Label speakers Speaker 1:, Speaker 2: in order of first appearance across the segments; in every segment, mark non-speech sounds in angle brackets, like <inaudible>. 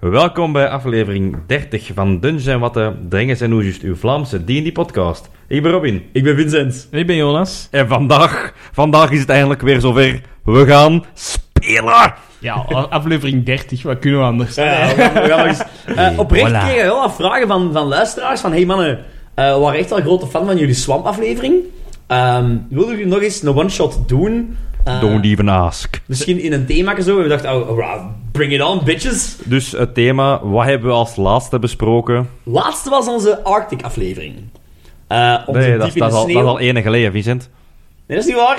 Speaker 1: Welkom bij aflevering 30 van Dungeons en Watten, Drengens en Oejust, uw Vlaamse D&D-podcast. Ik ben Robin.
Speaker 2: Ik ben Vincent.
Speaker 3: Ik ben Jonas.
Speaker 1: En vandaag, vandaag is het eindelijk weer zover. We gaan spelen!
Speaker 3: Ja, a- aflevering 30, wat kunnen we anders?
Speaker 2: we gaan, we gaan
Speaker 1: <laughs>
Speaker 2: nog eens, eh, oprecht
Speaker 1: Voilà.
Speaker 2: keren heel wat vragen van, van luisteraars. Van, hey mannen, eh, we waren echt wel grote fan van jullie Swamp-aflevering. Ehm, wilden jullie nog eens een one-shot doen? Eh,
Speaker 1: Don't even ask.
Speaker 2: Misschien in een thema zo. We dachten, oh, wow, bring it on, bitches.
Speaker 1: Dus het thema, wat hebben we als laatste besproken?
Speaker 2: Laatste was onze Arctic-aflevering. Eh, onze
Speaker 1: Nee,
Speaker 2: diep
Speaker 1: dat, dat,
Speaker 2: in de
Speaker 1: is al, dat
Speaker 2: sneeuw.
Speaker 1: is al ene geleden, Vincent.
Speaker 2: Nee, dat is niet waar.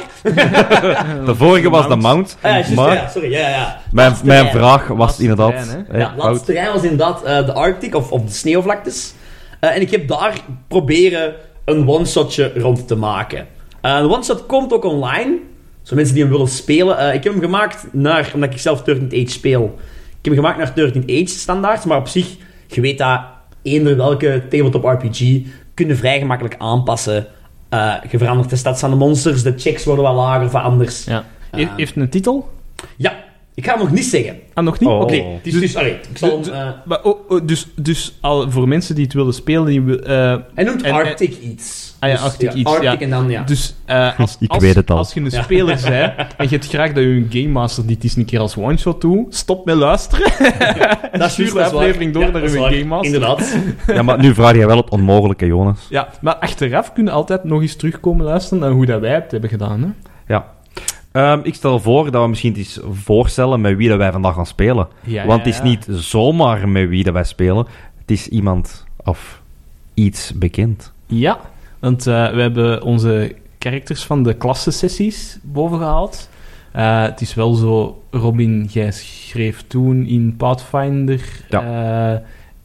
Speaker 1: De vorige was de Mount,
Speaker 2: Ah, ja, juist,
Speaker 1: maar
Speaker 2: ja, sorry, ja, ja, ja.
Speaker 1: mijn,
Speaker 2: Laatste
Speaker 1: mijn
Speaker 2: rij.
Speaker 1: vraag was
Speaker 3: Laatste
Speaker 1: inderdaad...
Speaker 3: terrein, hè?
Speaker 1: hè,
Speaker 2: ja, het
Speaker 1: Wout.
Speaker 2: laatste terrein was inderdaad eh, de Arctic, of, of de sneeuwvlaktes. Eh, en ik heb daar proberen een one-shotje rond te maken. Eh, een one-shot komt ook online, zo mensen die hem willen spelen. Eh, ik heb hem gemaakt naar, omdat ik zelf 13th Age speel, ik heb hem gemaakt naar 13th Age standaards, maar op zich, je weet dat eender welke tabletop RPG kunnen vrij gemakkelijk aanpassen. Eh, je verandert de stads aan de monsters, de checks worden wat lager of anders.
Speaker 3: Ja. He-
Speaker 2: Ah.
Speaker 3: E- Heeft een titel?
Speaker 2: Ja, ik ga hem nog niet zeggen.
Speaker 3: Ah, nog niet?
Speaker 1: Oh.
Speaker 3: Oké.
Speaker 2: Oké, dus, dus, allee, ik zal hem... eh,
Speaker 3: Maar, oh, oh, dus dus al, voor mensen die het willen spelen, die, wil- eh,
Speaker 2: Hij noemt
Speaker 3: En-
Speaker 2: Arctic iets.
Speaker 3: Ah ja,
Speaker 2: Dus,
Speaker 3: Arctic iets,
Speaker 2: Arctic
Speaker 3: ja.
Speaker 2: en dan, ja.
Speaker 3: dus
Speaker 1: <laughs>
Speaker 3: eh, als,
Speaker 1: Ik
Speaker 3: als,
Speaker 1: weet het al.
Speaker 3: als je een
Speaker 2: Ja. <laughs>
Speaker 3: speler bent en je hebt graag dat je een Game Master dit eens een keer als one-shot doet, stop met luisteren. en <laughs>
Speaker 2: Dat is juist,
Speaker 3: stuur de
Speaker 2: dat is waar.
Speaker 3: aflevering door
Speaker 2: Ja,
Speaker 3: naar
Speaker 2: dat
Speaker 3: je
Speaker 2: is waar.
Speaker 3: Game Master. <laughs>
Speaker 2: Inderdaad.
Speaker 1: Ja, maar nu vraag je wel het onmogelijke, Jonas.
Speaker 3: Ja, maar achteraf kunnen altijd nog eens terugkomen luisteren naar hoe dat wij het hebben gedaan. Hè?
Speaker 1: Ja. Ehm, ik stel voor dat we misschien eens voorstellen met wie dat wij vandaag gaan spelen.
Speaker 3: Ja,
Speaker 1: Want
Speaker 3: ja,
Speaker 1: het is
Speaker 3: ja.
Speaker 1: niet zomaar met wie dat wij spelen. Het is iemand of iets bekend.
Speaker 3: Ja, want eh, we hebben onze characters van de klassensessies bovengehaald. Eh het is wel zo, Robin, jij schreef toen in Pathfinder
Speaker 1: Ja.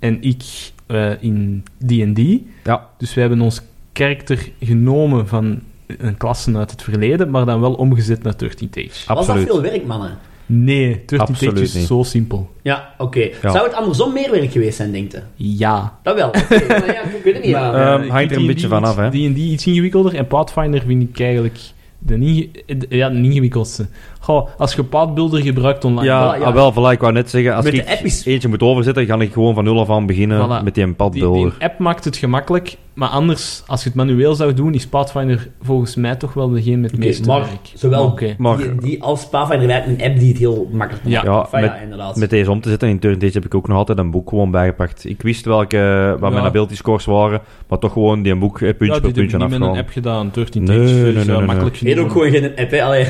Speaker 3: eh, en ik eh, in D&D.
Speaker 1: Ja.
Speaker 3: Dus we hebben ons karakter genomen van een klasse uit het verleden, maar dan wel omgezet naar 13 Age.
Speaker 2: Was dat
Speaker 1: Absoluut.
Speaker 2: veel werk, mannen?
Speaker 3: Nee, 13 Age
Speaker 1: Ah. Absoluut
Speaker 3: is
Speaker 1: niet.
Speaker 3: zo simpel.
Speaker 2: Ja, oké.
Speaker 1: Ja.
Speaker 2: Zou het andersom meer werk geweest zijn, denk je?
Speaker 3: Ja.
Speaker 2: Dat
Speaker 1: <laughs>
Speaker 2: wel. Oké, maar ja, ik weet het niet. ja.
Speaker 1: Eh, Ehm, hangt er een
Speaker 3: D&D
Speaker 1: beetje van af, hè.
Speaker 3: iets- D&D iets ingewikkelder en Pathfinder vind ik eigenlijk de niet, de- ja, de niet ingewikkeldste. Goh, als je Pathbuilder gebruikt online...
Speaker 1: Ja,
Speaker 2: Voilà, ja.
Speaker 1: ah, wel, voilà, ik wou net zeggen, als
Speaker 2: Met
Speaker 1: ik
Speaker 2: de app is-
Speaker 1: eentje moet overzetten, ga ik gewoon van nul af aan beginnen
Speaker 3: Voilà.
Speaker 1: met die een
Speaker 3: Die, die
Speaker 1: padbeelder.
Speaker 3: app maakt het gemakkelijk, maar anders, als je het manueel zou doen, is Pathfinder volgens mij toch wel degene met het
Speaker 2: Oké,
Speaker 3: meeste
Speaker 2: maar
Speaker 3: werk.
Speaker 2: zowel
Speaker 3: Maar oké.
Speaker 1: Maar
Speaker 2: die, die als Pathfinder lijkt een app die het heel makkelijk maakt.
Speaker 3: Ja.
Speaker 1: Ja, Ah,
Speaker 2: Enfin, ja,
Speaker 1: met-
Speaker 2: inderdaad.
Speaker 1: met deze om te zetten in Turn Days heb ik ook nog altijd een boek gewoon bijgepakt. Ik wist welke, wat
Speaker 3: Ja.
Speaker 1: mijn ability scores waren, maar toch gewoon die een boek eh, puntje
Speaker 3: ja,
Speaker 1: per
Speaker 3: dit heb ik
Speaker 1: puntje
Speaker 3: niet met een
Speaker 1: afgaan.
Speaker 3: app gedaan. 13
Speaker 1: Nee,
Speaker 3: Age is,
Speaker 1: nee,
Speaker 3: eh,
Speaker 1: nee, nee, nee.
Speaker 3: makkelijk
Speaker 2: Je hebt ook gewoon geen app, hè? Allee.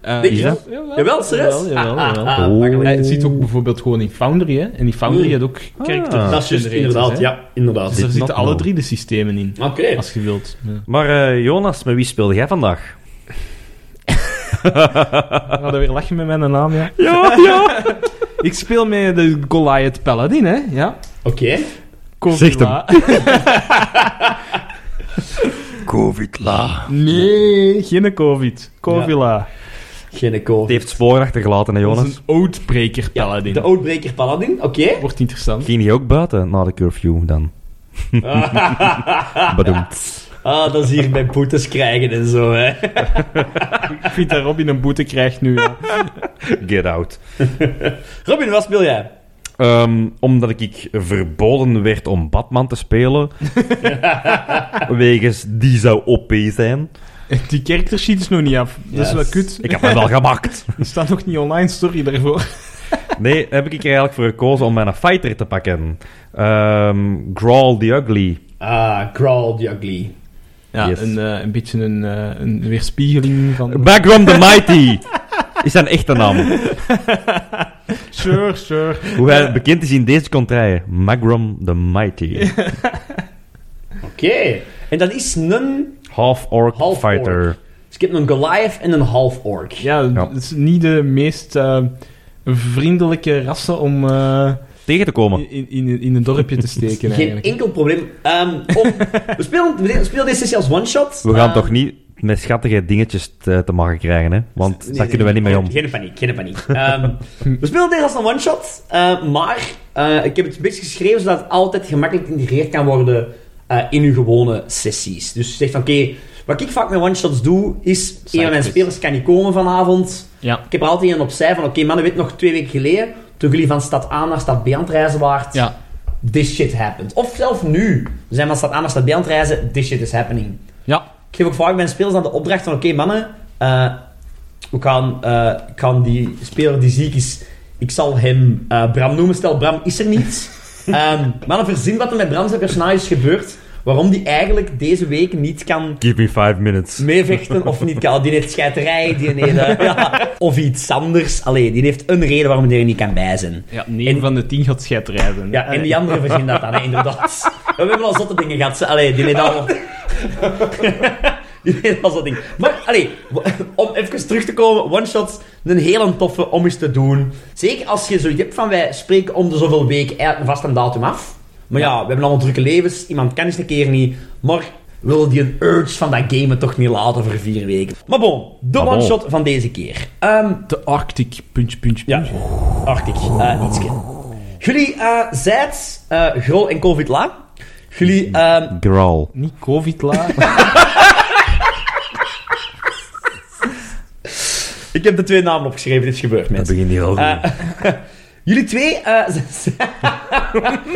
Speaker 3: Eh,
Speaker 2: Denk je
Speaker 3: ja,
Speaker 2: dat?
Speaker 3: jawel,
Speaker 2: Jawel, serieus?
Speaker 3: Jawel, jawel,
Speaker 2: Ah, ah,
Speaker 3: jawel.
Speaker 2: ah,
Speaker 1: Oh.
Speaker 2: makkelijk.
Speaker 3: Eh, het zit ook bijvoorbeeld gewoon in Foundry, hè. En die Foundry
Speaker 2: Mm.
Speaker 3: had ook character
Speaker 1: Hmm. Ah.
Speaker 2: Dat is juist,
Speaker 3: generators,
Speaker 2: inderdaad.
Speaker 3: hè.
Speaker 2: Ja, inderdaad.
Speaker 3: Dus er
Speaker 1: Did
Speaker 3: zitten
Speaker 1: not
Speaker 3: alle
Speaker 1: know.
Speaker 3: drie de systemen in.
Speaker 2: Oké.
Speaker 3: Als je wilt. Ja.
Speaker 1: Maar eh, Jonas, met wie speelde jij vandaag?
Speaker 3: We hadden weer lachen met mijn naam, ja.
Speaker 1: Ja, ja!
Speaker 3: <laughs> Ik speel met de Goliath Paladin, hè. Ja.
Speaker 2: Oké.
Speaker 1: Zegt
Speaker 3: Covila.
Speaker 1: Covid-la.
Speaker 3: Nee, geen COVID. Covila.
Speaker 2: Geen kool.
Speaker 1: Het heeft spoor achtergelaten, hè,
Speaker 3: Dat
Speaker 1: Jonas.
Speaker 3: is een Oathbreaker Paladin.
Speaker 2: De Outbreaker Paladin,
Speaker 1: <laughs>
Speaker 2: oké.
Speaker 3: Wordt interessant.
Speaker 1: Ging hij ook buiten na de curfew dan? Bedoemd.
Speaker 2: Ah, dat is hier bij boetes krijgen en zo, hè.
Speaker 3: Ik vind dat Robin een boete krijgt nu.
Speaker 1: <laughs>
Speaker 3: ja.
Speaker 1: Get out.
Speaker 2: Robin, wat speel jij?
Speaker 1: Ehm, omdat ik- ik verboden werd om Batman te
Speaker 2: <laughs>
Speaker 1: spelen. wegens die zou OP zijn.
Speaker 3: Die character sheet is nog niet af. Dat is wel
Speaker 2: Yes.
Speaker 3: kut.
Speaker 1: Ik heb hem wel gemaakt.
Speaker 3: Die staat nog niet online, sorry daarvoor.
Speaker 1: Nee, heb ik er eigenlijk voor gekozen om mijn fighter te pakken. Ehm Grawl the Ugly.
Speaker 2: Ah, Crawl the Ugly.
Speaker 3: Ja,
Speaker 1: Yes.
Speaker 3: een, eh, een beetje een, eh, een weerspiegeling van...
Speaker 1: Background the Mighty. Is zijn echte naam.
Speaker 3: Sure, sure.
Speaker 1: Hoe hij bekend is in deze contraille. Magrum the Mighty.
Speaker 2: Oké. En dat is een...
Speaker 1: Half-orc
Speaker 2: Half-orc.
Speaker 1: fighter.
Speaker 2: Dus ik heb een Goliath en een half-orc.
Speaker 3: Ja,
Speaker 1: Ja.
Speaker 3: het is niet de meest eh, vriendelijke rassen om... eh,
Speaker 1: Tegen te komen.
Speaker 3: In, in, in een dorpje te steken,
Speaker 2: Geen
Speaker 3: eigenlijk.
Speaker 2: enkel probleem. Ehm, om- <laughs> we, spelen, we spelen deze sessie als one-shot.
Speaker 1: We gaan
Speaker 2: Ehm,
Speaker 1: toch niet met schattige dingetjes te, te maken krijgen, hè? Want
Speaker 2: nee,
Speaker 1: daar
Speaker 2: nee,
Speaker 1: kunnen we niet mee om.
Speaker 2: Geen paniek, geen paniek. Ehm, we spelen deze als een one-shot. eh, maar eh, ik heb het een beetje geschreven zodat het altijd gemakkelijk geïntegreerd kan worden eh, in uw gewone sessies. Dus je zegt van, oké, Wat ik vaak met one-shots doe, is... Een van mijn
Speaker 3: Sidequest.
Speaker 2: spelers kan niet komen vanavond.
Speaker 3: Ja.
Speaker 2: Ik heb er altijd een opzij van... Oké, mannen, weet nog twee weken geleden... Toen jullie van stad A naar stad B aan het reizen waart...
Speaker 3: Ja.
Speaker 2: This shit happened. Of zelfs nu. We zijn van stad A naar stad B aan het reizen. This shit is happening.
Speaker 3: Ja.
Speaker 2: Ik geef ook vaak mijn spelers aan de opdracht van... Oké, mannen... eh, we gaan, eh, ik ga die speler die ziek is... Ik zal hem eh, Bram noemen. Stel, Bram is er niet. Ehm mannen, verzin wat er met Bram zijn personage is gebeurd. Waarom die eigenlijk deze week niet kan
Speaker 1: Give me five minutes.
Speaker 2: meevechten of niet kan. Die heeft scheiterij, die heeft... eh, ja, of iets anders. Allee, die heeft een reden waarom die er niet kan bij zijn.
Speaker 3: Ja, 9
Speaker 2: En-
Speaker 3: van de 10 gaat scheidrijden.
Speaker 2: Ja, en die andere verzin dat dan, hè,
Speaker 1: <laughs>
Speaker 2: inderdaad. We hebben al zotte dingen gehad. ze- Allee, die weet al... <laughs> die weet al zotte dingen. Maar, allee, w- om even terug te komen. One-shots, een hele toffe om eens te doen. Zeker als je zoiets hebt van, wij spreken om de zoveel weken eigenlijk vast een datum af. Maar ja, we hebben allemaal drukke levens. Iemand kan eens een keer niet. Maar wil die een urge van dat gamen toch niet laten voor vier weken. Maar bon, de
Speaker 1: Maar bon.
Speaker 2: one-shot van deze keer. Ehm,
Speaker 3: De Arctic, puntje, puntje,
Speaker 2: ja,
Speaker 3: puntje.
Speaker 2: Arctic, eh ietske. Jullie eh zijt eh, Grol en Covid La. Jullie, ehm,
Speaker 1: Graal.
Speaker 3: Niet
Speaker 2: <laughs>
Speaker 3: covid-la.
Speaker 2: ik heb de twee namen opgeschreven, dit is gebeurd,
Speaker 1: Dat
Speaker 2: mensen.
Speaker 1: begint hier al goed.
Speaker 2: Eh, jullie twee, eh <laughs> z- z-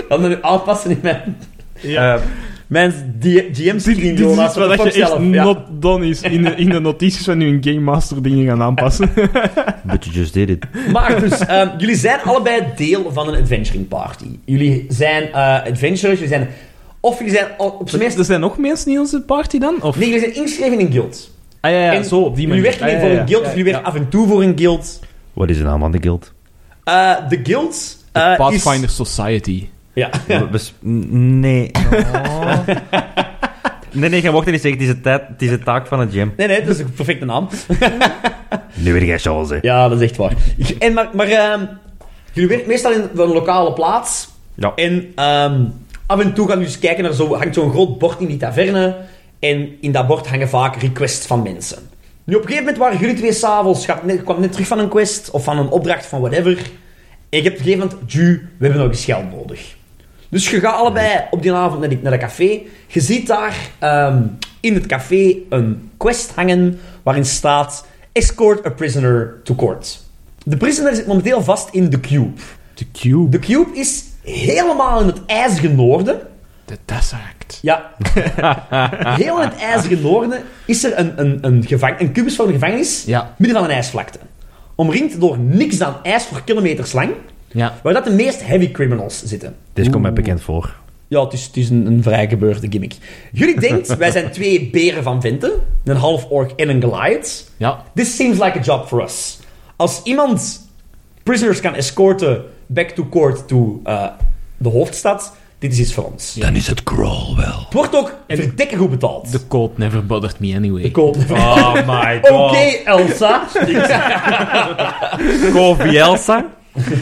Speaker 2: dan moet ik aanpassen in mijn, Eh,
Speaker 3: ja.
Speaker 2: mijn GM-screen.
Speaker 3: dit is iets wat je echt not done is. In de, in de notities van je Game Master dingen gaan
Speaker 2: <laughs>
Speaker 3: aanpassen.
Speaker 1: <laughs> But you just did it.
Speaker 2: Maar dus, ehm, jullie zijn allebei deel van een adventuring party. Jullie zijn eh, adventurers, jullie zijn... Of jullie zijn al- op zijn minst...
Speaker 3: er zijn nog mensen in onze party dan? Of?
Speaker 2: Nee, jullie zijn ingeschreven in een guild.
Speaker 3: Ah ja, ja,
Speaker 2: En
Speaker 3: zo, op die
Speaker 2: Jullie
Speaker 3: manier.
Speaker 2: werken
Speaker 3: Ah, ja,
Speaker 2: voor
Speaker 3: ja,
Speaker 2: een
Speaker 3: ja.
Speaker 2: guild, of jullie
Speaker 3: Ja,
Speaker 2: werken af en toe voor een guild.
Speaker 1: Wat is de naam van de <laughs> guild?
Speaker 2: Eh, de guild eh,
Speaker 3: ja.
Speaker 2: is-
Speaker 3: Pathfinder Society.
Speaker 2: Ja. <laughs>
Speaker 1: We- we s- n- <laughs> nee. Nee, nee, je mocht het niet zeggen. Het is, de tijd, het is de taak van het gym.
Speaker 2: Nee, nee, dat is een perfecte naam.
Speaker 1: Nu weer jij chance. hè.
Speaker 2: Ja, dat is echt waar. En maar maar ehm, jullie werken meestal in een lokale plaats.
Speaker 1: Ja.
Speaker 2: En ehm, af en toe gaan jullie eens kijken naar zo, hangt zo'n groot bord in die taverne. En in dat bord hangen vaak requests van mensen. Nu, op een gegeven moment waren jullie twee s'avonds, je had net- je kwam net terug van een quest of van een opdracht van whatever. En je hebt op een gegeven moment, Ju, we hebben nog eens geld nodig. Dus je gaat allebei op die avond naar, die- naar dat café. Je ziet daar ehm, in het café een quest hangen waarin staat Escort a prisoner to court. De prisoner zit momenteel vast in de cube.
Speaker 3: De Cube.
Speaker 2: De cube is helemaal in het ijzige noorden.
Speaker 3: De Tesseract. <laughs>
Speaker 2: Ja. Heel in het ijzige noorden is er een, een, een, gevang, een kubus van een gevangenis
Speaker 3: Ja.
Speaker 2: midden van een ijsvlakte. Omringd door niks dan ijs voor kilometers lang,
Speaker 3: Ja.
Speaker 2: waar dat de meest heavy criminals zitten.
Speaker 1: Dit komt mij bekend voor.
Speaker 2: Ja, het is, het is een, een vrij gebeurde gimmick. Jullie
Speaker 3: <laughs>
Speaker 2: denkt, wij zijn twee beren van Venten. Een half orc en een Goliath.
Speaker 3: Ja.
Speaker 2: This seems like a job for us. Als iemand prisoners kan escorten back to court to eh, de hoofdstad, dit is iets voor ons.
Speaker 1: Dan is het crawl wel.
Speaker 2: Het wordt ook verdikker goed betaald.
Speaker 3: The Code never bothered me anyway.
Speaker 2: koop.
Speaker 3: Ah,
Speaker 1: Oh my
Speaker 2: <laughs>
Speaker 1: <laughs>
Speaker 2: Oké,
Speaker 1: god.
Speaker 2: Elsa.
Speaker 1: Kofi Elsa.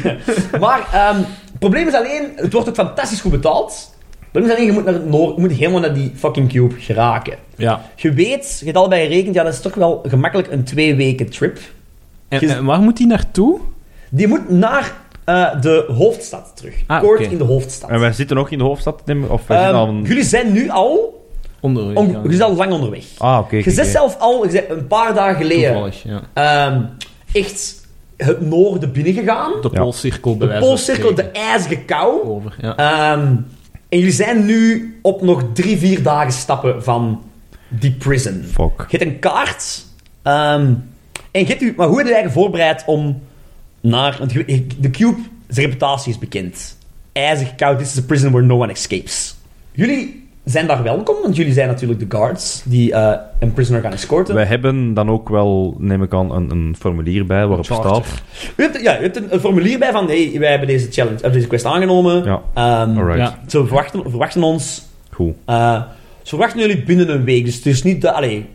Speaker 2: <laughs> maar ehm, het probleem is alleen, het wordt ook fantastisch goed betaald. Het probleem is alleen, je moet, naar het noor- je moet helemaal naar die fucking cube geraken.
Speaker 3: Ja.
Speaker 2: Je weet, je hebt allebei gerekend, ja, dat is toch wel gemakkelijk een twee weken trip.
Speaker 3: En,
Speaker 2: Gis-
Speaker 3: en waar moet die naartoe?
Speaker 2: Die moet naar eh, de hoofdstad terug.
Speaker 3: Ah,
Speaker 2: Kort
Speaker 3: oké.
Speaker 2: in de hoofdstad.
Speaker 1: En wij zitten nog in de hoofdstad, Tim? Of wij
Speaker 2: Ehm,
Speaker 1: zitten al... een-
Speaker 2: Jullie zijn nu al,
Speaker 3: Onderweg.
Speaker 2: on-
Speaker 3: ja.
Speaker 2: jullie zijn al lang onderweg.
Speaker 1: Ah, oké.
Speaker 2: je
Speaker 1: oké,
Speaker 2: zit
Speaker 1: oké.
Speaker 2: zelf al, je bent een paar dagen geleden,
Speaker 3: Toevallig, ja.
Speaker 2: ehm, echt het noorden binnengegaan.
Speaker 3: De
Speaker 1: Ja.
Speaker 3: Poolcirkel bij
Speaker 2: De
Speaker 3: wijze van
Speaker 2: Poolcirkel, de
Speaker 3: spreken.
Speaker 2: ijzige kou.
Speaker 3: Over, ja.
Speaker 2: Ehm, en jullie zijn nu op nog drie, vier dagen stappen van die prison.
Speaker 1: Fuck.
Speaker 2: Je hebt een kaart. ehm, en je hebt u, maar hoe heb je je eigenlijk voorbereid om naar... Want je- de Cube, zijn reputatie is bekend. IJzig koud, this is a prison where no one escapes. Jullie zijn daar welkom, want jullie zijn natuurlijk de guards die eh, een prisoner gaan escorten.
Speaker 1: Wij hebben dan ook wel, neem ik aan, een, een formulier bij waarop
Speaker 3: Charter.
Speaker 1: staat...
Speaker 2: U hebt, ja, u hebt een, een formulier bij van, hey, wij hebben deze challenge, of deze quest aangenomen.
Speaker 1: Mm. Ja.
Speaker 2: Ehm,
Speaker 1: Alright.
Speaker 3: Ja.
Speaker 2: Ze verwachten, verwachten ons
Speaker 1: Goed.
Speaker 2: Eh, ze verwachten jullie binnen een week, dus het is niet... dat- Allee,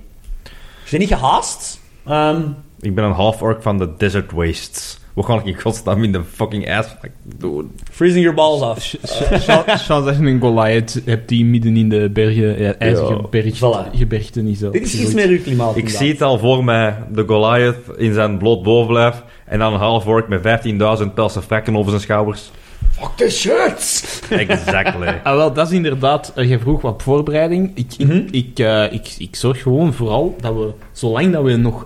Speaker 2: ze zijn niet gehaast. Ehm,
Speaker 1: Ik ben een half-orc van de Desert Wastes. Wat ga ik in godsnaam in de fucking ass doen?
Speaker 2: freezing your balls af.
Speaker 3: Sh- sh- sh- Chance dat je een Goliath hebt die midden in de bergen, ja, ijzige
Speaker 1: Ja.
Speaker 3: berg-
Speaker 2: Voilà.
Speaker 3: gebergten is.
Speaker 2: Dit is iets meer uw klimaat.
Speaker 1: Ik
Speaker 2: inderdaad.
Speaker 1: zie het al voor mij, de Goliath in zijn bloot bovenlijf en dan een half-orc met 15.000 pelse vakken over zijn schouders.
Speaker 2: Fuck the shirts!
Speaker 1: <laughs> Exactly.
Speaker 3: Ah, wel, dat is inderdaad... eh, jij vroeg wat voorbereiding. Ik, ik,
Speaker 2: Mhm.
Speaker 3: ik, eh, ik, ik zorg gewoon vooral dat we, zolang dat we nog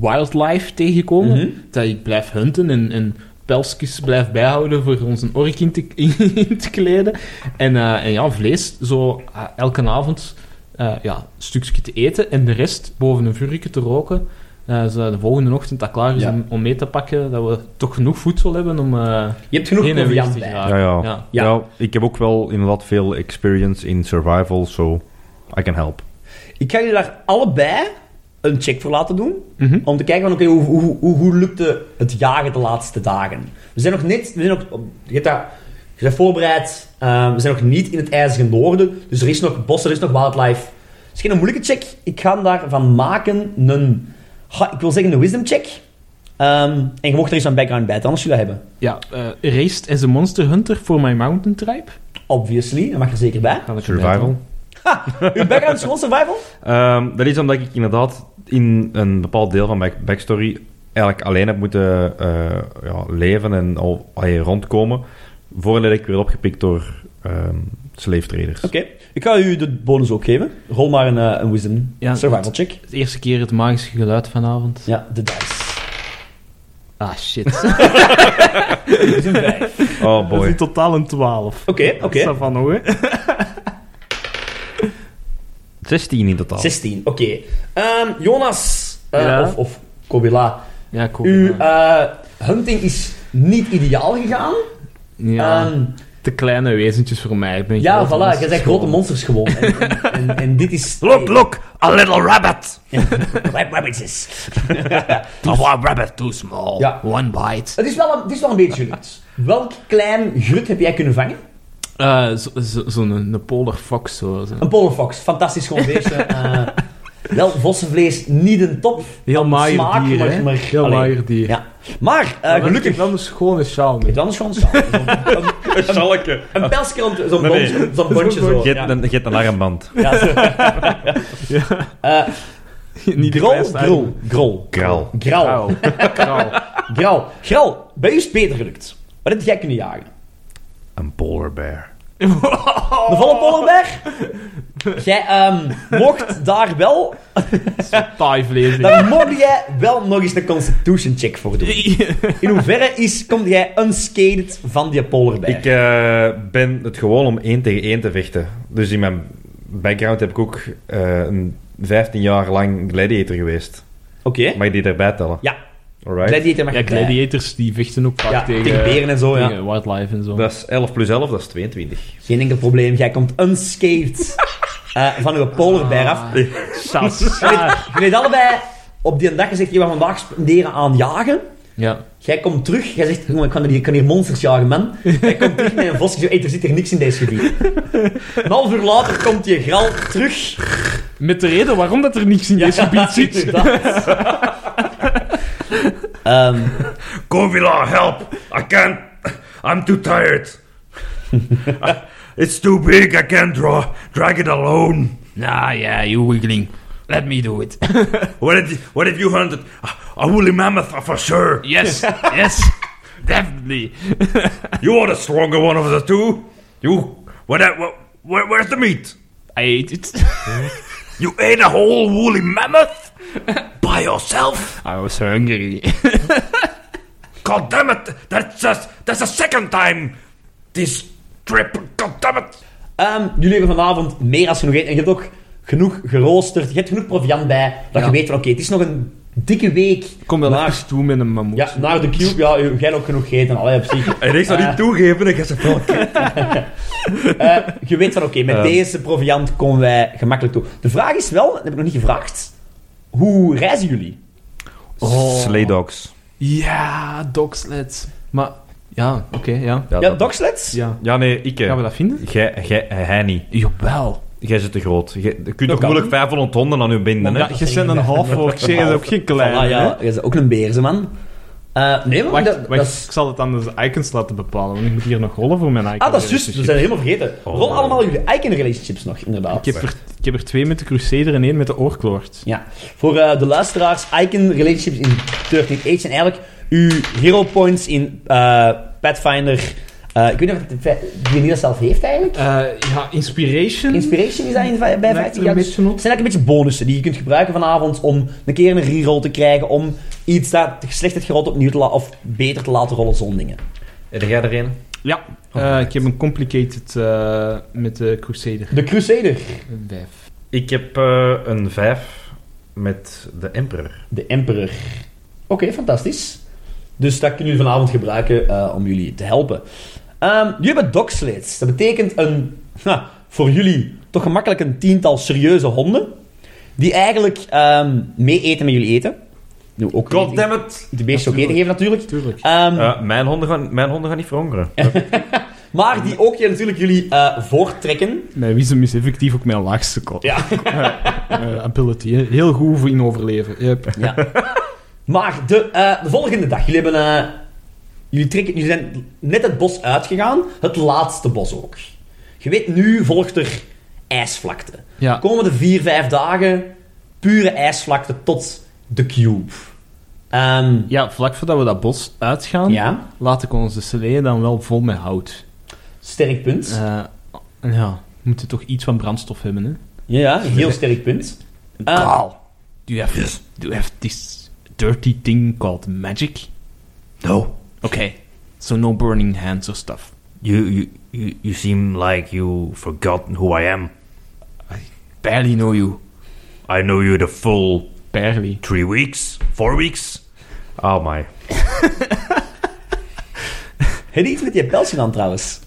Speaker 3: wildlife tegenkomen,
Speaker 2: Mhm.
Speaker 3: dat ik blijf hunten en, en pelsjes blijf bijhouden voor ons een ork in te, <laughs> in te kleden. En, eh, en ja, vlees zo ah, elke avond eh, ja, een stukje te eten en de rest boven een vuurtje te roken. eh, zodat de volgende ochtend dat klaar is
Speaker 2: Ja.
Speaker 3: om, om mee te pakken, dat we toch genoeg voedsel hebben om eh
Speaker 2: Je hebt genoeg
Speaker 3: heen en weer
Speaker 2: proviant
Speaker 3: te
Speaker 2: bij.
Speaker 3: geraken.
Speaker 1: Ja, ja.
Speaker 3: Ja.
Speaker 1: Ja. ik heb ook wel inderdaad veel experience in survival, so I can help.
Speaker 2: Ik ga jullie daar allebei een check voor laten doen.
Speaker 3: Mhm.
Speaker 2: Om te kijken van, oké, hoe, hoe, hoe, hoe lukte het jagen de laatste dagen? We zijn nog niet... We zijn nog, op- je, hebt daar, je bent voorbereid. ehm, we zijn nog niet in het ijzeren noorden. Dus er is nog bos, er is nog wildlife. Het is geen moeilijke check. Ik ga daarvan maken een... ha, ik wil zeggen een wisdom check. Ehm, en je mocht er eens een background bij, anders jullie dat hebben.
Speaker 3: Ja, eh Raced as a Monster Hunter voor My Mountain Tribe.
Speaker 2: Obviously, dat mag er zeker
Speaker 3: <laughs>
Speaker 2: bij.
Speaker 3: Ga ik erbij
Speaker 1: Survival.
Speaker 3: doen.
Speaker 2: Uw background is gewoon survival?
Speaker 1: Ehm, dat is omdat ik inderdaad in een bepaald deel van mijn backstory eigenlijk alleen heb moeten eh, ja, leven en al, allee, rondkomen, voordat ik werd opgepikt door ehm slave
Speaker 3: <laughs>
Speaker 1: traders.
Speaker 2: Oké. Ik ga u de bonus ook geven. Rol maar een, eh, een wisdom
Speaker 3: Ja,
Speaker 2: survival check.
Speaker 3: Het eerste keer het magische geluid vanavond.
Speaker 2: Ja, de dice.
Speaker 3: Ah,
Speaker 2: <laughs>
Speaker 3: shit.
Speaker 2: Dat is een
Speaker 3: <laughs>
Speaker 2: vijf.
Speaker 1: Oh
Speaker 3: Dat is
Speaker 1: boy.
Speaker 3: in totaal een 12.
Speaker 2: Oké,
Speaker 3: Dat is
Speaker 2: oké.
Speaker 3: dat van hoor.
Speaker 1: 16 in totaal.
Speaker 2: 16, Oh. oké. Ehm, Jonas, eh,
Speaker 3: Ja?
Speaker 2: of, of Kobila,
Speaker 3: Ja, kom.
Speaker 2: uw eh, hunting is niet ideaal gegaan.
Speaker 3: ja,
Speaker 2: Ehm,
Speaker 3: te kleine wezentjes voor mij. Ik ben
Speaker 2: ja,
Speaker 3: grote
Speaker 2: voilà,
Speaker 3: monsters
Speaker 2: je bent grote
Speaker 3: gewoon.
Speaker 2: monsters gewoon. En, en, en- en dit is...
Speaker 3: <laughs>
Speaker 1: Look, look, a little rabbit!
Speaker 2: Rab- rabbits is.
Speaker 3: Too- one rabbit too small.
Speaker 2: Ja.
Speaker 3: One bite.
Speaker 2: Het is wel een, het is wel een beetje gelukt. Welk klein grut heb jij kunnen vangen?
Speaker 3: Eh, zo- zo- Zo'n een, polar fox. Zo, zo.
Speaker 2: Een polarfox, fantastisch gewoon beestje.
Speaker 3: <laughs>
Speaker 2: Eh, wel, vossenvlees niet een top.
Speaker 3: Heel
Speaker 2: van
Speaker 3: maaier
Speaker 2: smaak,
Speaker 3: dier,
Speaker 2: maar,
Speaker 3: hè?
Speaker 2: maar-
Speaker 3: Heel
Speaker 2: allee.
Speaker 3: maaier dier.
Speaker 2: Ja. Maar, eh,
Speaker 3: Maar
Speaker 2: gelukkig...
Speaker 3: Ik heb wel een schone sjaal mee. <laughs>
Speaker 2: Het anders gewoon zo. Een,
Speaker 1: Een schalke.
Speaker 2: een pelskrant, zo'n
Speaker 1: Nee, nee.
Speaker 2: bondje, zo'n bondje zo.
Speaker 1: Je
Speaker 2: ja.
Speaker 1: hebt een- je hebt een armband.
Speaker 2: <laughs> Ja, zo. Eh,
Speaker 3: Niet de
Speaker 2: grol,
Speaker 3: kleinste
Speaker 2: grol, grol.
Speaker 1: Graal.
Speaker 2: Grauw.
Speaker 3: Grauw. <laughs> Grauw.
Speaker 2: Grauw. Grauw, bij u is het beter gelukt. Wat heb jij kunnen jagen?
Speaker 1: Een polar bear.
Speaker 2: De volle pollenberg? Jij ehm, mocht daar wel...
Speaker 3: Thai vlees.
Speaker 2: Daar mocht jij wel nog eens een constitution check voor doen. In hoeverre is, kom jij unscathed van die pollenberg?
Speaker 1: Ik eh, ben het gewoon om één tegen één te vechten. Dus in mijn background heb ik ook eh, een 15 jaar lang gladiator geweest.
Speaker 2: Oké.
Speaker 1: Mag je die erbij tellen?
Speaker 2: Ja.
Speaker 1: Alright.
Speaker 2: Gladiator mag
Speaker 3: Ja,
Speaker 2: je
Speaker 3: gladiators die vechten ook vaak
Speaker 2: Ja,
Speaker 3: tegen,
Speaker 2: tegen beren en zo, ja.
Speaker 3: tegen wildlife en zo.
Speaker 1: Dat is 11 plus 11, dat is 22.
Speaker 2: Geen enkel probleem, jij komt unscathed eh, van uw polderbeer af. Je <laughs>
Speaker 3: Sas.
Speaker 2: weet allebei, op die dag gezegd, je gaat vandaag spenderen aan jagen.
Speaker 3: ja.
Speaker 2: Jij komt terug, jij zegt, jongen, ik kan hier, ik kan hier monsters jagen, man. Jij komt terug met een vos, je zegt, hey, er zit hier niks in deze gebied. Een half uur later komt je gral terug.
Speaker 3: Met de reden waarom dat er niks in deze
Speaker 2: <laughs>
Speaker 3: gebied zit.
Speaker 2: inderdaad. Ehm,
Speaker 1: Covila, help! I can't... I'm too <laughs> tired. It's too big, I can't draw, drag it alone.
Speaker 3: Ah ja, you wiggling. Let me do it.
Speaker 1: What have you, what have you hunted? A woolly mammoth, for sure.
Speaker 2: <laughs>
Speaker 3: Yes, yes. Definitely.
Speaker 1: You are the stronger one of the two. You... What, what, where, where's the meat?
Speaker 3: I
Speaker 2: <laughs>
Speaker 3: ate it.
Speaker 1: You ate a whole woolly mammoth? By yourself?
Speaker 3: I was hungry.
Speaker 1: God damn it! That's a, that's the second time this trip. God damn it!
Speaker 2: ehm, jullie hebben vanavond meer als genoeg eten. En je hebt ook genoeg geroosterd, je hebt genoeg proviant bij. Dat
Speaker 3: Ja.
Speaker 2: je weet van, oké, het is nog een dikke week
Speaker 3: Kom wel
Speaker 2: Maar-
Speaker 3: naar toe met een mammoet.
Speaker 2: Ja, naar de cube. Ja, jij hebt ook genoeg gegeten. Allee, op zich.
Speaker 1: En ik zou niet toegeven, ik heb ze wel
Speaker 2: Eh, je weet van, oké, met
Speaker 1: Ja.
Speaker 2: deze proviant komen wij gemakkelijk toe. De vraag is wel, dat heb ik nog niet gevraagd. Hoe reizen jullie?
Speaker 3: Oh.
Speaker 1: dogs.
Speaker 3: Ja, dogsled. Maar, ja, oké, ja.
Speaker 2: Ja, dogsleds?
Speaker 3: ja.
Speaker 1: Ja, nee, ik.
Speaker 3: Gaan we dat vinden?
Speaker 1: Jij, jij, hij niet.
Speaker 3: Jawel.
Speaker 1: Jij zit te groot. Jij- je kunt toch
Speaker 2: kan.
Speaker 1: moeilijk 500 honden aan u binden, hè?
Speaker 3: Ja, je bent een half ork, je bent ook geen klein.
Speaker 2: Voilà,
Speaker 3: hè?
Speaker 2: ja, je is ook een beerze, man. Eh, nee, maar
Speaker 3: Wacht,
Speaker 2: dat,
Speaker 3: wacht,
Speaker 2: dat is...
Speaker 3: ik zal het aan de icons laten bepalen, want ik moet hier nog rollen voor mijn icon.
Speaker 2: Ah, dat is juist. We zijn helemaal vergeten.
Speaker 1: Oh.
Speaker 2: Rol allemaal jullie eigen relationships nog, inderdaad.
Speaker 3: Ik heb, er, ik heb er twee met de Crusader en één met de Oorklord.
Speaker 2: Ja. Voor eh, de luisteraars, Icon relationships in 13 Age zijn eigenlijk uw hero points in eh, Pathfinder, eh, Eh, ik weet niet of het in fe- die niet zelf heeft eigenlijk.
Speaker 3: Eh, ja, Inspiration.
Speaker 2: Inspiration is dat in, bij
Speaker 3: lijkt
Speaker 2: 50
Speaker 3: er
Speaker 2: jaar.
Speaker 3: een
Speaker 2: Dus
Speaker 3: beetje op.
Speaker 2: Het zijn eigenlijk een beetje bonussen die je kunt gebruiken vanavond om een keer een reroll te krijgen, om iets dat slecht het gerot opnieuw te laten, of beter te laten rollen zonder dingen.
Speaker 1: Heb jij er een?
Speaker 3: Ja,
Speaker 2: Oh.
Speaker 3: eh,
Speaker 1: Alright.
Speaker 3: ik heb een complicated eh, met de Crusader.
Speaker 2: De Crusader.
Speaker 3: Een vijf.
Speaker 1: Ik heb eh, een 5 met de Emperor.
Speaker 2: De Emperor. Oké, fantastisch. Dus dat kunnen jullie vanavond gebruiken eh, om jullie te helpen. Ehm jullie hebben dogsleds. Dat betekent een, ha, voor jullie toch gemakkelijk een tiental serieuze honden. Die eigenlijk ehm, mee eten met jullie eten. Nu, ook eten-
Speaker 1: Goddammit!
Speaker 2: de beesten ook eten geven natuurlijk.
Speaker 3: Tuurlijk.
Speaker 2: Ehm,
Speaker 1: Eh mijn, honden gaan, mijn honden gaan niet verhongeren.
Speaker 2: maar die ook je natuurlijk jullie eh, voortrekken.
Speaker 3: Mijn wisdom is effectief ook mijn laagste kop. Eh,
Speaker 2: Ja.
Speaker 3: <laughs> ability. hè. Heel goed voor in overleven. Yep.
Speaker 2: Ja. <laughs> maar de, eh, de volgende dag, jullie hebben... eh, jullie, trekken, jullie zijn net het bos uitgegaan. Het laatste bos ook. Je weet, nu volgt er ijsvlakte.
Speaker 3: Ja.
Speaker 2: De komende vier, vijf dagen pure ijsvlakte tot de cube. Ehm,
Speaker 3: ja, vlak voordat we dat bos uitgaan,
Speaker 2: ja,
Speaker 3: laat ik onze slee dan wel vol met hout.
Speaker 2: sterk punt.
Speaker 3: Eh, ja, we moeten toch iets van brandstof hebben, hè?
Speaker 2: ja, ja, een heel sterk punt. Eh,
Speaker 3: Do you have, do you have this dirty thing called magic?
Speaker 1: No.
Speaker 3: Okay, so no burning hands or stuff.
Speaker 1: You, you, you, you seem like you forgot who I am.
Speaker 3: Barely know you.
Speaker 1: I know you the full
Speaker 3: Barely.
Speaker 1: three weeks, four weeks. Oh my.
Speaker 2: heb je iets met die pelsje aan trouwens?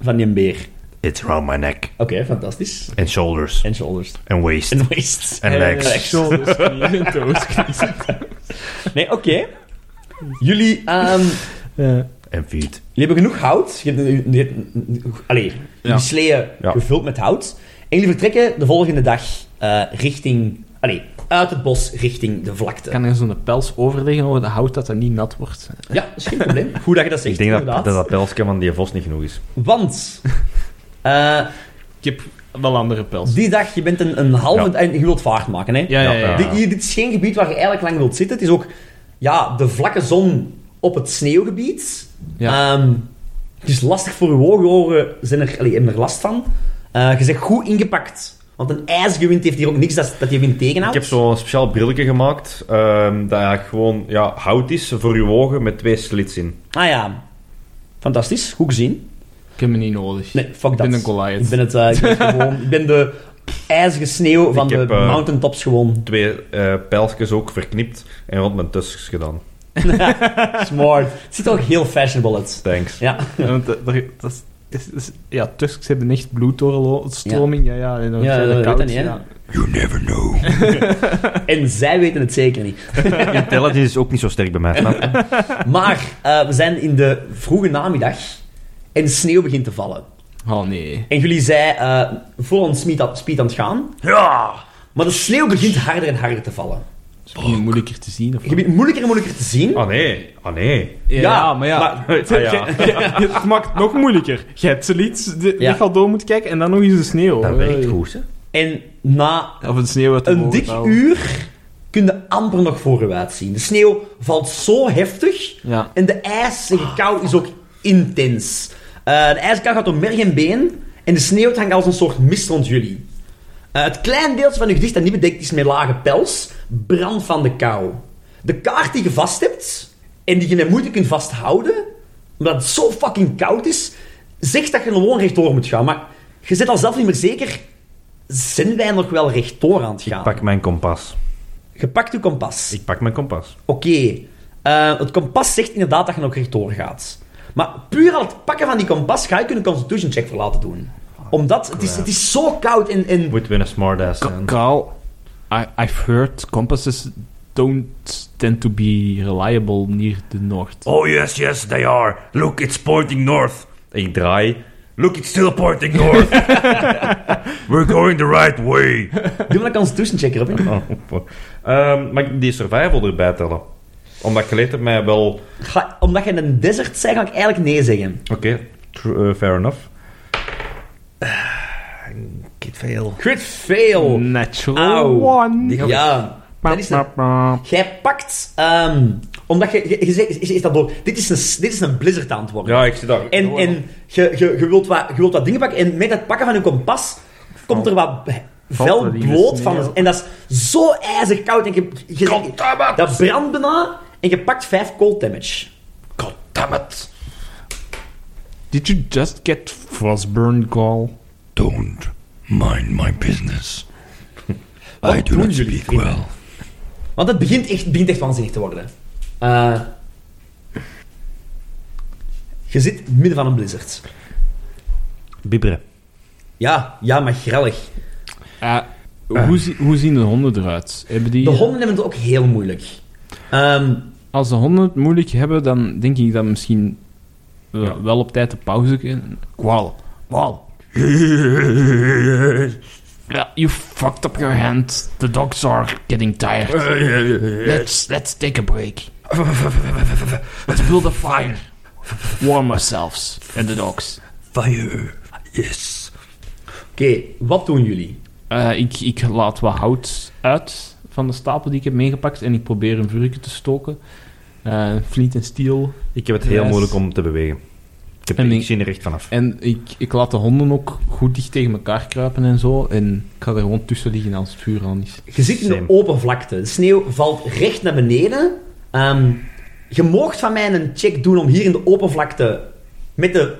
Speaker 2: Van die beer.
Speaker 1: It's around my neck
Speaker 2: Oké, fantastisch.
Speaker 1: and shoulders
Speaker 2: En shoulders.
Speaker 1: and waist
Speaker 2: En eh, waist.
Speaker 1: and
Speaker 3: <laughs>
Speaker 1: legs.
Speaker 3: Shoulders, knieën, toes, <laughs>
Speaker 2: Nee, oké. Jullie, ehm,
Speaker 3: knieën.
Speaker 1: and feet.
Speaker 2: jullie hebben genoeg hout. Je hebt, je hebt- allee,
Speaker 3: Ja.
Speaker 2: jullie sleeën
Speaker 1: Ja.
Speaker 2: gevuld met hout. En jullie vertrekken de volgende dag eh, richting... Allee, uit het bos richting de vlakte.
Speaker 3: Kan er zo'n pels overleggen over de hout dat dat niet nat wordt?
Speaker 2: Ja, dat is geen probleem. Goed dat je dat zegt,
Speaker 1: Ik denk dat dat,
Speaker 2: inderdaad.
Speaker 1: dat pelsje van die vos niet genoeg is.
Speaker 2: Want... eh,
Speaker 3: Ik heb wel andere pels.
Speaker 2: die dag, je bent een, een halve...
Speaker 1: Ja.
Speaker 2: En je wilt vaart maken, hè?
Speaker 3: Ja, ja, ja.
Speaker 1: Ja,
Speaker 3: ja.
Speaker 2: Dit- hier- dit is geen gebied waar je eigenlijk lang wilt zitten. Het is ook ja, de vlakke zon op het sneeuwgebied.
Speaker 3: Ja.
Speaker 2: Ehm, het is lastig voor uw ogen, oren zijn er, allee, hebben er last van. Eh, je bent goed ingepakt. Want een ijzige wind heeft hier ook niks dat, dat je wind
Speaker 1: Ik
Speaker 2: tegenhoudt.
Speaker 1: heb zo'n speciaal brilletje gemaakt ehm, dat eigenlijk gewoon ja, hout is voor je ogen met twee slits in.
Speaker 2: Ah ja. Fantastisch. Goed gezien.
Speaker 3: Ik heb me niet nodig.
Speaker 2: Nee, fuck
Speaker 3: ik
Speaker 2: dat.
Speaker 3: ben een Goliath.
Speaker 2: Ik ben, het, eh, ik ben, het gewoon, ik ben de ijzige sneeuw van
Speaker 1: Ik
Speaker 2: de
Speaker 1: heb, eh,
Speaker 2: mountaintops gewoon.
Speaker 1: Twee eh pijltjes ook verknipt en rond mijn tusks gedaan.
Speaker 2: Smart. Het ziet er ook heel fashionable uit.
Speaker 1: <laughs> Thanks.
Speaker 2: Ja.
Speaker 3: Ja, want dat, dat, dat is- is, is- ja, Tusks hebben echt bloeddoorstroming. Ja, ja, en dan
Speaker 2: Ja,
Speaker 3: is
Speaker 2: dat
Speaker 3: dat
Speaker 2: weet
Speaker 3: koud.
Speaker 2: dat niet, hè?
Speaker 3: ja.
Speaker 1: You never know.
Speaker 2: En zij weten het zeker niet.
Speaker 1: Intelligence is ook niet zo sterk bij mij. snap je?
Speaker 2: Maar eh, we zijn in de vroege namiddag en de sneeuw begint te vallen.
Speaker 3: Oh nee.
Speaker 2: En jullie zijn eh vol aan speed, aan- speed aan het gaan,
Speaker 1: Ja!
Speaker 2: maar de sneeuw begint harder en harder te vallen.
Speaker 3: Is het nu moeilijker te zien? Of
Speaker 2: Je bent moeilijker en moeilijker te zien.
Speaker 1: Oh nee, oh nee.
Speaker 3: Ja, maar ja.
Speaker 2: <laughs>
Speaker 1: Ah, ja.
Speaker 3: het maakt het nog moeilijker. Je hebt zoiets die
Speaker 2: Ja.
Speaker 3: al door moet kijken en dan nog eens de sneeuw.
Speaker 1: <laughs> Dat werkt
Speaker 3: Eh,
Speaker 1: goed, hè?
Speaker 2: En na
Speaker 3: Of de sneeuw uit de
Speaker 2: een
Speaker 3: bomen
Speaker 2: dik
Speaker 3: houden.
Speaker 2: uur kun je amper nog vooruit zien. De sneeuw valt zo heftig
Speaker 3: Ja.
Speaker 2: en de ijzige kou is ook intens. Eh, de ijzige kou gaat door merg en been en de sneeuw hangt als een soort mist rond jullie. Eh, het klein deeltje van uw gezicht dat niet bedekt is met lage pels, brandt van de kou. De kaart die je vast hebt en die je met moeite kunt vasthouden, omdat het zo fucking koud is, zegt dat je gewoon rechtdoor moet gaan. Maar je zit al zelf niet meer zeker, zijn wij nog wel rechtdoor aan het gaan?
Speaker 1: Pak mijn kompas.
Speaker 2: Je pakt uw kompas.
Speaker 1: Ik pak mijn kompas.
Speaker 2: Oké. Eh, het kompas zegt inderdaad dat je nog rechtdoor gaat. Maar puur al het pakken van die kompas ga je kunnen een constitution check voor laten doen. Omdat het is, het is zo koud en... en
Speaker 1: Moet weer een smartass
Speaker 3: Ka-
Speaker 1: zijn.
Speaker 3: Carl, I, I've heard compasses don't tend to be reliable near the north.
Speaker 1: Oh yes, yes, they are. Look, it's pointing north. Ik draai. Look, it's still pointing north. <laughs> We're going the right way.
Speaker 2: doe maar een constitution check,
Speaker 1: <laughs>
Speaker 2: Robin.
Speaker 1: Oh. Ehm, mag ik die survival erbij tellen? Omdat ik geleerd heb mij wel... Oké,
Speaker 2: Ga- omdat je in een desert zei, ga ik eigenlijk nee zeggen.
Speaker 1: tr- eh, fair enough. Ik veel.
Speaker 2: Crit fail.
Speaker 3: Natural
Speaker 2: Auw.
Speaker 3: one.
Speaker 1: Die-
Speaker 2: Ja. Dat is het. Jij pakt... ehm, omdat je... Je, je, zegt- je zegt dat door. Dit is een, s- dit is een blizzard aan het worden.
Speaker 1: Ja, ik zit daar.
Speaker 2: En, en je, je, je, wilt wat, je wilt wat dingen pakken. En met het pakken van een kompas komt er wat vel
Speaker 4: dat hier
Speaker 2: bloot
Speaker 4: eens
Speaker 2: van.
Speaker 4: neer?
Speaker 2: En dat is zo ijzerkoud. En je, je,
Speaker 1: Goddammit!
Speaker 2: dat brandt bijna. En je pakt 5 cold damage.
Speaker 1: Goddammit!
Speaker 4: Did you just get frostburn call?
Speaker 5: Don't mind my business. I do
Speaker 2: doen
Speaker 5: not
Speaker 2: jullie,
Speaker 5: speak
Speaker 2: vrienden?
Speaker 5: well.
Speaker 2: Want het begint echt, het begint echt waanzinnig te worden. Eh, je zit in het midden van een blizzard.
Speaker 1: Bibberen.
Speaker 2: Ja, ja, maar grellig.
Speaker 3: Eh, hoe, zi- hoe zien de honden eruit? Hebben die,
Speaker 2: De honden hebben het ook heel moeilijk. Ehm,
Speaker 3: Als de honden het moeilijk hebben, dan denk ik dat misschien eh, wel op tijd de pauze kunnen.
Speaker 5: Qual. Qual.
Speaker 3: Ja, you fucked up your hand. The dogs are getting tired. Let's, let's take a break. Let's build a fire. Warm ourselves and the dogs.
Speaker 5: Fire. Yes.
Speaker 2: Oké, wat doen jullie?
Speaker 3: Eh, ik, ik laat wat hout uit van de stapel die ik heb meegepakt en ik probeer een vuurtje te stoken. Eh, flint en steel.
Speaker 1: Ik heb het heel
Speaker 3: Yes.
Speaker 1: moeilijk om te bewegen. Ik, heb,
Speaker 3: En
Speaker 1: ik
Speaker 3: ik-
Speaker 1: zie er echt vanaf.
Speaker 3: En ik, ik laat de honden ook goed dicht tegen elkaar kruipen en zo. En ik ga er gewoon tussen liggen als het vuur aan is.
Speaker 2: Je zit in de
Speaker 1: Same.
Speaker 2: open vlakte. De sneeuw valt recht naar beneden. Ehm, je moogt van mij een check doen om hier in de open vlakte met de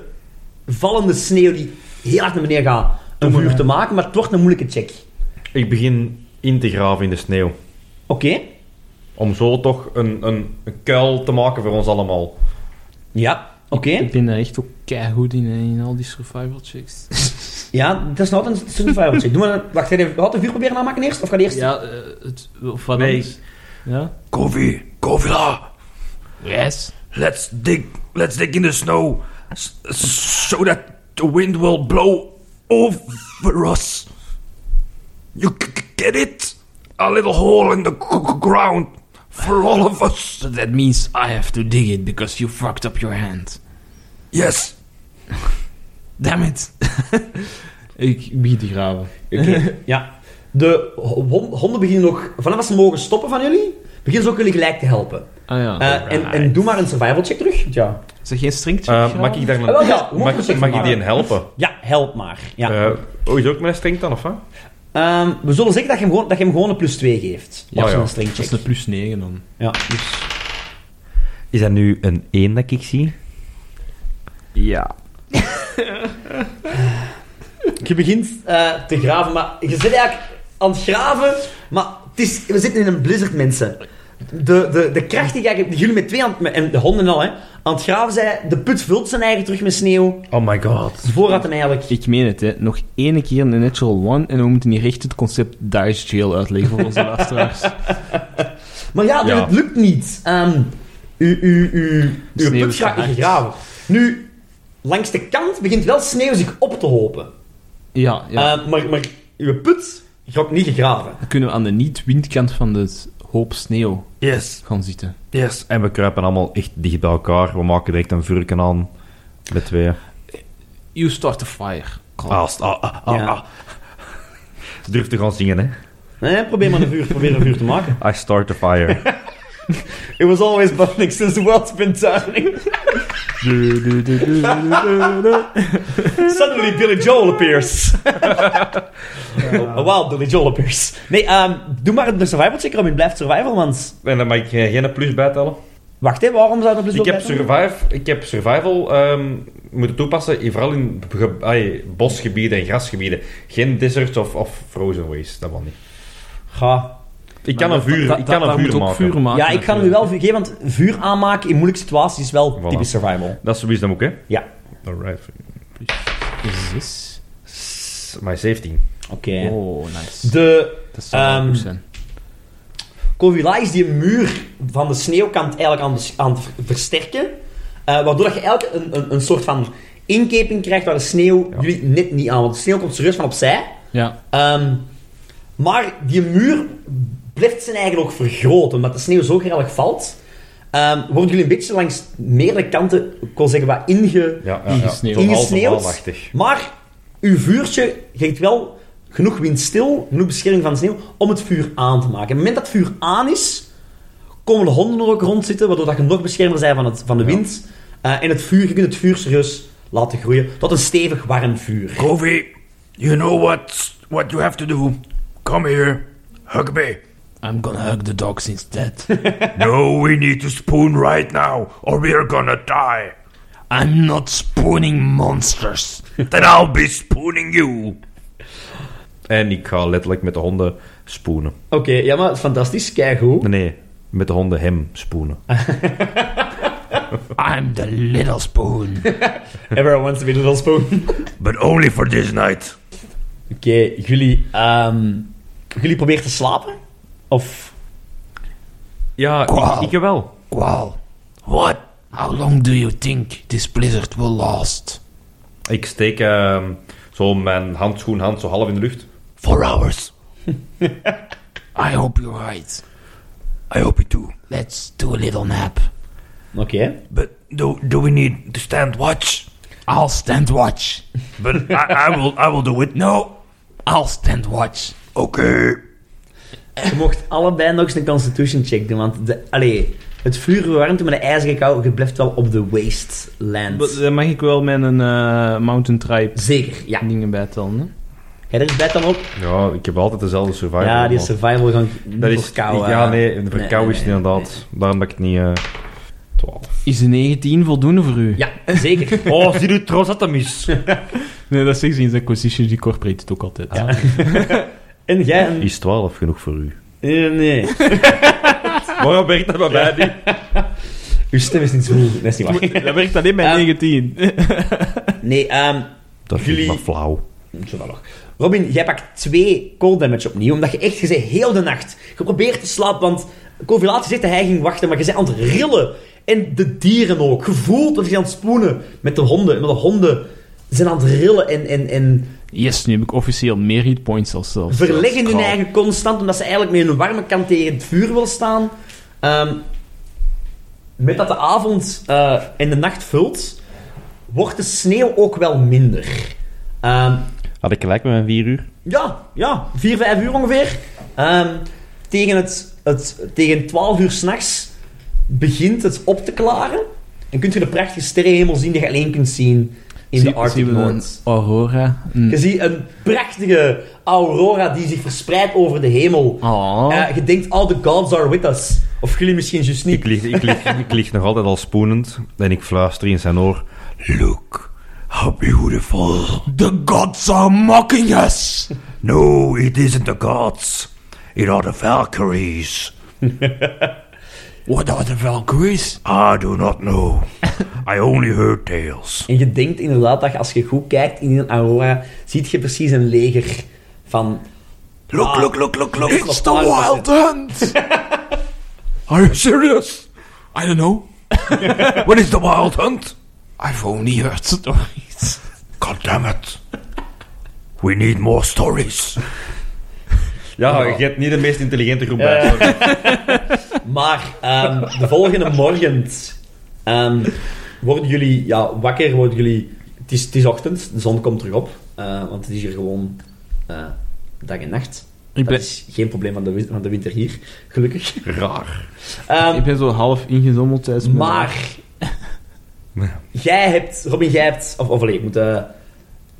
Speaker 2: vallende sneeuw die heel hard naar beneden gaat, een vuur te maken, maar het wordt een moeilijke check.
Speaker 1: Ik begin in te graven in de sneeuw.
Speaker 2: Oké?
Speaker 1: Om zo toch een, een, een kuil te maken voor ons allemaal. Eh,
Speaker 2: Ja, oké.
Speaker 3: Ik ben daar echt ook keihard in, hè, in al die survival <laughs> checks.
Speaker 2: Ja, dat is nou een survival check. Doe maar, een- wacht even, gaat de vuur proberen aanmaken eerst? Of ga je eerst?
Speaker 3: ja, eh, het, of wat
Speaker 1: Nee.
Speaker 3: anders. Ja?
Speaker 5: Kofi. Kofila.
Speaker 3: Yes.
Speaker 5: Let's dig. Let's dig in the snow, s- so that the wind will blow over us. You c- c- get it? A little hole in the g- g- ground for all of us.
Speaker 3: So that means I have to dig it because you fucked up your hand.
Speaker 5: Yes.
Speaker 3: Damn it. <laughs> ik begin te graven.
Speaker 2: Oké, ja. De hon- honden beginnen nog, vanaf als ze mogen stoppen van jullie, beginnen ze ook jullie gelijk te helpen.
Speaker 3: Ah ja.
Speaker 2: Eh, en, en doe maar een survival check terug. Ja,
Speaker 3: Is dat geen string check?
Speaker 1: Eh,
Speaker 3: graven?
Speaker 1: mag ik daar
Speaker 2: Ah, wel, ja,
Speaker 1: een,
Speaker 2: hoe moet
Speaker 1: mag,
Speaker 2: ik het
Speaker 1: mag ik die
Speaker 2: maken?
Speaker 1: een helpen?
Speaker 2: ja help maar. Ja.
Speaker 1: Eh, oh, is ook mijn streng dan, of wat?
Speaker 2: Ehm, we zullen zeggen dat je hem gewoon, dat je hem gewoon een plus 2 geeft.
Speaker 1: Ja,
Speaker 2: Ja,
Speaker 1: ja.
Speaker 2: zo'n string
Speaker 3: Dat is
Speaker 2: check.
Speaker 3: een plus 9 dan.
Speaker 2: Ja.
Speaker 3: dus-
Speaker 1: Is dat nu een 1 dat ik zie?
Speaker 4: Ja.
Speaker 2: <laughs> Je begint eh, te graven, maar je zit eigenlijk aan het graven, maar het is, we zitten in een blizzard, mensen. De, de, de kracht die, jij- die jullie met twee aan, het- met- en de honden al, hè, aan het graven zijn, de put vult zijn eigen terug met sneeuw.
Speaker 1: Oh my god.
Speaker 2: Voor had hem eigenlijk...
Speaker 3: Ik meen het, hè. Nog één keer een natural one en we moeten hier echt het concept Dice Jail uitleggen voor onze <laughs> luisteraars.
Speaker 2: Maar ja,
Speaker 1: Ja.
Speaker 2: het lukt niet. Ehm u, u, u, uw
Speaker 3: Sneeuw
Speaker 2: put
Speaker 3: is
Speaker 2: gaat niet
Speaker 3: gehakt.
Speaker 2: gegraven. Nu, langs de kant begint wel sneeuw zich op te hopen.
Speaker 3: Ja, ja.
Speaker 2: Ehm, maar, maar uw put gaat niet gegraven.
Speaker 3: Dan kunnen we aan de niet-windkant van de hoop sneeuw
Speaker 5: Yes.
Speaker 3: gaan zitten.
Speaker 5: Yes.
Speaker 1: En we kruipen allemaal echt dicht bij elkaar. We maken direct een vurken aan. Met tweeën.
Speaker 3: You start a fire. Carl.
Speaker 1: Ah, st- ah, ah, ah,
Speaker 2: Ja.
Speaker 1: ah. Ze durft te gaan zingen, hè.
Speaker 2: Nee, probeer maar een vuur, probeer een vuur te maken.
Speaker 1: I start a fire.
Speaker 2: It was always burning since the world's been turning. Suddenly Billy Joel appears. A wild Billy Joel appears. Nee, ehm, doe maar een survival check, Robin. Blijf survival,
Speaker 1: <laughs>
Speaker 2: want...
Speaker 1: en dan mag ik eh, geen plus bijtellen.
Speaker 2: Wacht, hè, waarom zou dat dus
Speaker 1: Ik
Speaker 2: ook
Speaker 1: heb,
Speaker 2: blijven?
Speaker 1: survive, ik heb survival ehm, moeten toepassen, in- vooral in ge- ai, bosgebieden en grasgebieden. Geen deserts of, of frozen wastes, dat wel niet.
Speaker 2: Ga.
Speaker 1: Ik kan een
Speaker 3: Maar
Speaker 1: vuur,
Speaker 3: dat-
Speaker 1: ik
Speaker 3: dat-
Speaker 1: kan een
Speaker 3: daar
Speaker 1: vuur
Speaker 3: moet ook
Speaker 1: maken. eh,
Speaker 3: vuur maken.
Speaker 2: Ja, ik ga hem nu wel vuur geven, want vuur aanmaken in moeilijke situaties is wel
Speaker 1: Voilà.
Speaker 2: typisch survival.
Speaker 1: Dat is sowieso dan ook, hè?
Speaker 2: Ja.
Speaker 1: Alright.
Speaker 3: Zes.
Speaker 1: S- Maar 17.
Speaker 2: Oké.
Speaker 3: Oh, nice.
Speaker 2: De
Speaker 3: dat zou wel
Speaker 2: ehm,
Speaker 3: goed zijn.
Speaker 2: Covila is die muur van de sneeuwkant eigenlijk aan, de- aan het ver- versterken. eh, waardoor dat je eigenlijk een, een, een soort van inkeping krijgt waar de sneeuw jullie net niet aan. Want de sneeuw komt serieus van opzij.
Speaker 3: Ja.
Speaker 2: Ehm, maar die muur blijft zijn eigen ook vergroten. Omdat de sneeuw zo erg valt, ehm, worden jullie een beetje langs meerdere kanten, ik wil zeggen, wat inge...
Speaker 1: Ja, ja, ja.
Speaker 3: Ingesneeuwd.
Speaker 1: Totaal
Speaker 2: Ingesneeuwd.
Speaker 1: verhaalachtig.
Speaker 2: Maar uw vuurtje geeft wel genoeg wind stil, genoeg bescherming van sneeuw, om het vuur aan te maken. En op het moment dat het vuur aan is, komen de honden er ook rond zitten, waardoor dat je nog beschermder bent van, het, van de wind. Eh, en het vuur, je kunt het vuur serieus laten groeien tot een stevig warm vuur.
Speaker 5: Kofi, you know what, what you have to do. Come here. Hug me.
Speaker 4: I'm gonna hug the dogs instead.
Speaker 5: <laughs> no, we need to spoon right now, or we're gonna die.
Speaker 4: I'm not spooning monsters.
Speaker 5: <laughs> Then I'll be spooning you.
Speaker 1: En ik ga letterlijk met de honden spoenen.
Speaker 2: Oké, ja maar
Speaker 1: <laughs>
Speaker 2: fantastisch, keigoed.
Speaker 1: Nee, nee, met de honden hem spoenen.
Speaker 4: I'm the little spoon.
Speaker 2: Everyone wants to be a little spoon.
Speaker 5: <laughs> But only for this night.
Speaker 2: Oké, jullie, ehm, jullie proberen te slapen? Of...
Speaker 1: Ja,
Speaker 4: Kwaal.
Speaker 1: ik, ik wel.
Speaker 4: Well, what? How long do you think this blizzard will last?
Speaker 1: Ik steek ehm, zo mijn handschoenhand zo half in de lucht.
Speaker 4: Four hours. I hope you're right.
Speaker 5: I hope you do.
Speaker 4: Let's do a little nap.
Speaker 2: Oké.
Speaker 5: But do do we need to stand watch?
Speaker 4: I'll stand watch.
Speaker 5: But I, I will I will do it. No.
Speaker 4: I'll stand watch.
Speaker 5: Okay.
Speaker 2: Je mocht allebei nog eens een constitution check doen, want de, allee, het vuur verwarmt je, maar de ijzige kou, je blijft wel op de wasteland.
Speaker 3: Dan mag ik wel met een eh, mountain tribe
Speaker 2: Zeker, ja.
Speaker 3: dingen bijtellen. Hè?
Speaker 2: Ga je er bed dan op?
Speaker 1: Ja, ik heb altijd dezelfde survival.
Speaker 2: ja, die
Speaker 1: Ah, man.
Speaker 2: survival gang niet
Speaker 1: Dat is,
Speaker 2: voor kou.
Speaker 1: Ja,
Speaker 2: eh.
Speaker 1: nee, voor kou is het
Speaker 2: nee,
Speaker 1: inderdaad. Daarom dat ik het niet... eh 12.
Speaker 3: Is de 19 voldoende voor u?
Speaker 2: nee. Ja, zeker.
Speaker 1: <laughs> Oh, zie je trouwens dat mis?
Speaker 3: Nee, dat zegt ze in zijn acquisition, die corporate het ook altijd. Ja.
Speaker 2: En jij?
Speaker 1: <laughs>
Speaker 2: Een...
Speaker 1: Is 12 genoeg voor u?
Speaker 2: Eh, Nee.
Speaker 1: Waarom werkt Ah. dat bij mij niet?
Speaker 2: Uw stem is niet zo goed. Dat is niet waar.
Speaker 3: Dat werkt alleen bij
Speaker 2: Ehm,
Speaker 3: 19.
Speaker 2: Nee, ehm,
Speaker 1: <laughs> Dat vind
Speaker 2: Jullie-
Speaker 1: ik maar flauw.
Speaker 2: Zodat nog. Robin, jij pakt twee cold damage opnieuw, omdat je echt, je bent heel de nacht. Je probeert te slapen, want Covilatie zegt dat hij ging wachten, maar je bent aan het rillen. En de dieren ook. Je voelt dat je aan het spoenen met de honden. Maar de honden zijn aan het rillen en, en, en
Speaker 3: Yes, nu heb ik officieel meer hit points dan zelfs.
Speaker 2: verleggen hun
Speaker 3: Kraal.
Speaker 2: eigen constant, omdat ze eigenlijk met hun warme kant tegen het vuur wil staan. Ehm, met dat de avond eh, en de nacht vult, wordt de sneeuw ook wel minder. Ehm,
Speaker 1: Had ik gelijk met mijn 4 uur?
Speaker 2: ja, ja, vier, vijf uur ongeveer. Ehm, tegen, het, het, tegen 12 uur s'nachts begint het op te klaren. En kunt je de prachtige sterrenhemel zien die je alleen kunt zien in
Speaker 3: Zie- Mm.
Speaker 2: de Arctic
Speaker 3: zien we een
Speaker 2: Noord.
Speaker 4: Oh,
Speaker 3: Aurora. Een-
Speaker 2: Je ziet een prachtige aurora die zich verspreidt over de hemel.
Speaker 3: Oh.
Speaker 2: Eh, je denkt, all the gods are with us. Of jullie misschien juist niet.
Speaker 1: Ik lig, ik, lig, ik lig nog altijd al spoenend en ik fluister in zijn oor.
Speaker 5: Look how beautiful.
Speaker 4: The gods are mocking us.
Speaker 5: No, it isn't the gods. It are the Valkyries.
Speaker 4: <laughs> What are the Valkyries?
Speaker 5: I do not know. I only heard tales.
Speaker 2: En je denkt inderdaad dat je, als je goed kijkt in een aurora, ziet je precies een leger van...
Speaker 5: Look, look, look, look, look.
Speaker 2: It's the wild
Speaker 4: hunt.
Speaker 5: <laughs> Are you serious?
Speaker 4: I don't know.
Speaker 5: <laughs> What is the wild hunt?
Speaker 4: I've only heard stories.
Speaker 5: <laughs> God damn it. We need more stories.
Speaker 1: Ja, je hebt niet de meest intelligente groep
Speaker 2: bij,
Speaker 1: bij.
Speaker 2: Maar ehm, de volgende morgen ehm, worden jullie ja, wakker, worden jullie... Het is, het is ochtend, de zon komt terug op. eh, want het is hier gewoon eh, dag en nacht.
Speaker 3: Ik
Speaker 2: Dat
Speaker 3: ben,
Speaker 2: is geen probleem van de, win- van de winter hier, gelukkig.
Speaker 1: Raar. dus
Speaker 2: Ehm,
Speaker 3: ik ben zo half ingezommeld tijdens mijn-
Speaker 2: maar... jij hebt... Robin, jij hebt... Of, of allee, ik moet... eh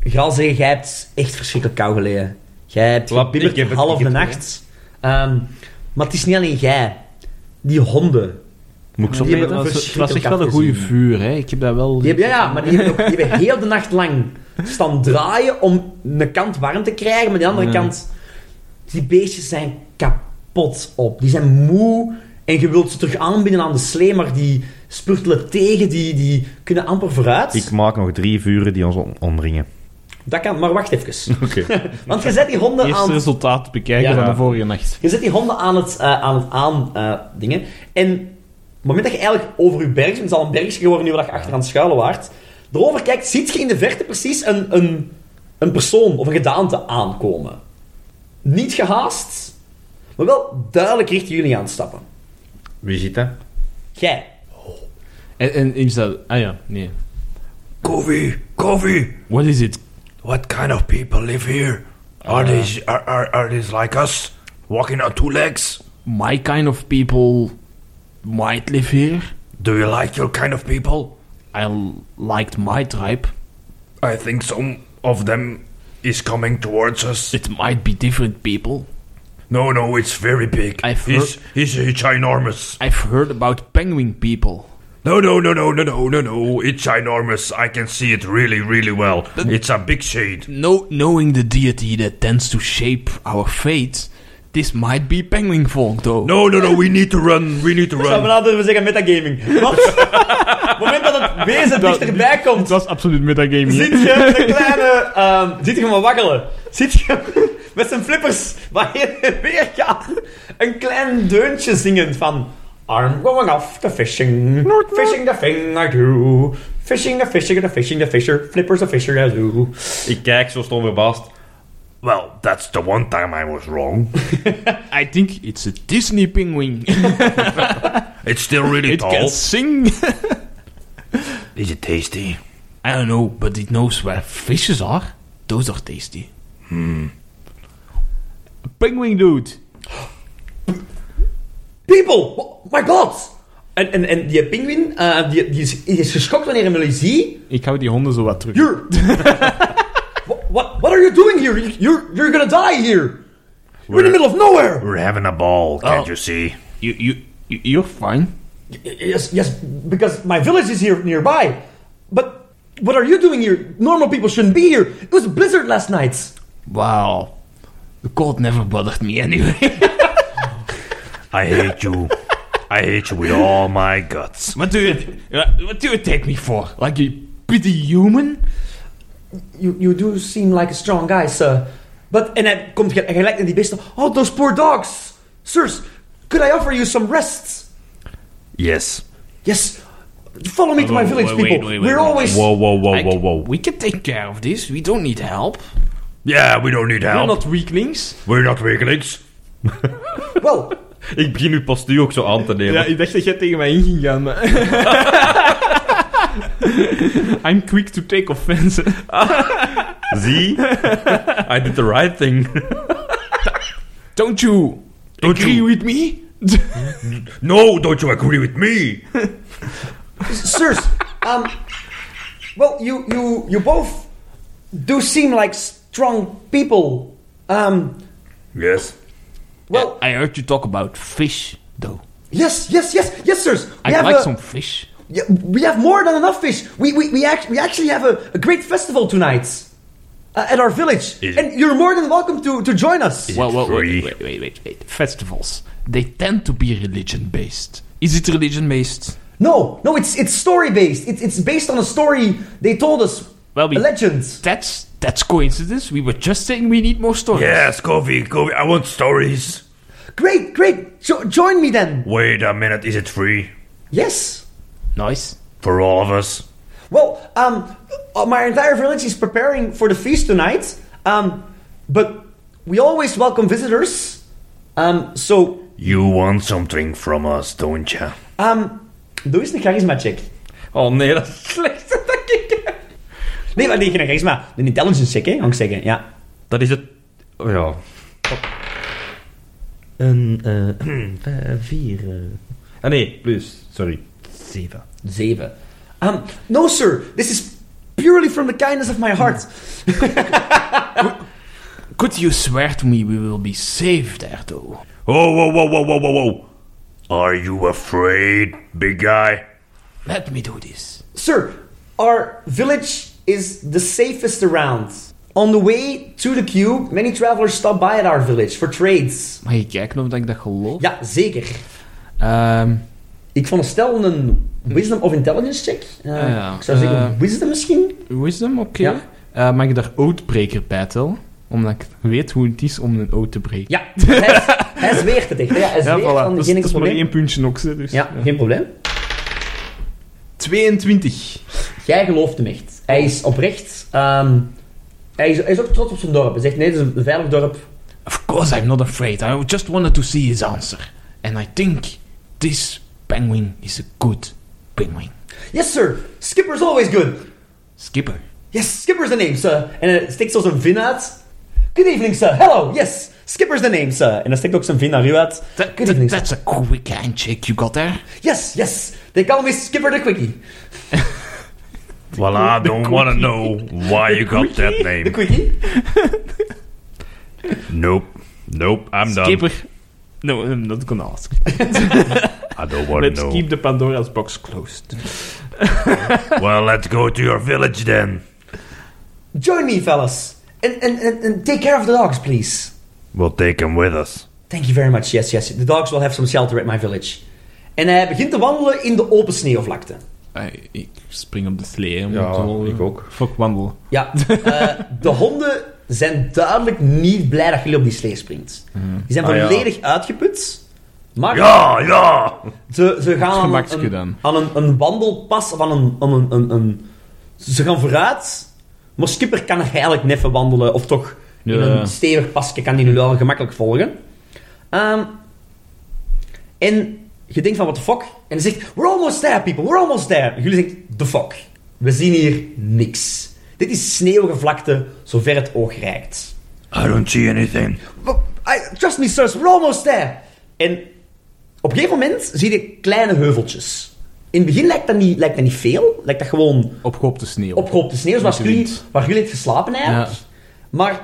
Speaker 2: Graal zeggen, jij hebt echt verschrikkelijk kou geleden. Jij hebt
Speaker 1: Lap,
Speaker 2: gebibberd
Speaker 1: ik heb het-
Speaker 2: half
Speaker 1: ik
Speaker 2: de
Speaker 1: heb het
Speaker 2: nacht. Ehm, maar het is niet alleen jij. Die honden...
Speaker 1: Moet ik zo
Speaker 2: Die
Speaker 3: Nee,
Speaker 2: hebben
Speaker 3: dat was- Het was
Speaker 2: verschrikkelijk
Speaker 3: echt wel een goede
Speaker 2: afgezien.
Speaker 3: vuur, hè. Ik heb dat wel...
Speaker 2: Die hebben, ja, ja, maar die hebben, ook, die hebben heel de nacht lang staan draaien om een kant warm te krijgen, maar die andere
Speaker 3: Ja.
Speaker 2: kant... Die beestjes zijn kapot op. Die zijn moe en je wilt ze terug aanbinden aan de slee, maar die spurtelen tegen, die, die kunnen amper vooruit.
Speaker 1: Ik maak nog drie vuren die ons on- omringen.
Speaker 2: Dat kan, maar wacht even.
Speaker 1: Oké.
Speaker 2: Want je zet die honden
Speaker 3: Eerste
Speaker 2: aan...
Speaker 3: resultaat bekijken
Speaker 2: Ja.
Speaker 3: van de vorige nacht.
Speaker 2: Je zet die honden aan het eh, aan, het aan eh, dingen. En op het moment dat je eigenlijk over je berg bent, het is al een bergje geworden nu waar je achteraan schuilen waart, erover kijkt, ziet je in de verte precies een, een, een persoon of een gedaante aankomen. Niet gehaast, maar wel duidelijk richting jullie aanstappen.
Speaker 1: <laughs> Wie ziet dat?
Speaker 2: Jij.
Speaker 3: En, en is dat... Ah ja, nee.
Speaker 5: Kofi, Kofi,
Speaker 3: What is it?
Speaker 5: what kind of people live here?
Speaker 2: Uh.
Speaker 5: Are these are, are, are these like us? Walking on two legs?
Speaker 4: My kind of people might live here.
Speaker 5: Do you like your kind of people?
Speaker 4: I l- liked my tribe.
Speaker 5: I think some of them is coming towards us.
Speaker 4: It might be different people.
Speaker 5: No, no, it's very big.
Speaker 4: I've
Speaker 5: It's, it's ginormous.
Speaker 4: I've heard about penguin people.
Speaker 5: No, no, no, no, no, no, no, no. It's ginormous. I can see it really, really well. It's a big shade.
Speaker 4: No, knowing the deity that tends to shape our fate, this might be penguin folk, though.
Speaker 5: No, no, no. We need to run. We need to
Speaker 2: Zou
Speaker 5: run.
Speaker 2: men altijd zeggen metagaming. Wat? <laughs> Op het moment dat het wezen dichterbij komt,
Speaker 3: was absoluut metagaming.
Speaker 2: zit je met een kleine... ehm zit je maar waggelen. Zit je met zijn flippers waar je en weer gaat. Een klein deuntje zingen van... I'm going off to fishing. Fishing the thing I do. Fishing the fishing the fishing the fisher. Flippers the fisher I do.
Speaker 1: Ik kijk zo stom verbaasd.
Speaker 5: Well, that's the one time I was wrong.
Speaker 4: I think it's a Disney penguin.
Speaker 5: It's still really
Speaker 4: <laughs> it
Speaker 5: tall.
Speaker 4: can sing.
Speaker 5: Is it tasty?
Speaker 4: I don't know, but it knows where fishes are. Those are tasty. Hmm. Penguin dude.
Speaker 2: People! Oh my god! En, en, en die pinguïn, eh, die, die, is, die is geschokt wanneer hij hem ziet.
Speaker 3: Ik hou die honden zo wat terug.
Speaker 2: You're. <laughs> what, what? What are you doing here? You- You're you're gonna die here. We're, in the middle of nowhere.
Speaker 5: We're having a ball. Can't
Speaker 4: Oh.
Speaker 5: you see?
Speaker 4: You, you, you- you're fine.
Speaker 2: Y- Yes, yes, because my village is here nearby. But what are you doing here? Normal people shouldn't be here. It was a blizzard last night.
Speaker 4: Wow. The cold never bothered me <laughs> anyway.
Speaker 5: I hate you. I hate you with all my guts.
Speaker 4: what do you, what do you take me for? Like a pity human?
Speaker 2: You you do seem like a strong guy, sir. But and I komt ge- gelijk naar die beesten. Oh, those poor dogs, sirs. Could I offer you some rest?
Speaker 5: Yes.
Speaker 2: Yes. Follow me to my village, people. We're always.
Speaker 1: Whoa, whoa, whoa,
Speaker 4: I-
Speaker 1: whoa, whoa.
Speaker 4: We can take care of this. We don't need help.
Speaker 5: Yeah, we don't need help.
Speaker 4: We're not weaklings.
Speaker 5: We're not weaklings.
Speaker 2: Well,
Speaker 1: Ik begin uw postuur ook zo aan te nemen.
Speaker 3: Ja, ik dacht dat jij tegen mij in ging gaan.
Speaker 4: <laughs>
Speaker 3: maar- I'm quick to take
Speaker 1: <laughs>
Speaker 3: offense.
Speaker 1: Zie? I did the right thing.
Speaker 4: Don't you
Speaker 5: Don't
Speaker 4: agree
Speaker 5: you-
Speaker 4: with me?
Speaker 5: No, don't you agree with me?
Speaker 2: sirs, um, well, you you you both do seem like strong people. Um,
Speaker 5: Yes.
Speaker 2: well,
Speaker 4: Oh, I heard you talk about fish, though.
Speaker 2: yes, yes, yes, yes, sirs. We
Speaker 4: I'd
Speaker 2: have
Speaker 4: like
Speaker 2: a-
Speaker 4: some fish.
Speaker 2: yeah, we have more than enough fish. We we we, act, we actually have a, a great festival tonight. Uh, at our village,
Speaker 5: Is it-
Speaker 2: and you're more than welcome to, to join us.
Speaker 4: Well, well,
Speaker 5: free?
Speaker 4: wait, wait, wait, wait, wait. Festivals. They tend to be religion based. Is it religion based?
Speaker 2: No, no, it's it's story based. It's it's based on a story they told us.
Speaker 4: Well, we-
Speaker 2: a legend.
Speaker 4: That's that's coincidence. We were just saying we need more stories.
Speaker 5: Yes, Kofi, Kofi, I want stories.
Speaker 2: Great, great. Jo- join me then.
Speaker 5: Wait a minute, is it free?
Speaker 2: Yes.
Speaker 4: Nice.
Speaker 5: For all of us?
Speaker 2: Well, um, uh, my entire village is preparing for the feast tonight. Um, but we always welcome visitors. Um, so,
Speaker 5: You want something from us, don't ya?
Speaker 2: um, doe eens een charisma check.
Speaker 1: Oh nee, dat is slecht.
Speaker 2: Nee, maar nee, geen charisma. Een intelligence check, hè, kan ik zeggen. Ja.
Speaker 1: Dat is het. Oh, ja. Een, eh, <clears throat> vier. eh. Ah nee, plus. Sorry. Zeven.
Speaker 2: Zeven. Um, no, sir. This is purely from the kindness of my heart.
Speaker 4: Could you swear to me we will be safe there, though?
Speaker 5: Oh, whoa, whoa, whoa, whoa, whoa, whoa. Are you afraid, big guy?
Speaker 4: Let me do this.
Speaker 2: Sir, our village is the safest around. On the way to the cube, many travelers stop by at our village for trades.
Speaker 4: Mag je kijken of dat ik dat geloof?
Speaker 2: Ja, zeker.
Speaker 4: Ehm,
Speaker 2: Ik vond stel een wisdom of intelligence check. Eh,
Speaker 4: Ah, ja.
Speaker 2: Ik zou zeggen
Speaker 4: Eh,
Speaker 2: wisdom misschien.
Speaker 4: wisdom, oké.
Speaker 2: Ja.
Speaker 4: Eh, mag ik daar oathbreaker bij tellen? Omdat ik weet hoe het is om een oath te breken.
Speaker 2: Ja, hij, hij zweert het echt. hè. Ja, hij
Speaker 3: Ja,
Speaker 2: zweert
Speaker 3: voilà.
Speaker 2: van
Speaker 4: Dus
Speaker 3: Dat
Speaker 2: geen
Speaker 3: is,
Speaker 2: enkel
Speaker 3: dat is maar
Speaker 2: probleem.
Speaker 3: één puntje nog. hè, Dus,
Speaker 2: Ja, geen probleem.
Speaker 3: 22.
Speaker 2: Jij gelooft hem echt. Hij is oprecht. ehm, hij, is, hij is ook trots op zijn dorp. Hij zegt nee, het is een veilig dorp.
Speaker 4: Of course I'm not afraid. I just wanted to see his answer. And I think this penguin is a good penguin.
Speaker 2: Yes sir, skipper's always good.
Speaker 4: Skipper.
Speaker 2: Yes, skipper's the name sir. En hij steekt zo zijn vin uit. Good evening, sir. Hello. Yes. Skipper's the name, sir. En dan steekt ook zijn vriend naar u uit.
Speaker 4: That,
Speaker 2: Good evening, sir.
Speaker 4: that's a quick handshake you got there.
Speaker 2: Yes, yes. They call me Skipper the Quickie.
Speaker 5: Well, I don't want to know why you got that
Speaker 2: The
Speaker 5: name.
Speaker 2: Quickie?
Speaker 5: Nope. Nope, I'm done.
Speaker 3: Skipper. No,
Speaker 4: um,
Speaker 3: I'm not gonna ask.
Speaker 5: I don't want to
Speaker 3: Let's
Speaker 5: know.
Speaker 3: keep the Pandora's box closed.
Speaker 5: <laughs> Well, let's go to your village then.
Speaker 2: Join me, fellas. And, and, and, and take care of the dogs, please.
Speaker 5: We'll take him with us.
Speaker 2: Thank you very much. Yes, yes. The dogs will have some shelter at my village. En hij begint te wandelen in de open sneeuwvlakte.
Speaker 4: I, ik spring op de slee. om
Speaker 1: Ja,
Speaker 4: te rollen.
Speaker 1: ik ook.
Speaker 4: Fuck wandelen.
Speaker 1: <laughs>
Speaker 2: Ja, eh, de honden zijn duidelijk niet blij dat jullie op die slee springt. Die zijn
Speaker 1: Ah, ja.
Speaker 2: volledig uitgeput. Maar
Speaker 5: Ja, ja!
Speaker 2: ze, ze gaan aan,
Speaker 4: gemakkelijker
Speaker 2: een,
Speaker 4: dan.
Speaker 2: aan een, een wandelpas of aan een, aan een, een, een- Ze gaan vooruit, maar Skipper kan eigenlijk neffen wandelen. Of toch in
Speaker 4: Ja.
Speaker 2: een stevig pasje kan die nu wel gemakkelijk volgen. Ehm, en je denkt van, what the fuck? En hij zegt, we're almost there, people, we're almost there. En jullie denken, the fuck. We zien hier niks. Dit is sneeuwige vlakte, zover het oog reikt.
Speaker 5: I don't see anything.
Speaker 2: But I, trust me, sirs, we're almost there. En op een gegeven moment zie je kleine heuveltjes. In het begin lijkt dat niet, lijkt dat niet veel. Lijkt dat gewoon
Speaker 4: Opgehoopte sneeuw.
Speaker 2: opgehoopte sneeuw, zoals
Speaker 4: Met de
Speaker 2: jullie,
Speaker 4: wind.
Speaker 2: waar jullie het geslapen eigenlijk.
Speaker 4: Ja.
Speaker 2: Maar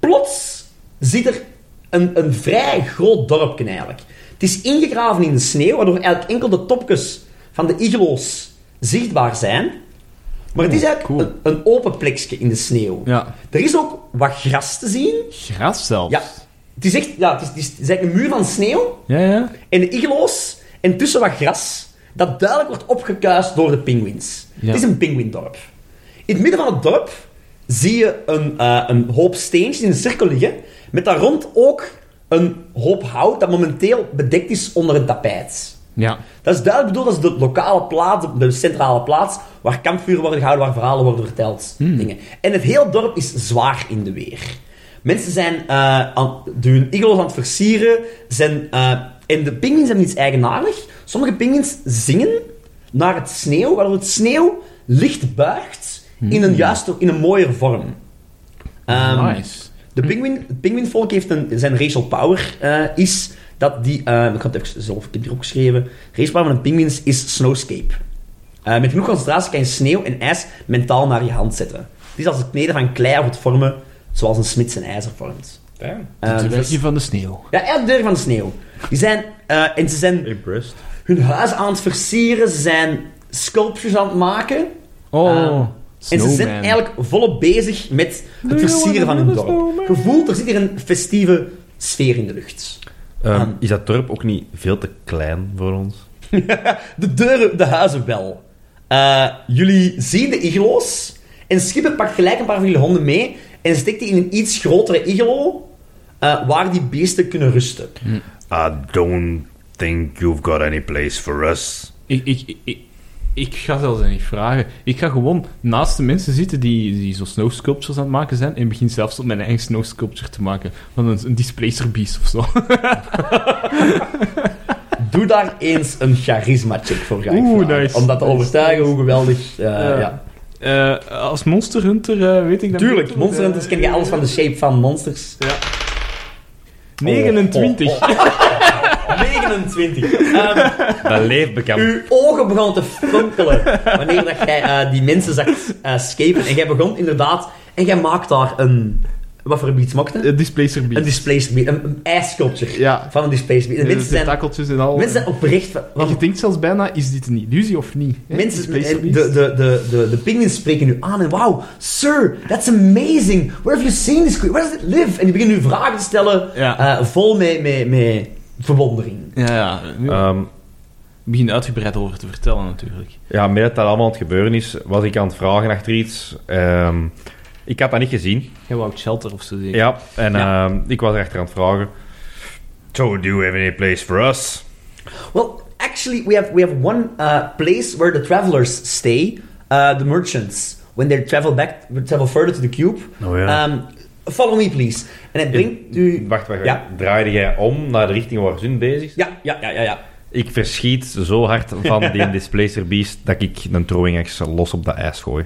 Speaker 2: plots zit er een, een vrij groot dorpje eigenlijk. Het is ingegraven in de sneeuw, waardoor eigenlijk enkel de topjes van de iglo's zichtbaar zijn. Maar het is eigenlijk
Speaker 4: cool.
Speaker 2: een, een open plekje in de sneeuw.
Speaker 4: Ja.
Speaker 2: Er is ook wat gras te zien.
Speaker 4: Gras zelfs.
Speaker 2: Ja. Het is echt, ja, het is, het is, het is eigenlijk een muur van sneeuw
Speaker 4: Ja, ja.
Speaker 2: en de iglo's en tussen wat gras dat duidelijk wordt opgekuist door de pinguïns.
Speaker 4: Ja.
Speaker 2: Het is een pinguïndorp. In het midden van het dorp zie je een, eh, een hoop steentjes in een cirkel liggen, met daar rond ook een hoop hout dat momenteel bedekt is onder het tapijt.
Speaker 4: Ja.
Speaker 2: Dat is duidelijk bedoeld als de lokale plaats, de centrale plaats, waar kampvuren worden gehouden, waar verhalen worden verteld. Dingen. En het hele dorp is zwaar in de weer. Mensen zijn eh, aan, de- hun iglo's aan het versieren. Zijn, eh, en de pinguïns hebben iets eigenaardig. Sommige pinguïns zingen naar het sneeuw, waardoor het sneeuw licht buigt in een, juiste, in een mooier vorm. Ehm,
Speaker 4: nice.
Speaker 2: de penguin, het pinguïnvolk heeft een, zijn racial power eh, is dat die, eh, ik had het even zelf, ik heb het hier opgeschreven, racial power van een pinguïns is snowscape. Eh, met genoeg concentratie kan je sneeuw en ijs mentaal naar je hand zetten. Het is als het kneden van klei of het vormen zoals een smid zijn ijzer vormt. Eh,
Speaker 4: Het
Speaker 2: dus-
Speaker 4: werkje van de sneeuw.
Speaker 2: ja, elk deur van de sneeuw. Die zijn, eh, en ze zijn
Speaker 1: Impressed.
Speaker 2: hun huis aan het versieren, ze zijn sculptures aan het maken.
Speaker 4: Oh.
Speaker 2: Ehm, En ze zijn eigenlijk volop bezig met het versieren van hun dorp. Gevoeld, er zit hier een festieve sfeer in de lucht.
Speaker 1: Ehm,
Speaker 2: Aan-
Speaker 1: is dat dorp ook niet veel te klein voor ons?
Speaker 2: De deuren, de huizen wel. Eh, jullie zien de iglo's. En Schipper pakt gelijk een paar van jullie honden mee. En steekt die in een iets grotere iglo. eh, waar die beesten kunnen rusten.
Speaker 3: Hmm.
Speaker 5: I don't think you've got any place for us.
Speaker 3: Ik, ik, ik- ik, ik ga zelfs niet vragen. Ik ga gewoon naast de mensen zitten die, die zo snow sculptures aan het maken zijn. En begin zelfs op mijn eigen snow sculpture te maken. Van een, een displacer beast of zo. <laughs>
Speaker 2: Doe daar eens een charisma-check voor. ga ik
Speaker 3: Oeh,
Speaker 2: vragen.
Speaker 3: nice.
Speaker 2: Om dat te
Speaker 3: Nice.
Speaker 2: overtuigen hoe geweldig. eh,
Speaker 3: Ja.
Speaker 2: ja.
Speaker 3: Eh, als Monster Hunter eh, weet ik dat
Speaker 2: Tuurlijk, Monster Hunters ken je alles van de shape van monsters.
Speaker 3: Ja. oh, 29.
Speaker 2: Oh, oh, oh. <laughs> 29. Ehm,
Speaker 1: <laughs> Dat leeft bekend.
Speaker 2: Uw ogen begonnen te fonkelen wanneer dat jij eh, die mensen zag eh scapen. En jij begon inderdaad... En jij maakt daar een... Wat voor iets mocht het?
Speaker 3: Eh, displacer beast.
Speaker 2: Een displaced beat. Een, een ijssculpture
Speaker 3: Ja.
Speaker 2: van een displaced beat. En
Speaker 3: Met
Speaker 2: mensen zijn,
Speaker 3: tentakeltjes en al.
Speaker 2: mensen zijn oprecht... van-
Speaker 3: Want je
Speaker 2: van-
Speaker 3: denkt zelfs bijna, is dit een illusie of niet? hè?
Speaker 2: Mensen,
Speaker 3: Displacer
Speaker 2: en de,
Speaker 3: beast.
Speaker 2: de, de, de, de pinguïns spreken nu aan en wauw, sir, that's amazing. Where have you seen this? Where does it live? En die beginnen nu vragen te stellen,
Speaker 4: Ja.
Speaker 2: eh, vol met, met, met verwondering.
Speaker 4: Ja, ja. Nu
Speaker 1: Ehm,
Speaker 4: begin uitgebreid over te vertellen natuurlijk.
Speaker 1: ja, met dat dat allemaal aan het gebeuren is, was ik aan het vragen achter iets. Ehm, ik had dat niet gezien.
Speaker 4: Jij wou shelter of zo zeggen.
Speaker 1: Ja, en ehm, ik was erachter aan het vragen.
Speaker 5: So, do you have any place for us?
Speaker 2: Well, actually, we have we have one uh, place where the travelers stay, uh, the merchants, when they travel back, travel further to the cube.
Speaker 5: Oh, ja.
Speaker 2: Um, follow me, please. En het brengt u.
Speaker 1: Wacht, wacht,
Speaker 2: Ja.
Speaker 1: wacht. Draaide jij om naar de richting waar Zun bezig is?
Speaker 2: Ja, ja, ja, ja, <laughs> ja.
Speaker 1: Ik verschiet zo
Speaker 5: <laughs>
Speaker 1: hard van die Displacer Beast dat ik een throwing axe los op dat ijs gooi.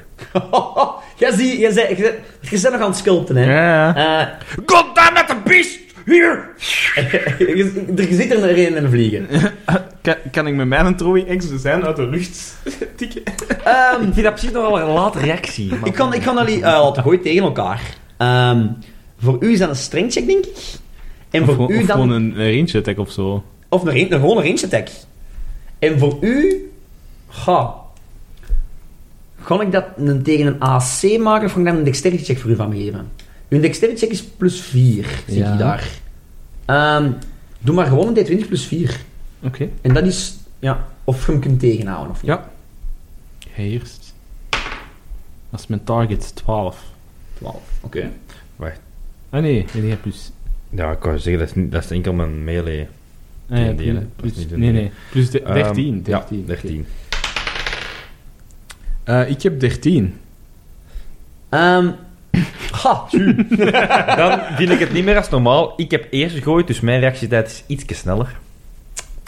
Speaker 2: Jij ziet, jij zei, jij je bent nog aan het sculpten, hè.
Speaker 4: Ja.
Speaker 2: Eh, <laughs>
Speaker 5: God damn it, the beast! Hier!
Speaker 2: je, er- je ziet er een in
Speaker 1: <laughs>
Speaker 2: vliegen.
Speaker 4: Kan, kan ik met mijn Troy X zijn uit de lucht tikken?
Speaker 2: Ehm,
Speaker 1: Ik vind dat precies nogal een late reactie. maar-
Speaker 2: ik kan, ik kan jullie eh, laten gooien tegen elkaar. Ehm, voor u is dat een strengcheck, denk ik. En
Speaker 4: Of,
Speaker 2: voor
Speaker 4: gewoon-
Speaker 2: u
Speaker 4: of
Speaker 2: dan...
Speaker 4: gewoon een, een range attack of zo.
Speaker 2: Of een, rein- een, gewoon een range attack. En voor u... Ga. Kan ik dat een, tegen een AC maken of ga ik daar een dexterity check voor u van geven? Uw dexterity check is plus 4, zie
Speaker 3: Ja.
Speaker 2: ik daar. Ehm, doe maar gewoon een D20 plus 4.
Speaker 3: Oké.
Speaker 2: En dat is... Ja, of je hem kunt tegenhouden of niet.
Speaker 3: Ja. Eerst. Dat is mijn target, 12.
Speaker 2: 12, oké.
Speaker 3: Ah nee, nee, nee, plus.
Speaker 1: Ja, ik kan zeggen, dat is, niet- dat is enkel mijn melee.
Speaker 3: Ah, ja,
Speaker 1: D&D, hè.
Speaker 3: plus,
Speaker 1: Dat is
Speaker 3: plus-
Speaker 1: niet
Speaker 3: nee,
Speaker 1: D&D.
Speaker 3: nee, plus de-
Speaker 1: Ehm,
Speaker 3: 13. 13
Speaker 1: Ja,
Speaker 3: oké.
Speaker 1: 13.
Speaker 3: Eh, ik heb 13.
Speaker 2: Ehm, ha, tju.
Speaker 1: Dan vind ik het niet meer als normaal. Ik heb eerst gegooid, dus mijn reactietijd is iets sneller.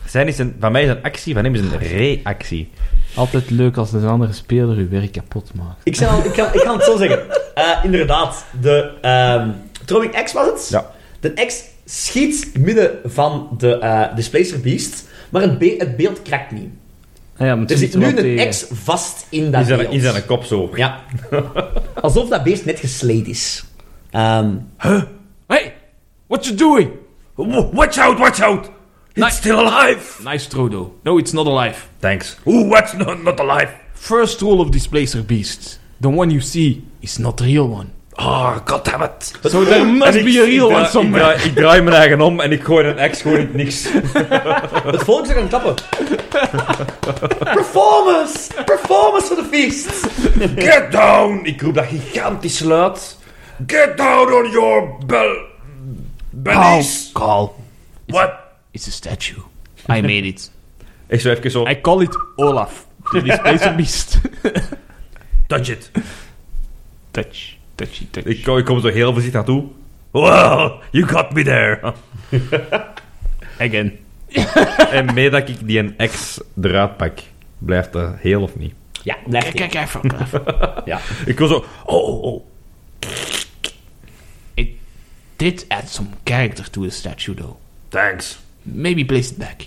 Speaker 1: Zijn is een, van mij is een actie, van hem is een reactie.
Speaker 3: Altijd leuk als een andere speler uw werk kapot maakt.
Speaker 2: ik, zal, ik, kan, ik kan het zo zeggen. Eh, inderdaad, de ehm Throwing X was het.
Speaker 1: Ja.
Speaker 2: De X schiet midden van de eh Displacer Beast, maar het, be- het beeld krakt niet.
Speaker 3: Ah, ja, maar het
Speaker 2: Er zit
Speaker 3: zit er
Speaker 2: nu
Speaker 3: wel tegen.
Speaker 2: een X vast in dat
Speaker 1: Is aan,
Speaker 2: beeld.
Speaker 1: is aan een kop zo.
Speaker 2: Ja. Alsof dat beest net gesleed is. Ehm,
Speaker 4: Hey! What you doing?
Speaker 5: W- Watch out, watch out! It's
Speaker 4: Nee.
Speaker 5: still alive!
Speaker 4: Nice throw though. No, it's not alive.
Speaker 1: Thanks.
Speaker 5: Ooh, what's not, not alive?
Speaker 4: First rule of displacer beast. The one you see is not the real one.
Speaker 5: Ah, god damn it.
Speaker 4: So there must
Speaker 1: En ik-
Speaker 4: be a real
Speaker 1: ik draai-
Speaker 4: one somewhere.
Speaker 1: Ik draai, ik draai mijn eigen om en ik gooi een ex gewoon in het niks.
Speaker 2: het volk is er aan het
Speaker 1: <laughs>
Speaker 2: klappen. Performance! Performance voor de feest!
Speaker 5: Get down! Ik
Speaker 1: Ik roep dat gigantisch luid.
Speaker 5: Get down on your bell... Bellies!
Speaker 4: Call.
Speaker 5: What?
Speaker 4: It's a statue. I made
Speaker 3: <laughs>
Speaker 4: it.
Speaker 1: Ik zo even zo.
Speaker 4: I call it Olaf. The <laughs> displacer beast.
Speaker 5: Touch it.
Speaker 4: touch. Touchy touch.
Speaker 1: Ik, kom- ik kom zo heel voorzichtig naartoe.
Speaker 5: Well, you got me there.
Speaker 4: Again.
Speaker 1: En mee dat ik die een ex eruit pak, blijft dat heel of niet.
Speaker 2: Ja, blijf
Speaker 4: Kijk
Speaker 2: hier.
Speaker 4: even.
Speaker 3: <laughs>
Speaker 2: Ja.
Speaker 1: Ik wil zo. Oh, oh, oh.
Speaker 4: It did add some character to the statue though.
Speaker 5: Thanks.
Speaker 4: Maybe place it back.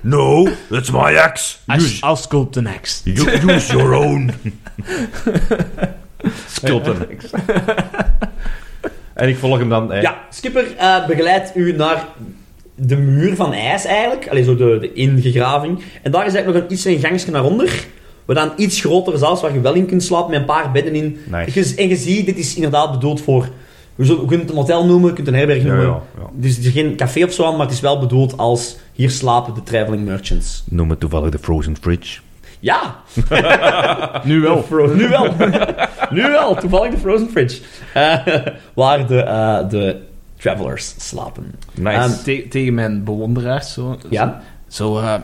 Speaker 5: No, that's my axe.
Speaker 4: I s- I'll sculpt the next.
Speaker 5: You use
Speaker 4: <laughs>
Speaker 5: your own.
Speaker 1: Sculpt een ex. En ik volg hem dan. eh,
Speaker 2: Ja, Skipper eh, begeleidt u naar de muur van ijs eigenlijk. Allee, zo de, de ingegraving. En daar is eigenlijk nog een, iets een gangstje naar onder. We dan iets grotere zelfs waar je wel in kunt slapen met een paar bedden in.
Speaker 1: Nice.
Speaker 2: Je- en je ziet, dit is inderdaad bedoeld voor... Je zult- je kunt het een hotel noemen, je kunt het een herberg
Speaker 1: Ja,
Speaker 2: noemen.
Speaker 1: ja, ja.
Speaker 2: Dus er is geen café of zo aan, maar het is wel bedoeld als... Hier slapen de traveling merchants.
Speaker 1: Noem het toevallig de Frozen Fridge.
Speaker 2: Ja,
Speaker 3: Nu wel.
Speaker 2: nu wel. <laughs> nu wel, toevallig de Frozen Fridge. Eh, waar de, eh, de travelers slapen.
Speaker 1: Nice.
Speaker 2: Ehm,
Speaker 3: Te- tegen mijn bewonderaars. Zo.
Speaker 2: Ja?
Speaker 4: So, uh,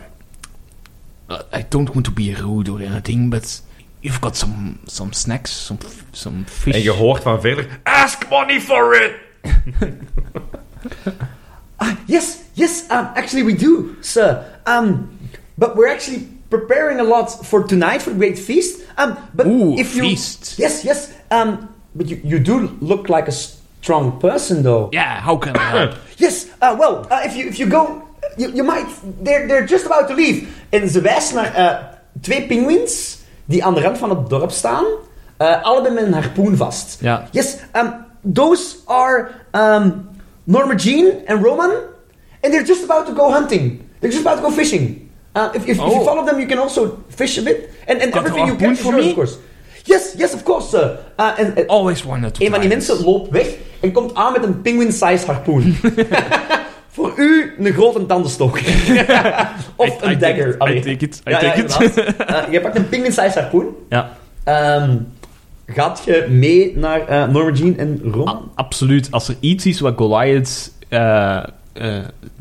Speaker 4: uh, I don't want to be rude or anything, but you've got some some snacks, some f- some fish.
Speaker 1: en je hoort van verder.
Speaker 5: Ask money for it.
Speaker 2: Yes, yes, um, actually we do, sir. Um, but we're actually preparing a lot for tonight for the great feast. Um, but
Speaker 4: Ooh,
Speaker 2: if you
Speaker 4: feast.
Speaker 2: yes, yes. Um, but you, you do look like a strong person, though.
Speaker 4: Yeah, how can I
Speaker 1: Ah.
Speaker 4: help?
Speaker 2: Yes. Uh, well, uh, if you if you go, you, you might. They're they're just about to leave. En ze wijst naar eh, twee pinguïns die aan de rand van het dorp staan, eh, allebei met een harpoen vast.
Speaker 3: Ja.
Speaker 2: Yes. Um, those are um, Norma Jean and Roman, and they're just about to go hunting. They're just about to go fishing. Uh, if, if, if you
Speaker 4: Oh.
Speaker 2: follow them, you can also fish a bit, and, and
Speaker 4: Got a
Speaker 2: everything you
Speaker 4: harpoon
Speaker 2: catch is
Speaker 4: for
Speaker 2: yours,
Speaker 4: me?
Speaker 2: of course. Yes, yes, of course, sir. Uh, and, and-
Speaker 4: Always wanted to.
Speaker 2: een van die
Speaker 4: try this.
Speaker 2: mensen loopt weg en komt aan met een penguin-sized harpoen. Voor u een grote
Speaker 4: <laughs>
Speaker 2: tandenstok. of
Speaker 4: I
Speaker 2: een
Speaker 4: take
Speaker 2: dagger.
Speaker 4: it, I
Speaker 2: Allee.
Speaker 4: take it, I
Speaker 2: Ja, ja,
Speaker 4: take it.
Speaker 2: inderdaad. Eh, je pakt een penguin-sized harpoen.
Speaker 4: Ja,
Speaker 2: Ehm, gaat je mee naar eh Norma Jean en
Speaker 4: a-
Speaker 2: Ron?
Speaker 4: Ah, absoluut. Als er iets is wat Goliath eh, eh,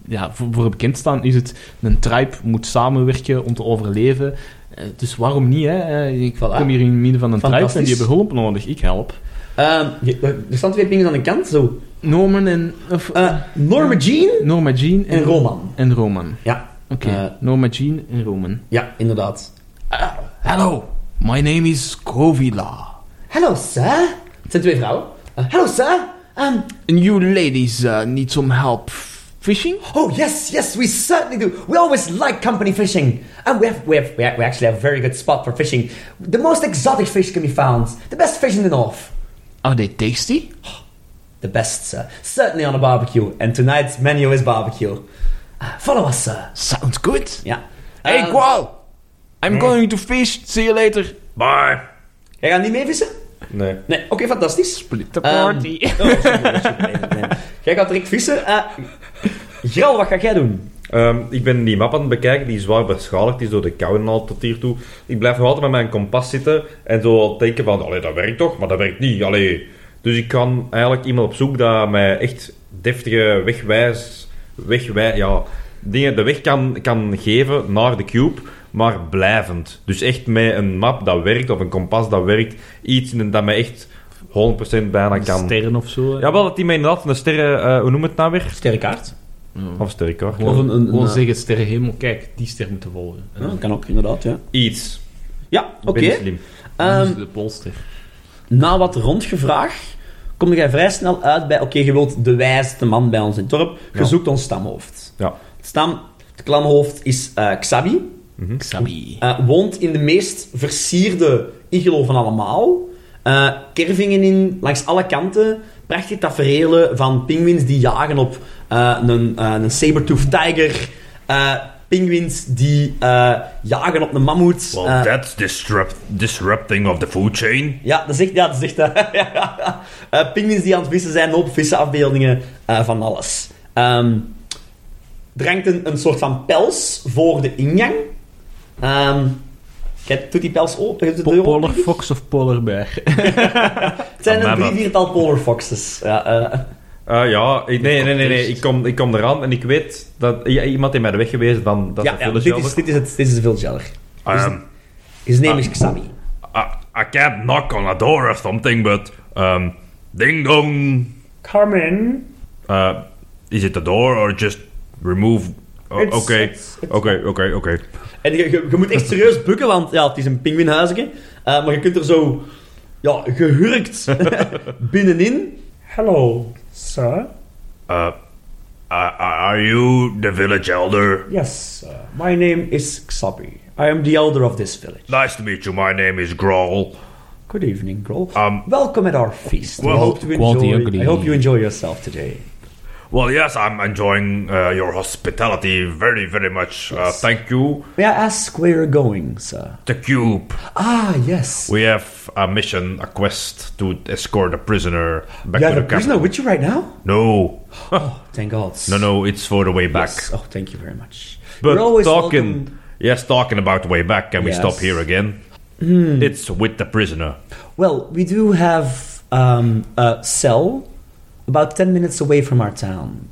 Speaker 4: ja, voor, voor bekend staan, is het een tribe moet samenwerken om te overleven. Eh, dus waarom niet, hè? Eh, ik
Speaker 2: Voilà.
Speaker 4: kom hier in het midden van een tribe en
Speaker 2: Fantastisch.
Speaker 4: die hebben hulp nodig. Ik help.
Speaker 2: Ehm, je- er er staan twee penguins aan de kant. Zo.
Speaker 3: Norman en... Of,
Speaker 2: Eh, Norma Jean
Speaker 3: Norma Jean en,
Speaker 2: en Roman.
Speaker 3: En Roman.
Speaker 2: Ja,
Speaker 3: Oké,
Speaker 2: Eh,
Speaker 3: Norma Jean en Roman.
Speaker 2: ja inderdaad.
Speaker 4: Hello, My name is Kovila.
Speaker 2: Hallo, sir. Het zijn twee vrouwen. Eh, Hallo, sir. Ehm,
Speaker 4: And you ladies uh, need some help fishing?
Speaker 2: oh, yes, yes, we certainly do. We always like company fishing. And we, have, we, have, we, have, we actually have a very good spot for fishing. The most exotic fish can be found. The best fish in the north.
Speaker 4: Are they tasty?
Speaker 2: The best, sir. Certainly on a barbecue. And tonight's menu is barbecue. Uh, follow us, sir.
Speaker 4: Sounds good.
Speaker 2: Ja.
Speaker 4: Hey,
Speaker 2: Eh,
Speaker 4: Gual! I'm going to fish. See you later.
Speaker 5: Bye.
Speaker 2: Jij gaat niet mee vissen?
Speaker 1: Nee.
Speaker 2: Nee, oké, fantastisch.
Speaker 4: Split the
Speaker 2: Ehm, oh, sorry, sorry, sorry, nee, nee. Jij gaat direct vissen. Eh Grel, wat ga jij doen?
Speaker 1: Ehm, ik ben die map aan het bekijken, die is zwaar beschadigd is door de kou en al tot hiertoe. Ik blijf nog altijd met mijn kompas zitten en zo denken van, allee, dat werkt toch? Maar dat werkt niet, allee. Dus ik kan eigenlijk iemand op zoek dat mij echt deftige wegwijs, wegwij, ja, dingen de weg kan, kan geven naar de cube, maar blijvend. Dus echt met een map dat werkt of een kompas dat werkt, iets in- dat mij echt 100% bijna kan...
Speaker 3: Sterren of zo.
Speaker 1: Ja, wel dat die mij inderdaad een sterren, eh, hoe noem het nou weer?
Speaker 2: Sterrenkaart.
Speaker 1: Of sterrenkaart.
Speaker 3: Gewoon,
Speaker 2: Of een- een-
Speaker 3: gewoon
Speaker 2: een-
Speaker 3: zeggen sterrenhemel, kijk, die ster moeten volgen. En
Speaker 2: Ja,
Speaker 3: dan
Speaker 2: dat Ah, kan ook, inderdaad, ja.
Speaker 1: Iets.
Speaker 2: Ja,
Speaker 1: Ik
Speaker 2: oké.
Speaker 1: ben niet slim.
Speaker 2: Ehm,
Speaker 3: de polster.
Speaker 2: na wat rondgevraag kom jij vrij snel uit bij... Oké, je wilt de wijste man bij ons in het dorp. Je
Speaker 1: Ja.
Speaker 2: zoekt ons stamhoofd.
Speaker 1: Ja.
Speaker 2: Het Stam, het klamhoofd is eh, Xabi.
Speaker 4: Xabi.
Speaker 2: Eh, woont in de meest versierde iglo van allemaal. Eh, kervingen in, langs alle kanten. Prachtige tafereelen van pinguïns die jagen op eh, een, eh een saber-toothed tiger. eh pinguïns die eh, jagen op een mammoet.
Speaker 5: Well,
Speaker 2: Eh,
Speaker 5: that's disrupt disrupting of the food chain.
Speaker 2: Ja, dat zegt ja, dat. Zegt, dat. <laughs> ja, ja. Eh, pinguïns die aan het vissen zijn, een hoop vissen, afbeeldingen eh, van alles. Ehm er hangt een, een soort van pels voor de ingang. Ehm, kijk, doet die pels open? Doet de deur open?
Speaker 3: Polar fox of polar bear?
Speaker 2: Het zijn
Speaker 5: Ah,
Speaker 2: een drie
Speaker 5: mammoth.
Speaker 2: viertal polar foxes. Ja, eh,
Speaker 1: Eh, ja, ik- nee, nee, nee, nee. Ik, kom, ik kom eraan en ik weet dat ja, iemand heeft mij de weg gewezen dan dat
Speaker 2: ja,
Speaker 1: de
Speaker 2: ja,
Speaker 1: village
Speaker 2: dit,
Speaker 1: elder-
Speaker 2: is, dit, is het, dit is de villager.
Speaker 5: Um,
Speaker 2: His name
Speaker 3: Ah.
Speaker 2: is Xami.
Speaker 5: I, I can't knock on a door or something, but um, ding dong.
Speaker 2: Come in.
Speaker 5: Uh, is it the door or just remove? Oh,
Speaker 1: Oh,
Speaker 5: O-
Speaker 2: It's-
Speaker 5: Oké,
Speaker 2: it's-
Speaker 5: oké, oké, oké.
Speaker 2: En je, je, je moet echt serieus bukken, want ja, het is een pinguïnhuisje. Eh, maar je kunt er zo ja,
Speaker 3: <laughs>
Speaker 2: gehurkt <laughs> binnenin.
Speaker 6: Hello, sir.
Speaker 5: Uh, Are are you the village elder?
Speaker 6: Yes, sir.
Speaker 2: My name is Xabi. I am the elder of this village.
Speaker 5: Nice to meet you. My name is Growl.
Speaker 2: Good evening, Grol.
Speaker 5: Um,
Speaker 2: Welcome at our feast. We
Speaker 5: Well,
Speaker 2: hope to
Speaker 3: quality
Speaker 2: enjoy,
Speaker 3: ugly.
Speaker 2: I hope you enjoy yourself today.
Speaker 5: Well, yes, I'm enjoying uh, your hospitality very, very much. Uh, thank you.
Speaker 2: May I ask where you're going, sir?
Speaker 5: The cube.
Speaker 2: Ah, yes.
Speaker 5: We have a mission, a quest to escort a prisoner
Speaker 2: you have
Speaker 5: back to the
Speaker 2: a
Speaker 5: camp.
Speaker 2: prisoner with you right now?
Speaker 5: No,
Speaker 2: Thank God.
Speaker 5: no, no. It's for the way back.
Speaker 2: Yes. Oh, thank you very much.
Speaker 5: But
Speaker 2: You're always
Speaker 5: talking,
Speaker 2: welcome-
Speaker 5: yes, talking about the way back. Can
Speaker 2: Yes. Hmm.
Speaker 5: we stop here again? It's with the prisoner.
Speaker 2: Well, we do have um, a cell about 10 minutes away from our town.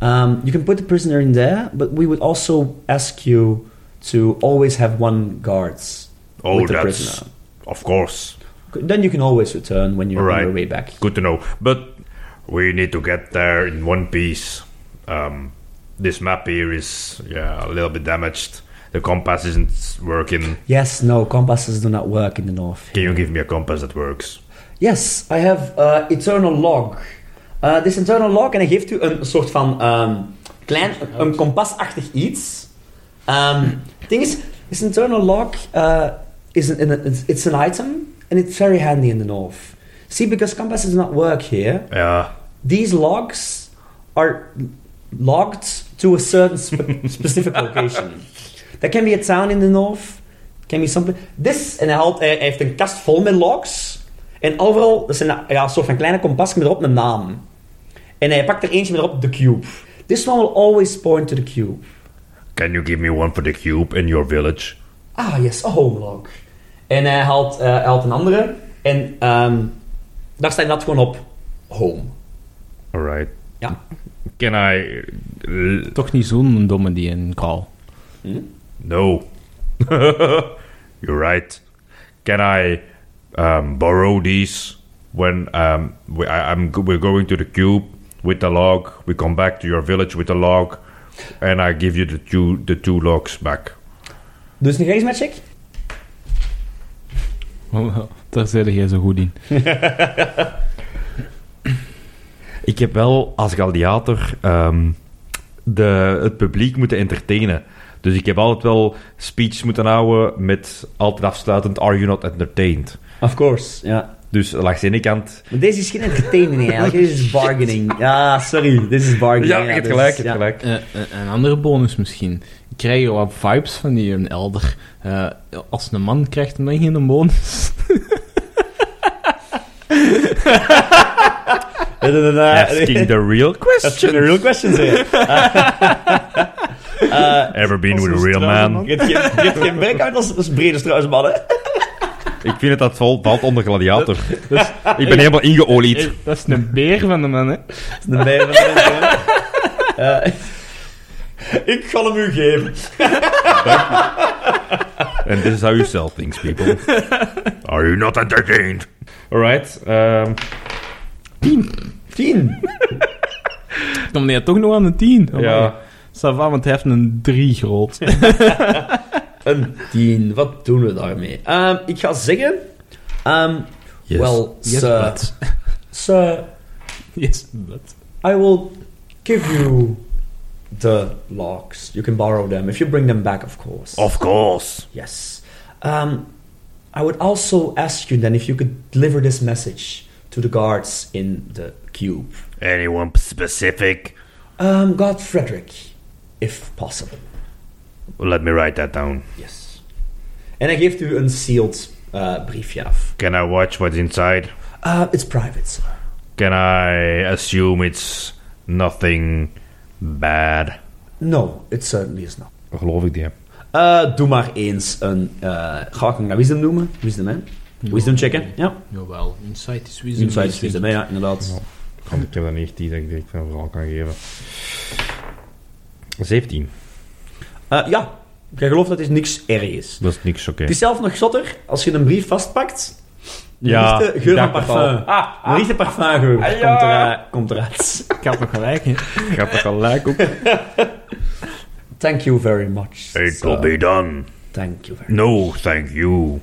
Speaker 2: Um, you can put the prisoner in there, but we would also ask you to always have one guard
Speaker 5: Oh,
Speaker 2: with the
Speaker 5: that's
Speaker 2: prisoner.
Speaker 5: of course
Speaker 2: Then you can always return when you're on
Speaker 5: Right.
Speaker 2: your way back.
Speaker 5: good to know. But we need to get there in one piece. Um, this map here is yeah a little bit damaged. The compass isn't working.
Speaker 2: Yes, no, compasses do not work in the north.
Speaker 5: Can you give me a compass that works?
Speaker 2: Yes, I have uh, Eternal Log. Uh, this Eternal Log, en hij geeft u een soort van ehm, klein, een kompasachtig iets. Ehm, Het ding is, this Eternal Log uh, is an, an- it's- it's an item, and it's very handy in the north. See, because compasses do not work here,
Speaker 5: Yeah.
Speaker 2: these logs are logged to a certain spe- <laughs> specific location. That can be a town in the north, can be something. This, en hij, haalt, hij, hij heeft een kast vol met logs. En overal, dat zijn ja, een soort van kleine kompasjes met erop een naam. En hij pakt er eentje met erop, de cube. This one will always point to the cube.
Speaker 5: Can you give me one for the cube in your village?
Speaker 2: Ah, yes, a home log. En hij haalt, eh, hij haalt een andere. En ehm, daar staat dat gewoon op. Home.
Speaker 5: All right.
Speaker 2: Ja.
Speaker 5: Can I? l-
Speaker 4: Toch niet zo'n domme die een call.
Speaker 5: No. <laughs> You're right. Can I um, borrow these when um, we, I, I'm go- we're going to the cube with the log? We come back to your village with the log, and I give you the two the two logs back.
Speaker 2: Dus een charisma check.
Speaker 4: <laughs> Oh, Wel, Daar zijn jij zo goed in.
Speaker 1: Ik heb wel als gladiator ehm, de, het publiek moeten entertainen. Dus ik heb altijd wel speeches moeten houden met altijd afsluitend Are you not entertained?
Speaker 2: Of course, ja.
Speaker 1: Dus langs de ene kant...
Speaker 2: Maar deze is geen entertainment eigenlijk, deze is bargaining. Ja, sorry, dit is bargaining.
Speaker 1: Oh, Ja, je hebt
Speaker 2: dus,
Speaker 1: gelijk, je
Speaker 2: ja.
Speaker 1: hebt gelijk.
Speaker 4: Eh, eh, een andere bonus misschien. Ik krijg je wat vibes van die een elder. Eh, als een man krijgt hem dan geen
Speaker 2: <laughs>
Speaker 4: bonus.
Speaker 2: Ja, ja, ja, ja.
Speaker 1: Asking the real
Speaker 2: That's a
Speaker 1: question.
Speaker 2: real question, zeg. Eh,
Speaker 1: Ever been
Speaker 4: Als
Speaker 1: with a
Speaker 4: een
Speaker 1: real
Speaker 4: straatman.
Speaker 1: man?
Speaker 2: Je hebt geen- je hebt geen breakout als, als brede struisman, hè?
Speaker 1: Ik vind het dat valt, valt onder gladiator. ik ben helemaal ingeolied.
Speaker 4: Eh, dat is een beer van de man, <laughs> hè?
Speaker 2: De mij van de Eh, Ik ga hem u geven.
Speaker 1: And this is how you sell things, people.
Speaker 5: Are you not entertained?
Speaker 1: <laughs> Alright. ehm,
Speaker 2: Tien.
Speaker 4: Dan ben je toch nog aan de 10.
Speaker 1: ja.
Speaker 4: Sava, want hij heeft een 3 groot.
Speaker 2: Een tien. Wat doen we daarmee? Ehm, ik ga zeggen... ehm
Speaker 1: Yes.
Speaker 2: Wel,
Speaker 4: Yes,
Speaker 2: sir.
Speaker 4: but.
Speaker 6: Sir,
Speaker 4: Yes, but.
Speaker 2: I will give you the locks. You can borrow them if you bring them back, of course.
Speaker 5: Of course.
Speaker 2: Yes. Um, I would also ask you then if you could deliver this message to the guards in the cube.
Speaker 5: Anyone specific?
Speaker 2: Um, God Frederick, if possible.
Speaker 5: Let me write that down.
Speaker 2: Yes. En hij geeft u een sealed eh, briefje af.
Speaker 5: Can I watch what's inside?
Speaker 2: Uh, it's private, sir.
Speaker 5: Can I assume it's nothing bad?
Speaker 2: No, it certainly is not.
Speaker 1: Geloof ik die.
Speaker 2: Eh, doe maar eens een... eh ga ik hem naar wisdom noemen? Wisdom, hè? Wisdom checken, ja.
Speaker 3: Jawel, Insight is wisdom.
Speaker 2: Inside is wisdom, hè, ja, inderdaad.
Speaker 1: Want ik heb dat niet die dat ik direct van verhaal kan geven. 17.
Speaker 2: Eh, ja, jij gelooft dat dit niks erg is.
Speaker 1: Dat is niks oké.
Speaker 2: Het is zelf nog zotter als je een brief vastpakt.
Speaker 1: Ja,
Speaker 2: de geur van
Speaker 1: ik dacht het al.
Speaker 2: parfum. De lichte parfumgeur komt, eraan- komt eruit.
Speaker 4: Ik had nog gelijk, hè?
Speaker 1: Ik ga er gelijk <laughs> op.
Speaker 2: Thank you very much.
Speaker 5: It
Speaker 2: sir.
Speaker 5: will be done.
Speaker 2: Thank you very much.
Speaker 5: No, thank you.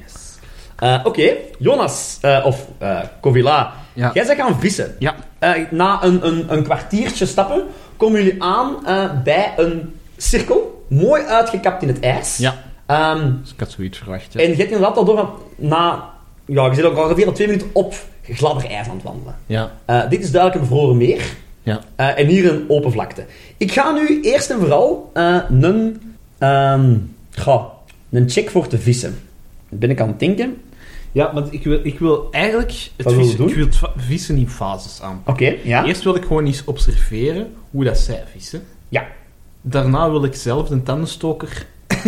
Speaker 2: Eh, Oké, Jonas, eh, of eh Covila,
Speaker 4: Ja.
Speaker 2: jij bent gaan vissen.
Speaker 4: Ja.
Speaker 2: Eh, na een, een, een kwartiertje stappen komen jullie aan eh, bij een cirkel, mooi uitgekapt in het ijs.
Speaker 4: Ja.
Speaker 2: Ehm,
Speaker 4: Dus ik had zoiets verwacht. Ja.
Speaker 2: en je hebt inderdaad al door van- na, ja, je zit ook ongeveer al twee minuten op gladder ijs aan het wandelen.
Speaker 4: ja.
Speaker 2: Eh, dit is duidelijk een bevroren meer.
Speaker 4: Ja.
Speaker 2: Eh, en hier een open vlakte. Ik ga nu eerst en vooral eh, een, ehm, ga, een check voor te vissen. Ben ik aan het denken?
Speaker 4: Ja, want ik wil, ik wil eigenlijk het
Speaker 2: Wat wil je
Speaker 4: vissen,
Speaker 2: doen?
Speaker 4: ik wil het va- vissen in fases aan.
Speaker 2: Oké, ja.
Speaker 4: Eerst wil ik gewoon eens observeren hoe dat zij vissen.
Speaker 2: Ja.
Speaker 4: Daarna wil ik zelf de tandenstoker... <laughs>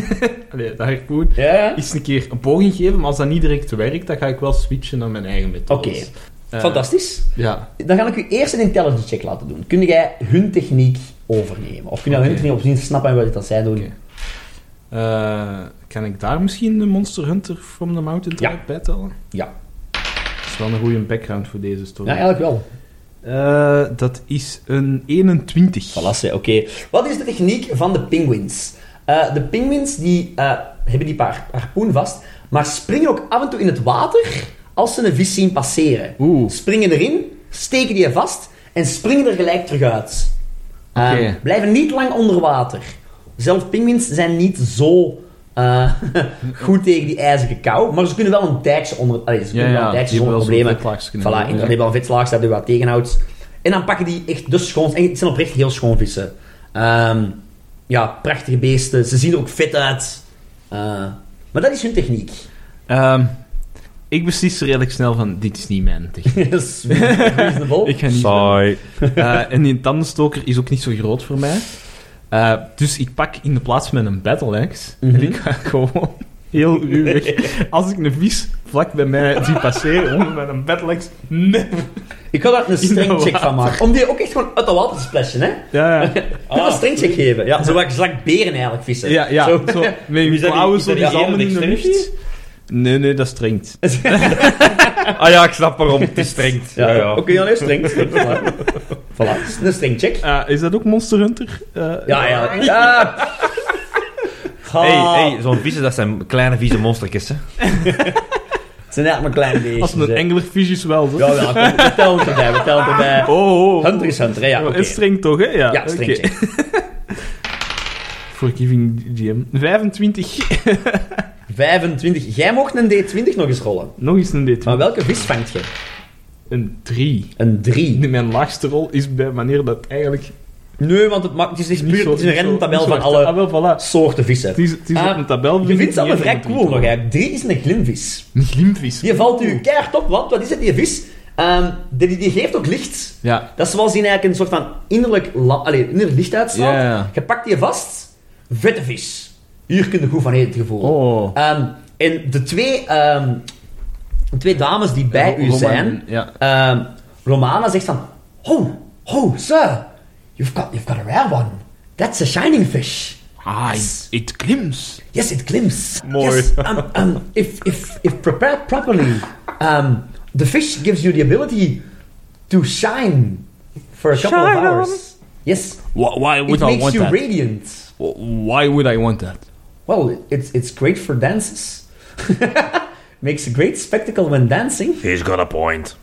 Speaker 4: Allee, dat ga ik doen.
Speaker 2: Ja, ja.
Speaker 4: Eens een keer een poging geven, maar als dat niet direct werkt, dan ga ik wel switchen naar mijn eigen methode.
Speaker 2: Oké. Fantastisch.
Speaker 4: Ja.
Speaker 2: Dan ga ik u eerst een intelligence check laten doen. Kun jij hun techniek overnemen? Of kun jij hun
Speaker 4: Oké.
Speaker 2: techniek opzien snappen wat het dat zij doen?
Speaker 4: Oké. Eh, kan ik daar misschien de Monster Hunter from the Mountain
Speaker 2: Ja.
Speaker 4: Tribe bij tellen?
Speaker 2: Ja.
Speaker 4: Dat is wel een goede background voor deze
Speaker 2: Ja,
Speaker 4: story.
Speaker 2: eigenlijk wel.
Speaker 4: Eh, dat is een 21.
Speaker 2: Voilà, oké. Wat is de techniek van de penguins? Eh, de penguins die, eh, hebben die paar harpoen vast, maar springen ook af en toe in het water als ze een vis zien passeren.
Speaker 4: Oeh.
Speaker 2: Springen erin, steken die er vast en springen er gelijk terug uit. Eh,
Speaker 4: Oké.
Speaker 2: Blijven niet lang onder water. Zelf penguins zijn niet zo eh, <laughs> goed tegen die ijzige kou, maar ze kunnen wel een tijdje onder... Allee, ze
Speaker 4: Ja,
Speaker 2: kunnen wel
Speaker 4: ja,
Speaker 2: een tijdje
Speaker 4: die
Speaker 2: zonder
Speaker 4: hebben wel zo'n
Speaker 2: problemen.
Speaker 4: vetlaags kunnen
Speaker 2: Voilà,
Speaker 4: hebben,
Speaker 2: en dan
Speaker 4: ja.
Speaker 2: hebben we een vetslaag dat je wat tegenhoudt. En dan pakken die echt de schoon... En het zijn oprecht heel schoon vissen. Ehm, ja, prachtige beesten. Ze zien er ook vet uit. Eh, maar dat is hun
Speaker 4: <laughs>
Speaker 2: techniek.
Speaker 4: Ehm, ik beslis redelijk snel van, dit is niet mijn techniek.
Speaker 2: Dat is reasonable.
Speaker 4: Ik ga niet
Speaker 1: Saai.
Speaker 4: Eh, en die tandenstoker is ook niet zo groot voor mij. Eh, dus ik pak in de plaats van een battle axe. En ik ga <laughs> gewoon heel ruw weg. Als ik een vis vlak bij mij zie passeren, onder met een battle axe. Nee.
Speaker 2: Ik ga daar
Speaker 4: <laughs>
Speaker 2: een strengcheck
Speaker 4: water.
Speaker 2: van maken. Om die ook echt gewoon uit de water te splashen, hè.
Speaker 4: Ja, ja.
Speaker 2: Ik ga een strengcheck geven. Ja, zo wat slak beren eigenlijk vissen.
Speaker 4: Ah. ja, ja.
Speaker 2: Zo.
Speaker 4: Zo, met mijn
Speaker 1: Is dat die-
Speaker 4: klauwen
Speaker 1: is
Speaker 4: zo
Speaker 1: dat
Speaker 4: die
Speaker 1: die
Speaker 4: zalmen in de
Speaker 1: dexterity?
Speaker 4: lucht. Nee, nee, dat strengt.
Speaker 1: Ah ja, ik snap waarom. Het is streng. <laughs>
Speaker 2: Ja,
Speaker 1: Ja, ja.
Speaker 2: Oké, okay, Jan, streng.
Speaker 4: <laughs>
Speaker 2: streng voilà. voilà, een strengcheck.
Speaker 4: Eh, is dat ook Monster Hunter? Eh,
Speaker 2: Ja, ja. Ah. ja.
Speaker 1: Ah. Hey, hey, zo'n vieze, dat zijn kleine vieze monstertjes, hè.
Speaker 2: Het zijn eigenlijk maar kleine beestjes.
Speaker 4: Als een
Speaker 2: hè.
Speaker 4: anglerfish is wel, zo.
Speaker 2: Ja, ja, kom, we tellen het erbij, we tellen het erbij.
Speaker 4: Oh, oh.
Speaker 2: Hunter is Hunter, hè, ja,
Speaker 4: Ja,
Speaker 2: oké.
Speaker 4: En streng toch, hè? Ja,
Speaker 2: Ja, streng
Speaker 4: oké. <laughs> Forgiving GM. 25.
Speaker 2: 25. Jij mocht een D20 nog eens rollen.
Speaker 4: Nog eens een D20.
Speaker 2: Maar welke vis vangt je?
Speaker 4: Een 3.
Speaker 2: Een 3.
Speaker 4: Mijn laagste rol is bij wanneer dat eigenlijk...
Speaker 2: Nee, want het, maakt- het is echt
Speaker 4: niet
Speaker 2: puur,
Speaker 4: zo-
Speaker 2: het is een
Speaker 4: niet zo-
Speaker 2: random tabel
Speaker 4: niet zo
Speaker 2: van
Speaker 4: hard- Ah,
Speaker 2: alle
Speaker 4: wel, voilà.
Speaker 2: soorten vissen.
Speaker 4: Het is, het is
Speaker 2: Ah,
Speaker 4: op een tabel.
Speaker 2: Je vindt ze allemaal vrij cool nog eigenlijk. 3 is een glimvis.
Speaker 4: Een glimpvis.
Speaker 2: Die valt u keihard op, want wat is het, die vis? Ehm, die, die geeft ook licht.
Speaker 4: Ja.
Speaker 2: Dat is zoals die eigenlijk een soort van innerlijk, la, allee, innerlijk licht uitstraalt.
Speaker 4: Ja, ja.
Speaker 2: Je pakt die vast, vette vis. Hier kun je goed van eten gevoel.
Speaker 4: Oh.
Speaker 2: Ehm, en de twee, ehm, de twee dames die bij u
Speaker 4: Roman,
Speaker 2: zijn,
Speaker 4: Ja.
Speaker 2: ehm, Romana zegt van, ho, ho, sir, you've got, you've got a rare one. That's a shining fish.
Speaker 4: Ah, it, it glims.
Speaker 2: Yes, it glimpses.
Speaker 4: Mooi.
Speaker 2: Yes, um, um, if, if, if prepared properly, um, the fish gives you the ability to shine for a couple of hours. Yes,
Speaker 4: Why,
Speaker 2: it makes you radiant.
Speaker 4: Why would I want that?
Speaker 2: Well, it's, it's great for dances. <laughs> makes a great spectacle when dancing.
Speaker 5: He's got a point.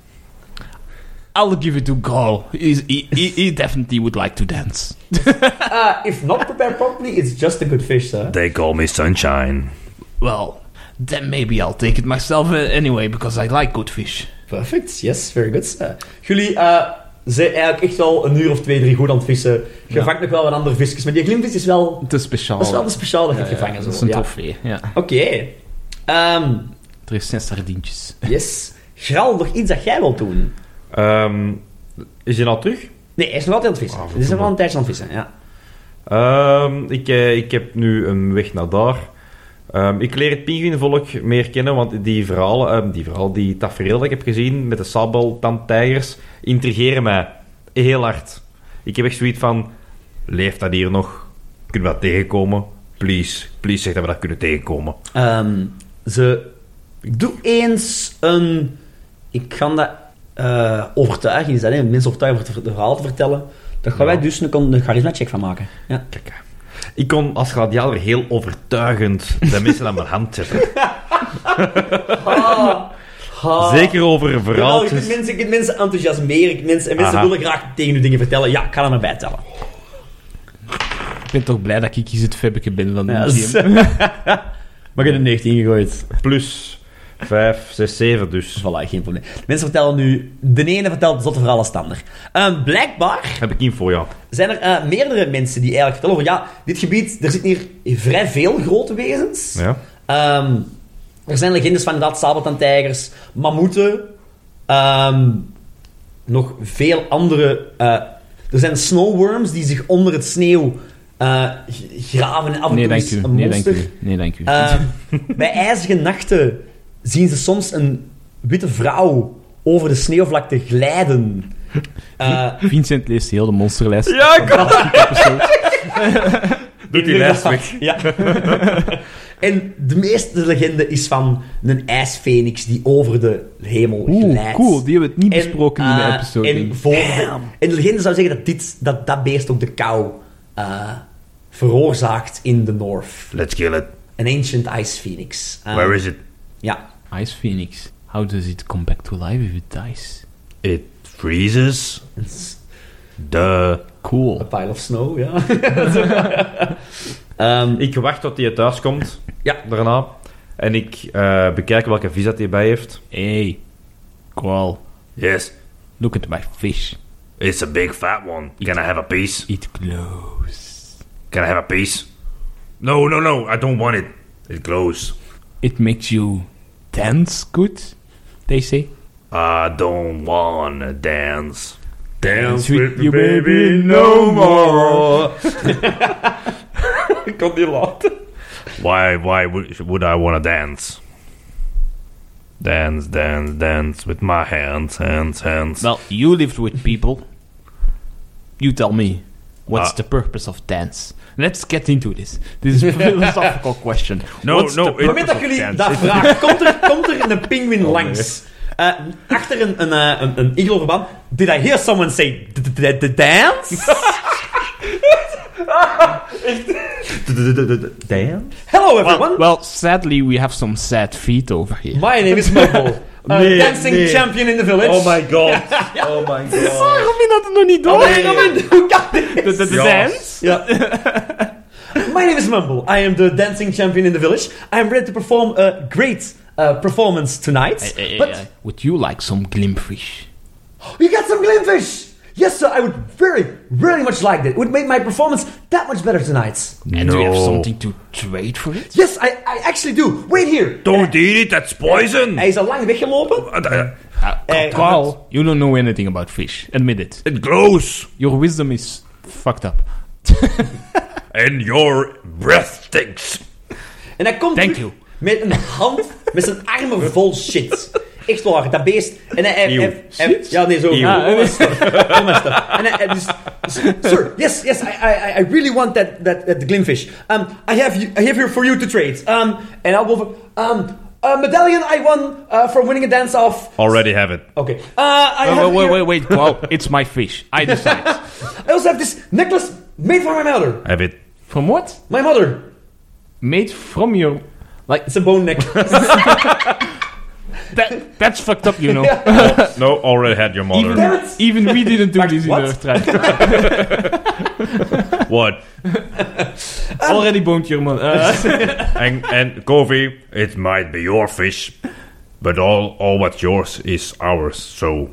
Speaker 4: I'll give it to Carl. He's, he, he, he definitely would like to dance.
Speaker 2: Uh, if not prepared properly, it's just a good fish, sir.
Speaker 5: They call me Sunshine.
Speaker 4: Well, then maybe I'll take it myself uh, anyway, because I like good fish.
Speaker 2: Perfect, yes, very good, sir. Jullie eh, zijn eigenlijk echt wel een uur of twee, drie goed aan het vissen. Je
Speaker 4: Ja.
Speaker 2: vangt nog wel wat andere visjes, maar die glimvis is wel...
Speaker 4: Te speciaal.
Speaker 2: Dat is wel een speciaal dat je het gevangen
Speaker 4: Dat
Speaker 2: wordt,
Speaker 4: is een
Speaker 2: ja.
Speaker 4: trofee, ja.
Speaker 2: Oké. Ehm,
Speaker 4: Er is zijn sardientjes.
Speaker 2: yes. Gral, nog iets dat jij wilt doen?
Speaker 1: Ehm, is hij al terug?
Speaker 2: Nee, hij is nog altijd aan het
Speaker 1: Ah,
Speaker 2: vissen. Hij is nog wel
Speaker 1: verdomme.
Speaker 2: een tijdje aan het vissen, ja.
Speaker 1: Ehm, ik, eh, ik heb nu een weg naar daar. Ehm, ik leer het pinguïnvolk meer kennen, want die verhalen, ehm, die, verhaal, die tafereel dat ik heb gezien met de sabeltandtijgers, intrigeren mij heel hard. Ik heb echt zoiets van, leeft dat hier nog? Kunnen we dat tegenkomen? Please, please zeg dat we dat kunnen tegenkomen.
Speaker 2: Ehm, ze... Doe eens een... Ik ga dat eh, overtuigen. Is dat, hè? Mensen overtuigen voor het ver- verhaal te vertellen. Daar gaan
Speaker 1: Ja.
Speaker 2: wij dus een, kon- een charisma-check van maken. Ja.
Speaker 1: Kijk, hè. ik kon als gladiator heel overtuigend de mensen aan mijn hand zetten. <laughs> Zeker over
Speaker 2: Jawel, je kunt
Speaker 1: verhaaltjes.
Speaker 2: mensen, je kunt mensen enthousiasmeren. je kunt Mensen, en mensen
Speaker 1: Aha.
Speaker 2: willen graag tegen u dingen vertellen. Ja, ik ga er maar bij tellen.
Speaker 4: Ik ben toch blij dat ik hier het febbeke ben van de
Speaker 2: Ja,
Speaker 4: museum.
Speaker 2: dat <laughs> maar je hebt een 19 gegooid.
Speaker 1: Plus 5, 6, 7 dus.
Speaker 2: Voilà, geen probleem. De mensen vertellen nu... De ene vertelt zotte verhalen als de ander. Ehm, blijkbaar
Speaker 1: Heb ik info, ja.
Speaker 2: zijn er eh, meerdere mensen die eigenlijk vertellen over... Ja, dit gebied, er zitten hier vrij veel grote wezens.
Speaker 1: ja.
Speaker 2: Ehm, er zijn legendes van inderdaad sabeltandtijgers, mammoeten, ehm, nog veel andere... eh, er zijn snowworms die zich onder het sneeuw eh, g- graven en af en
Speaker 4: Nee,
Speaker 2: toe
Speaker 4: dank
Speaker 2: is
Speaker 4: u.
Speaker 2: een
Speaker 4: Nee, dank
Speaker 2: monster.
Speaker 4: u. Nee, dank u.
Speaker 2: Ehm, bij ijzige nachten zien ze soms een witte vrouw over de sneeuwvlakte
Speaker 4: <laughs>
Speaker 2: glijden. Eh,
Speaker 4: Vincent leest heel de monsterlijst.
Speaker 1: Ja, ik Doet die
Speaker 2: inderdaad,
Speaker 1: lijst weg.
Speaker 2: Ja. <laughs> en de meeste legende is van een ijsfenix die over de hemel
Speaker 4: Oeh,
Speaker 2: glijdt.
Speaker 4: cool. Die hebben we het niet besproken in
Speaker 2: eh,
Speaker 4: de episode.
Speaker 2: En, voor de, en de legende zou zeggen dat dit, dat, dat beest ook de kou eh, veroorzaakt in de North.
Speaker 5: Let's kill it.
Speaker 2: Een ancient ice phoenix.
Speaker 4: Um,
Speaker 2: Eh,
Speaker 5: Where is it?
Speaker 2: Ja.
Speaker 4: Ice Phoenix. How does it come back to life if it dies?
Speaker 5: It freezes. Duh.
Speaker 4: Cool.
Speaker 2: A pile of snow, ja. <laughs> Ehm,
Speaker 1: Ik wacht tot hij thuis komt.
Speaker 2: Ja.
Speaker 1: Daarna. En ik eh, bekijk welke visa hij bij heeft.
Speaker 4: Hey, Qual.
Speaker 5: Yes,
Speaker 4: Look at my fish.
Speaker 5: it's a big fat one. Can I have a piece?
Speaker 4: It glows.
Speaker 5: Can I have a piece? No, no, no. I don't want it. It glows.
Speaker 4: It makes you dance good, they say.
Speaker 5: I don't wanna dance.
Speaker 4: Dance with your baby no
Speaker 5: more.
Speaker 1: Ik kon die laten.
Speaker 5: Why? Why would, would I wanna dance? Dance, dance, dance with my hands, hands, hands.
Speaker 4: Well, you lived with people. You tell me, what's
Speaker 5: Ah.
Speaker 4: the purpose of dance? Let's get into this. This <laughs> is a philosophical question.
Speaker 5: No,
Speaker 4: what's
Speaker 5: no,
Speaker 4: the
Speaker 5: it-
Speaker 2: op het moment dat jullie dat
Speaker 1: <laughs>
Speaker 2: vragen, komt er, komt er een pinguïn
Speaker 1: Oh,
Speaker 2: langs. Eh, achter een, een, eh, een, een igelverband. Did I hear someone say d- d- d- d- dance?
Speaker 1: Damn.
Speaker 2: Hello everyone!
Speaker 4: Well, sadly, we have some sad feet over here.
Speaker 2: My name is
Speaker 1: <laughs>
Speaker 2: Muggle. a
Speaker 1: Nee,
Speaker 2: dancing
Speaker 1: nee.
Speaker 2: champion in the village.
Speaker 1: Oh my god. Oh my god.
Speaker 4: Robin had het nog niet door.
Speaker 2: Hey, Robin, hoe kan dit?
Speaker 4: De, de,
Speaker 1: <laughs>
Speaker 4: de
Speaker 1: Ja.
Speaker 4: dance?
Speaker 2: Yeah. <laughs> My name is Mumble. I am the dancing champion in the village. I am ready to perform a great uh, performance tonight.
Speaker 4: Eh,
Speaker 2: but
Speaker 4: Would you like some glimfish?
Speaker 2: you got some glimfish. Yes, sir. I would very, very much like that. It would make my performance that much better tonight.
Speaker 4: And do
Speaker 5: Oh.
Speaker 4: you have
Speaker 1: No.
Speaker 4: something to trade for it?
Speaker 2: Yes, I, I actually do. Wait here.
Speaker 5: Don't eat it, that's poison!
Speaker 2: Hij is al lang weggelopen.
Speaker 5: And, uh,
Speaker 2: Eh,
Speaker 4: Carl, you don't know anything about fish. Admit it.
Speaker 5: It glows!
Speaker 4: Your wisdom is fucked up.
Speaker 5: And your breath stinks!
Speaker 2: En hij komt
Speaker 4: Thank
Speaker 2: terug
Speaker 4: you.
Speaker 2: met een hand, met zijn
Speaker 4: <laughs>
Speaker 2: armen vol shit. Echt waar, dat beest. En hij, hij,
Speaker 1: Eeuw.
Speaker 2: hij- hij- ja, nee, zo. Ja,
Speaker 4: Eeuw. Ah,
Speaker 2: kom maar stop.
Speaker 4: <laughs>
Speaker 2: Kom maar stop. En hij, hij dus, sir, yes, yes, I, I, I really want that, that, that glimfish. Um, I have, you, I have here for you to trade. Um, and I'll go for, um, a medallion I won uh, from winning a dance off.
Speaker 1: Already have it.
Speaker 2: Okay. Uh, I have
Speaker 4: Oh, wait, wait,
Speaker 2: here-
Speaker 4: wait, wait, Carl. It's my fish. I decide.
Speaker 2: I also have this necklace made for my mother.
Speaker 1: Have it.
Speaker 4: From what?
Speaker 2: My mother.
Speaker 4: Made from your.
Speaker 2: It's a bone
Speaker 4: <laughs>
Speaker 2: necklace.
Speaker 4: That, that's fucked up, <laughs> you know.
Speaker 1: No, already had your mother.
Speaker 2: Damn
Speaker 4: Even,
Speaker 2: it.
Speaker 4: even we didn't do this in
Speaker 2: what?
Speaker 4: our tribe.
Speaker 1: What?
Speaker 4: Already boned your mother. Uh,
Speaker 1: And, and Kofi, it might be your fish, but all, all what's yours is ours, so.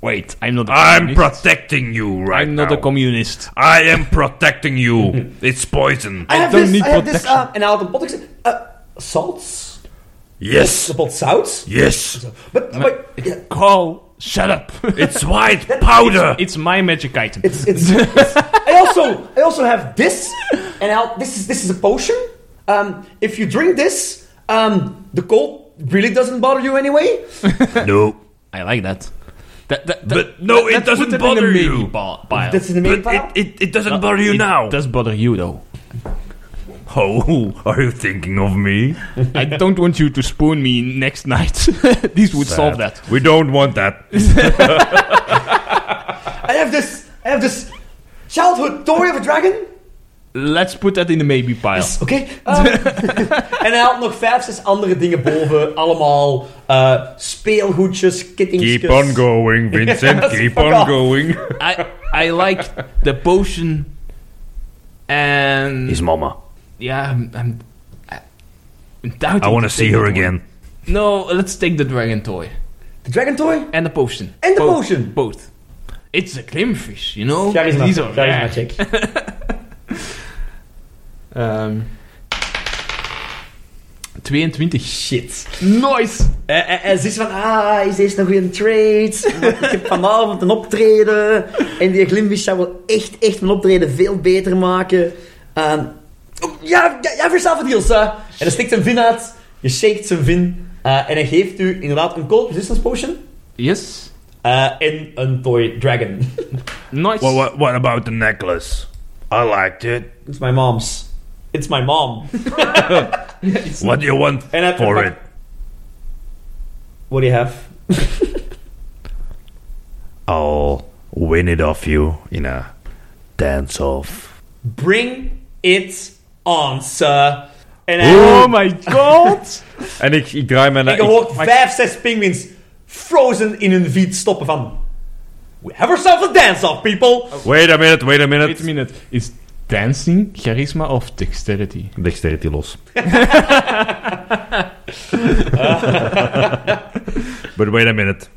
Speaker 4: wait, I'm not. A
Speaker 5: I'm
Speaker 4: communist.
Speaker 5: protecting you right
Speaker 4: I'm not
Speaker 5: now.
Speaker 4: a communist.
Speaker 5: I am protecting you.
Speaker 4: <laughs>
Speaker 5: it's poison.
Speaker 2: I have
Speaker 4: don't
Speaker 2: this,
Speaker 4: need
Speaker 2: I have this, uh,
Speaker 4: protection.
Speaker 2: en hij haalt een pot. Ik zeg, eh, salts?
Speaker 5: Yes.
Speaker 2: Een pot zout?
Speaker 4: <laughs>
Speaker 5: Yes.
Speaker 2: But, but yeah,
Speaker 4: Carl, shut up.
Speaker 5: It's white powder.
Speaker 4: it's my magic item.
Speaker 2: it's, it's, it's- I also I also have this, and I'll, this is this is a potion. Um, if you drink this, um, the cold really doesn't bother you anyway.
Speaker 5: no.
Speaker 4: I like that. That, that, that
Speaker 5: But no, it
Speaker 4: that put
Speaker 5: doesn't
Speaker 4: them in a
Speaker 5: bother
Speaker 4: maybe
Speaker 5: you.
Speaker 4: Ba- pile.
Speaker 2: That's in the main
Speaker 5: But
Speaker 2: pile.
Speaker 5: it, it, it doesn't bother you
Speaker 4: It
Speaker 5: now.
Speaker 4: does bother you though.
Speaker 5: <laughs> Oh, are you thinking of me?
Speaker 4: I don't want you to spoon me next night. <laughs> this would solve that.
Speaker 1: We don't want that.
Speaker 2: I have this. I have this childhood story of a dragon.
Speaker 4: Let's put that in the maybe pile.
Speaker 2: Oké. um, <laughs> en hij haalt nog vijf, zes andere dingen boven. Allemaal eh, speelgoedjes, kettingjes.
Speaker 1: Keep on going, Vincent.
Speaker 2: Yes,
Speaker 1: Keep
Speaker 2: fuck
Speaker 1: on
Speaker 2: off.
Speaker 1: going.
Speaker 4: <laughs> I I like the potion, and
Speaker 5: His mama.
Speaker 4: yeah, I'm. I'm I- I'm doubting
Speaker 5: I want to see
Speaker 4: take
Speaker 5: her
Speaker 4: that
Speaker 5: again.
Speaker 4: one. No, let's take the dragon toy
Speaker 2: The dragon toy?
Speaker 4: and the potion.
Speaker 2: And the
Speaker 4: Both-
Speaker 2: potion.
Speaker 4: Both. It's a glimfish, you know.
Speaker 2: Charisma.
Speaker 4: These are
Speaker 2: Charisma
Speaker 4: rare.
Speaker 2: check.
Speaker 4: Um, 22.
Speaker 2: Shit.
Speaker 4: Nice!
Speaker 2: En, en, en Eh, ze is van, ah, is deze nog weer een trade? Want Ik heb vanavond een optreden. En die Glimbisch zou wel echt, echt mijn optreden veel beter maken. Ehm, oh, ja, ja, ja, verstaat het, Niels. hè? En dan stikt zijn vin uit. Je shakes zijn vin. eh, en hij geeft u inderdaad een cold resistance potion.
Speaker 4: Yes.
Speaker 2: eh, en een toy dragon.
Speaker 4: Nice.
Speaker 5: Well, what, what about the necklace? I liked it.
Speaker 2: It's my mom's. It's my mom.
Speaker 5: What do you want
Speaker 2: And I-
Speaker 5: for it?
Speaker 2: What do you have?
Speaker 5: I'll win it off you in a dance off.
Speaker 2: Bring it on, sir. En hij...
Speaker 4: Oh my god!
Speaker 1: En ik, ik draai me naar...
Speaker 2: En je
Speaker 1: Ik,
Speaker 2: hoort vijf, zes pinguïns frozen in hun fiets stoppen van... We have ourselves a dance-off, people!
Speaker 1: wait a minute, wait a
Speaker 4: Wait a
Speaker 1: minute.
Speaker 4: minute. Is dancing charisma of dexterity?
Speaker 1: Dexterity los.
Speaker 5: But wait a minute.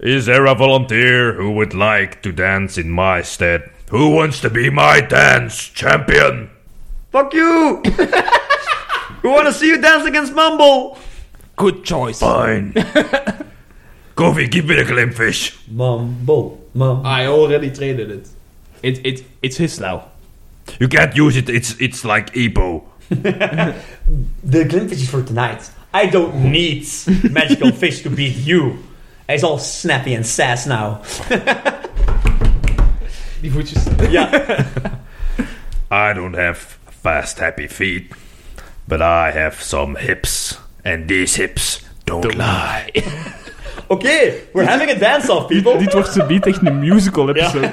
Speaker 5: Is there a volunteer who would like to dance in my stead? Who wants to be my dance champion?
Speaker 2: Fuck you! We want to see you dance against Mumble!
Speaker 4: Good choice.
Speaker 5: Fine. <laughs> Kofi, give me the glimfish.
Speaker 2: Mumble, mum.
Speaker 4: I already traded it. It it it's his now.
Speaker 5: You can't use it. It's it's like Epo.
Speaker 2: The glimfish is for tonight. I don't need magical fish to beat you. Hij is all snappy and sass now.
Speaker 4: Die voetjes.
Speaker 2: Ja,
Speaker 5: I don't have fast, happy feet, but I have some hips, and these hips don't, lie.
Speaker 2: oké. we're having a dance-off, people.
Speaker 4: Dit wordt zo echt een musical episode.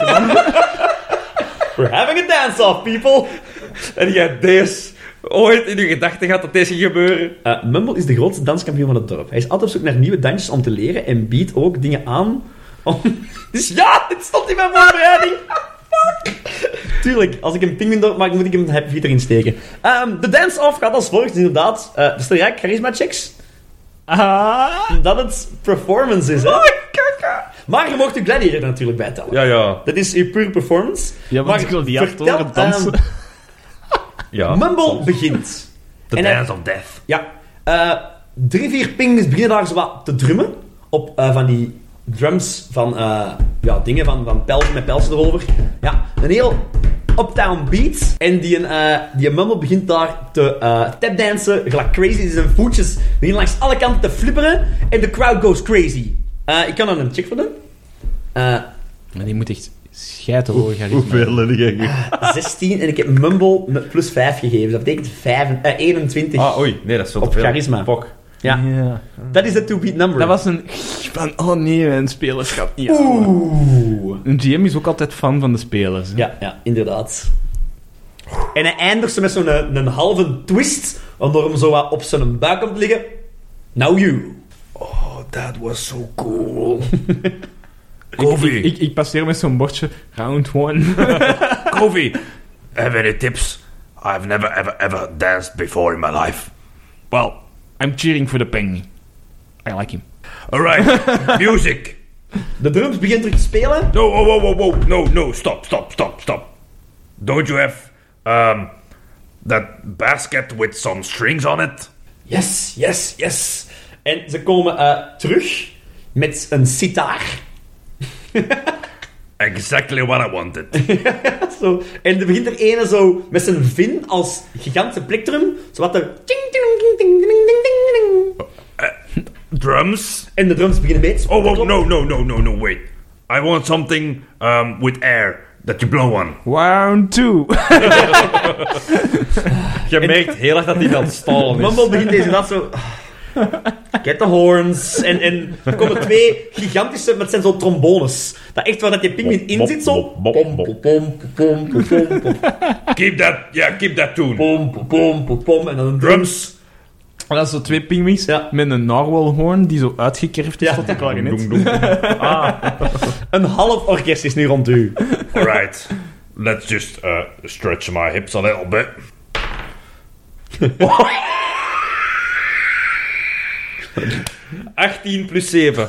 Speaker 2: We're having a dance-off, people.
Speaker 1: En jij deze ooit in je gedachten gaat dat deze ging gebeuren.
Speaker 2: Eh, Mumble is de grootste danskampioen van het dorp. Hij is altijd op zoek naar nieuwe dansjes om te leren en biedt ook dingen aan om... <laughs> Dus ja, dit stond in mijn voorbereiding. Tuurlijk, als ik een pinguïndorp maak, moet ik hem happy feet erin steken. Ehm, de dance-off gaat als volgt, inderdaad. eh dus dan ga ik charisma checks.
Speaker 4: Ah.
Speaker 2: Omdat het performance is, hè.
Speaker 4: Oh,
Speaker 2: Maar je mocht je gladiator er natuurlijk bij tellen.
Speaker 1: Ja, ja.
Speaker 2: Dat is uw pure performance.
Speaker 4: Ja, want ik wil die acht
Speaker 2: vertel,
Speaker 4: horen dansen.
Speaker 2: ehm,
Speaker 1: ja.
Speaker 2: Mumble begint.
Speaker 5: The
Speaker 2: En hij-
Speaker 5: dance of death.
Speaker 2: Ja. eh, drie, vier pings beginnen daar zo wat te drummen. Op eh, van die drums van eh, ja, dingen, van, van pijlsen met pijlsen erover. Ja, een heel uptown beat. En die, eh die mumble begint daar te eh tapdansen, gelijk crazy. Die Zijn voetjes beginnen langs alle kanten te flipperen. En de crowd goes crazy. Eh, ik kan er een check voor doen. Eh, <laughs>
Speaker 3: Maar die moet echt scheiden horen gaan ritmen.
Speaker 2: 16 en ik heb mumble met plus 5 gegeven. Dat betekent 5, eh, 21.
Speaker 1: Ah, oei. Nee, dat is wel
Speaker 2: Op
Speaker 1: te veel.
Speaker 2: charisma.
Speaker 1: Pok.
Speaker 2: Ja, dat is de two-beat number.
Speaker 4: Dat was een... Van, oh nee, mijn spelers gaat niet aan.
Speaker 2: Oeh.
Speaker 4: Een GM is ook altijd fan van de spelers. hè.
Speaker 2: Ja, ja, inderdaad. En hij eindigt ze met zo'n eh, een, een halve twist, om door hem zo wat op zijn buik op te liggen. Now you.
Speaker 5: Oh, that was so <laughs> cool. Kofi, <laughs>
Speaker 4: Ik, ik passeer met zo'n bordje round one.
Speaker 5: Kofi, have any tips? I've never ever ever danced before in my life. Well,
Speaker 4: <laughs> I'm cheering for the penguin. I like him.
Speaker 5: <laughs> alright, music.
Speaker 2: De drums beginnen terug te spelen.
Speaker 5: No, oh, whoa, whoa, whoa, no, no, stop, stop, stop, stop. Don't you have, um, that basket with some strings on it?
Speaker 2: Yes, yes, yes. En ze komen eh, terug met een sitaar.
Speaker 5: Exactly what I wanted.
Speaker 2: <laughs> Zo. En er begint er ene zo met zijn vin als gigantische plektrum. Zo wat er... ting, ting, ting, ting, ting, ting, ting, ting.
Speaker 5: Drums?
Speaker 2: En de drums beginnen mee te
Speaker 5: Oh, whoa,
Speaker 2: spelen.
Speaker 5: no, no, no, no, no, wait. I want something, um, with air that you blow on.
Speaker 4: <laughs> Round two.
Speaker 1: Je merkt heel erg dat hij aan het stalen
Speaker 2: <laughs>
Speaker 1: is.
Speaker 2: Mumble begint deze dat zo... Get the horns. En, en er komen twee gigantische, maar het zijn zo trombones. Dat echt waar dat je pinguïn in zit, zo...
Speaker 1: Bop, bop, bop, bop.
Speaker 2: Pom, pom, pom, pom, pom,
Speaker 5: Keep that, yeah, keep that
Speaker 4: <laughs>
Speaker 5: tune.
Speaker 2: pom, pom, pom, pom, pom. En dan een drum.
Speaker 5: Drums.
Speaker 4: Dat is zo twee pingwings
Speaker 2: Ja.
Speaker 4: met een narwhalhoorn die zo uitgekerfd is
Speaker 2: Ja.
Speaker 4: tot de klarinet.
Speaker 1: Doem, doem, doem.
Speaker 2: Een half orkest is nu rond u.
Speaker 5: All right. Let's just uh, stretch my hips a little bit.
Speaker 2: Oké,
Speaker 1: 18 plus 7.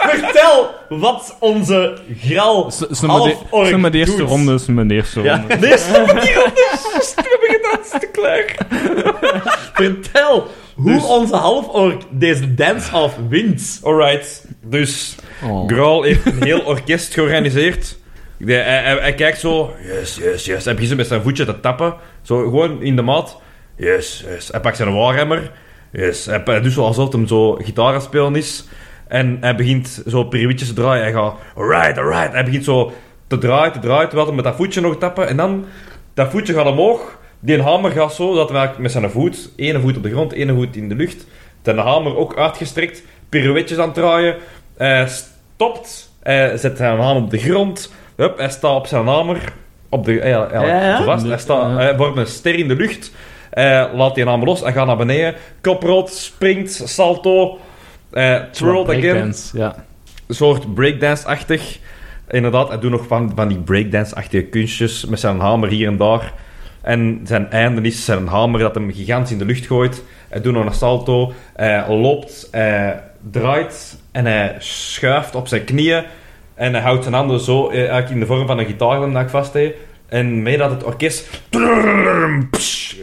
Speaker 2: Vertel wat onze gral
Speaker 4: S- s- nummer de-
Speaker 2: half-ork
Speaker 4: s- nummer de eerste
Speaker 2: doet.
Speaker 4: ronde, s- nummer de eerste
Speaker 2: Ja,
Speaker 4: ronde.
Speaker 2: nee, stop het niet op de te klaar. Vertel hoe
Speaker 4: Dus-
Speaker 2: onze half-ork deze dance-off wint.
Speaker 1: Alright. Dus
Speaker 3: Oh.
Speaker 1: Graal heeft een heel orkest georganiseerd. Hij, hij- hij- hij kijkt zo. Yes, yes, yes. Hij begint met zijn voetje te tappen. Zo gewoon in de maat. Yes, yes. Hij pakt zijn waarhammer. Yes. Hij, hij doet zo alsof hem zo gitaar aan het spelen is. En hij begint zo pirouetjes te draaien. Hij gaat. Alright, alright. Hij begint zo te draaien, te draaien. Terwijl hij met dat voetje nog tappen. En dan dat voetje gaat omhoog. Die hamer gaat zo, dat hij eigenlijk met zijn voet, ene voet op de grond, ene voet in de lucht, zijn hamer ook uitgestrekt, pirouetjes aan het draaien, hij stopt, hij zet zijn hamer op de grond, hup, hij staat op zijn hamer, op de, ja, ja,
Speaker 2: Ja, ja.
Speaker 1: vast, hij, staat, hij vormt een ster in de lucht, hij laat die hamer los, hij gaat naar beneden, koprood, springt, salto, eh twirled again,
Speaker 3: Breakdance, Ja.
Speaker 1: een soort breakdance-achtig. Inderdaad, hij doet nog van, van die breakdance-achtige kunstjes met zijn hamer hier en daar. En zijn einde is zijn hamer dat hem gigantisch in de lucht gooit. Hij doet nog een salto, hij loopt, hij draait en hij schuift op zijn knieën. En hij houdt zijn handen zo eh, eigenlijk in de vorm van een gitaar dat hij vast heeft. En mee dat het orkest...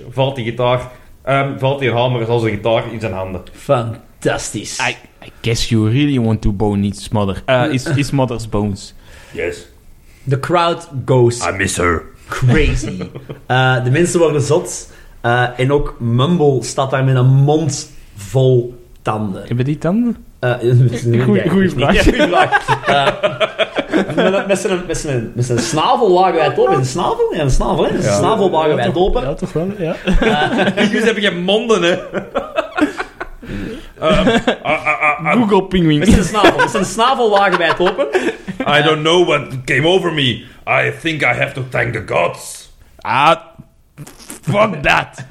Speaker 1: Valt die gitaar... ehm, valt die hamer zoals een gitaar in zijn handen.
Speaker 2: Fantastisch.
Speaker 4: I, I guess you really want to bone his mother. Eh, his, his mother's bones.
Speaker 5: Yes,
Speaker 2: The crowd goes
Speaker 5: I miss her.
Speaker 2: crazy.
Speaker 5: <laughs>
Speaker 2: Eh, de mensen worden zot. Eh, en ook Mumble staat daar met een mond vol tanden.
Speaker 4: Hebben die tanden?
Speaker 2: Eh, <laughs> dat is niet-
Speaker 4: Goeie-
Speaker 2: ja,
Speaker 4: goeie
Speaker 2: dat is niet-
Speaker 4: vraag.
Speaker 2: <laughs> ja, goeie vraag. Eh, met- met zijn- met zijn- Met zijn snavel wagen wij het open. Is een snavel? Ja, een snavel, hè? Met zijn snavel wagen wij het open.
Speaker 6: Ja, toch wel, ja.
Speaker 1: Jullie hebben geen monden, hè?
Speaker 4: Google Penguin.
Speaker 2: Met zijn snavel. Met zijn snavel wagen wij het open.
Speaker 5: I don't know what came over me. I think I have to thank the gods.
Speaker 4: Ah, fuck that.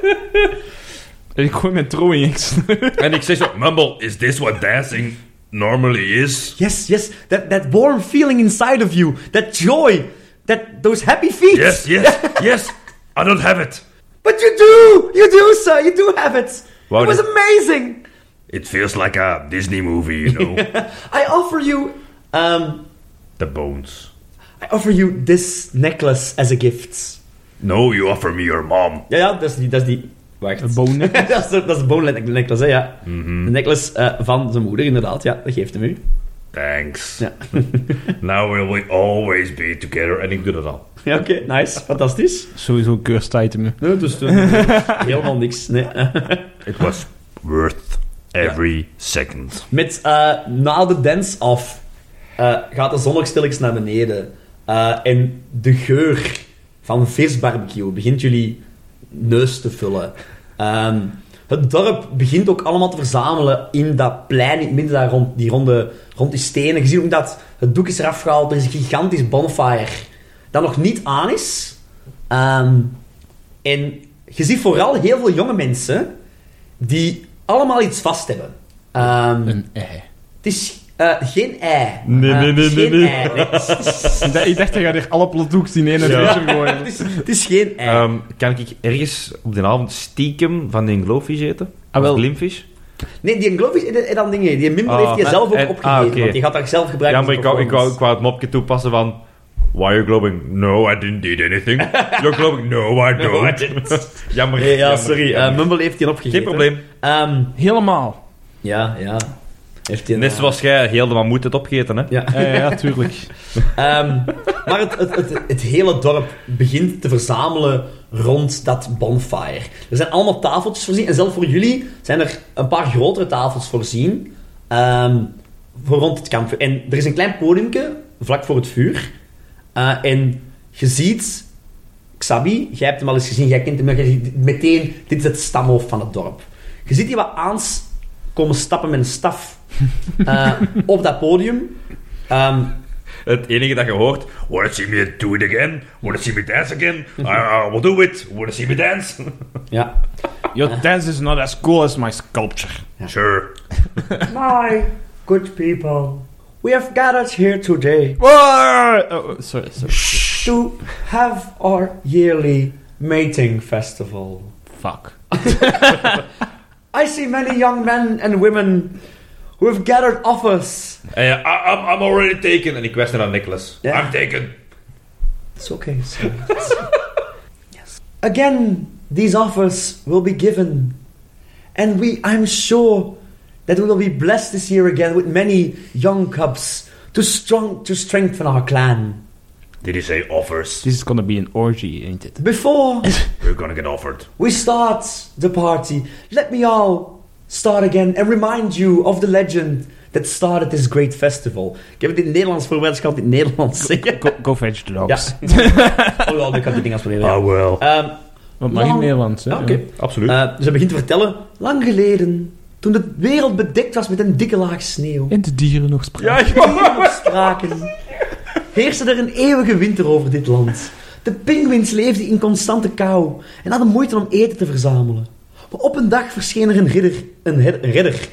Speaker 5: <laughs>
Speaker 4: en ik gooi mijn throwing axe.
Speaker 5: En ik zeg zo, Mumble, is this what dancing normally is?
Speaker 2: Yes, yes. That, that warm feeling inside of you. That joy. That, those happy feet.
Speaker 5: Yes,
Speaker 2: <laughs>
Speaker 4: <laughs>
Speaker 5: yes, yes. I don't have it.
Speaker 2: But you do. You do, sir. You do have it.
Speaker 1: Wou
Speaker 2: it was
Speaker 1: dit-
Speaker 2: amazing.
Speaker 5: It feels like a Disney movie, you
Speaker 4: <laughs>
Speaker 5: know.
Speaker 2: I offer you... Um,
Speaker 5: the bones.
Speaker 2: I offer you this necklace as a gift.
Speaker 5: No, you offer me your mom.
Speaker 2: Ja, ja, dat is die... Dat is die <laughs>
Speaker 1: Wacht.
Speaker 4: Bonen.
Speaker 2: dat is de, dat is de bone necklace, hè, ja. De necklace eh, van zijn moeder, inderdaad. Ja, dat geeft hem u. <laughs>
Speaker 5: Thanks.
Speaker 2: Ja.
Speaker 5: <laughs> Now will we always be together. En ik doe dat al.
Speaker 2: Ja, oké. nice. Fantastisch.
Speaker 4: <laughs> Sowieso een cursed item.
Speaker 2: Nee, dus eh, <laughs> helemaal niks. Nee.
Speaker 5: It was worth every second.
Speaker 2: Met eh, na de dance af eh, gaat de zon ook stilletjes naar beneden. Eh, en de geur van visbarbecue begint jullie neus te vullen. Ehm, het dorp begint ook allemaal te verzamelen in dat plein, in het midden daar rond die, ronde, rond die stenen. Je ziet ook dat het doek is eraf gehaald. Er is een gigantisch bonfire dat nog niet aan is. Ehm, en je ziet vooral heel veel jonge mensen die allemaal iets vast hebben. Ehm,
Speaker 3: Een ei.
Speaker 2: het is eh, geen ei.
Speaker 4: Nee,
Speaker 2: Eh,
Speaker 4: nee, nee,
Speaker 2: geen
Speaker 4: nee, nee.
Speaker 2: ei, nee. Het is-
Speaker 4: Ik dacht, hij gaat hier alle plothoeks in één adventure <laughs> gooien.
Speaker 2: Het is geen ei.
Speaker 1: Ehm, kan ik ergens op de avond stiekem van die glowfish eten?
Speaker 4: Ah, wel.
Speaker 1: Of glimfish?
Speaker 2: nee, die Glovis en dan dingen. Die Mimble
Speaker 1: Ah,
Speaker 2: heeft je
Speaker 1: en-
Speaker 2: zelf ook
Speaker 1: en- ah,
Speaker 2: opgegeven.
Speaker 1: oké.
Speaker 2: Want die gaat daar zelf gebruiken.
Speaker 1: Ja, maar ik
Speaker 2: kan
Speaker 1: wou, ik, wou, ik wou het mopje toepassen van... Why are you glowing? No, I didn't eat <laughs> anything. You're glowing? No, I don't. <laughs> jammer.
Speaker 2: ja,
Speaker 1: jammer,
Speaker 2: sorry. eh
Speaker 1: jammer.
Speaker 2: Mumble heeft die opgegeven.
Speaker 1: Geen probleem.
Speaker 2: Ehm,
Speaker 4: Helemaal.
Speaker 2: ja, ja. Heeft die,
Speaker 1: Net
Speaker 2: eh,
Speaker 1: zoals jij heel de mammoet hebt opgegeten, hè?
Speaker 2: Ja.
Speaker 4: Ja, ja, ja, <laughs> tuurlijk.
Speaker 2: Ehm, maar het, het, het, het hele dorp begint te verzamelen rond dat bonfire. Er zijn allemaal tafeltjes voorzien. En zelfs voor jullie zijn er een paar grotere tafels voorzien. ehm, voor rond het kampvuur. En er is een klein podiumke vlak voor het vuur. Eh, en je ziet Xabi, jij hebt hem al eens gezien, jij kent hem, maar je ziet meteen, dit is het stamhoofd van het dorp. Je ziet die wat aans komen stappen met een staf eh, op dat podium. Ehm,
Speaker 1: Het enige dat je hoort...
Speaker 5: Wanna see me do it again? Wanna see me dance again? I, I will do it. Wanna see me dance? <laughs>
Speaker 2: ja,
Speaker 4: Your dance is not as cool as my sculpture.
Speaker 5: Sure.
Speaker 6: My good people,
Speaker 2: We have gathered here today
Speaker 4: Oh, oh, sorry, sorry.
Speaker 2: to have our yearly mating festival.
Speaker 4: Fuck.
Speaker 2: I see many young men and women who have gathered off us.
Speaker 1: eh, I, I'm, I'm already taken. En ik wijs naar Nicholas.
Speaker 2: Ja.
Speaker 5: I'm taken.
Speaker 2: It's okay,
Speaker 5: <laughs>
Speaker 2: sir. yes. Again, these offers will be given, and we, I'm sure, that we will be blessed this year again with many young cubs to strong to strengthen our clan.
Speaker 5: Did he say offers?
Speaker 4: This is gonna be an orgy, ain't it?
Speaker 2: Before
Speaker 5: We're gonna get offered.
Speaker 2: We start the party. Let me all start again and remind you of the legend that started this great festival. Ik heb het in het Nederlands voorbereid, dus ik kan het in het Nederlands zeggen.
Speaker 4: Go, go fetch
Speaker 2: <laughs>
Speaker 4: the
Speaker 2: Ja.
Speaker 4: dogs.
Speaker 2: Oh ja, ik kan die dingen als proberen.
Speaker 5: Oh well.
Speaker 2: Ehm,
Speaker 4: Wat mag in
Speaker 2: Lang-
Speaker 4: Nederlands, hè?
Speaker 2: ja, oké.
Speaker 1: Absoluut.
Speaker 2: Eh, ze begint te vertellen. Lang geleden, toen de wereld bedekt was met een dikke laag sneeuw.
Speaker 4: En de dieren nog spraken.
Speaker 2: Dieren op straken. Heerste er een eeuwige winter over dit land. De pinguïns leefden in constante kou en hadden moeite om eten te verzamelen. Maar op een dag verscheen er een ridder, een he- een redder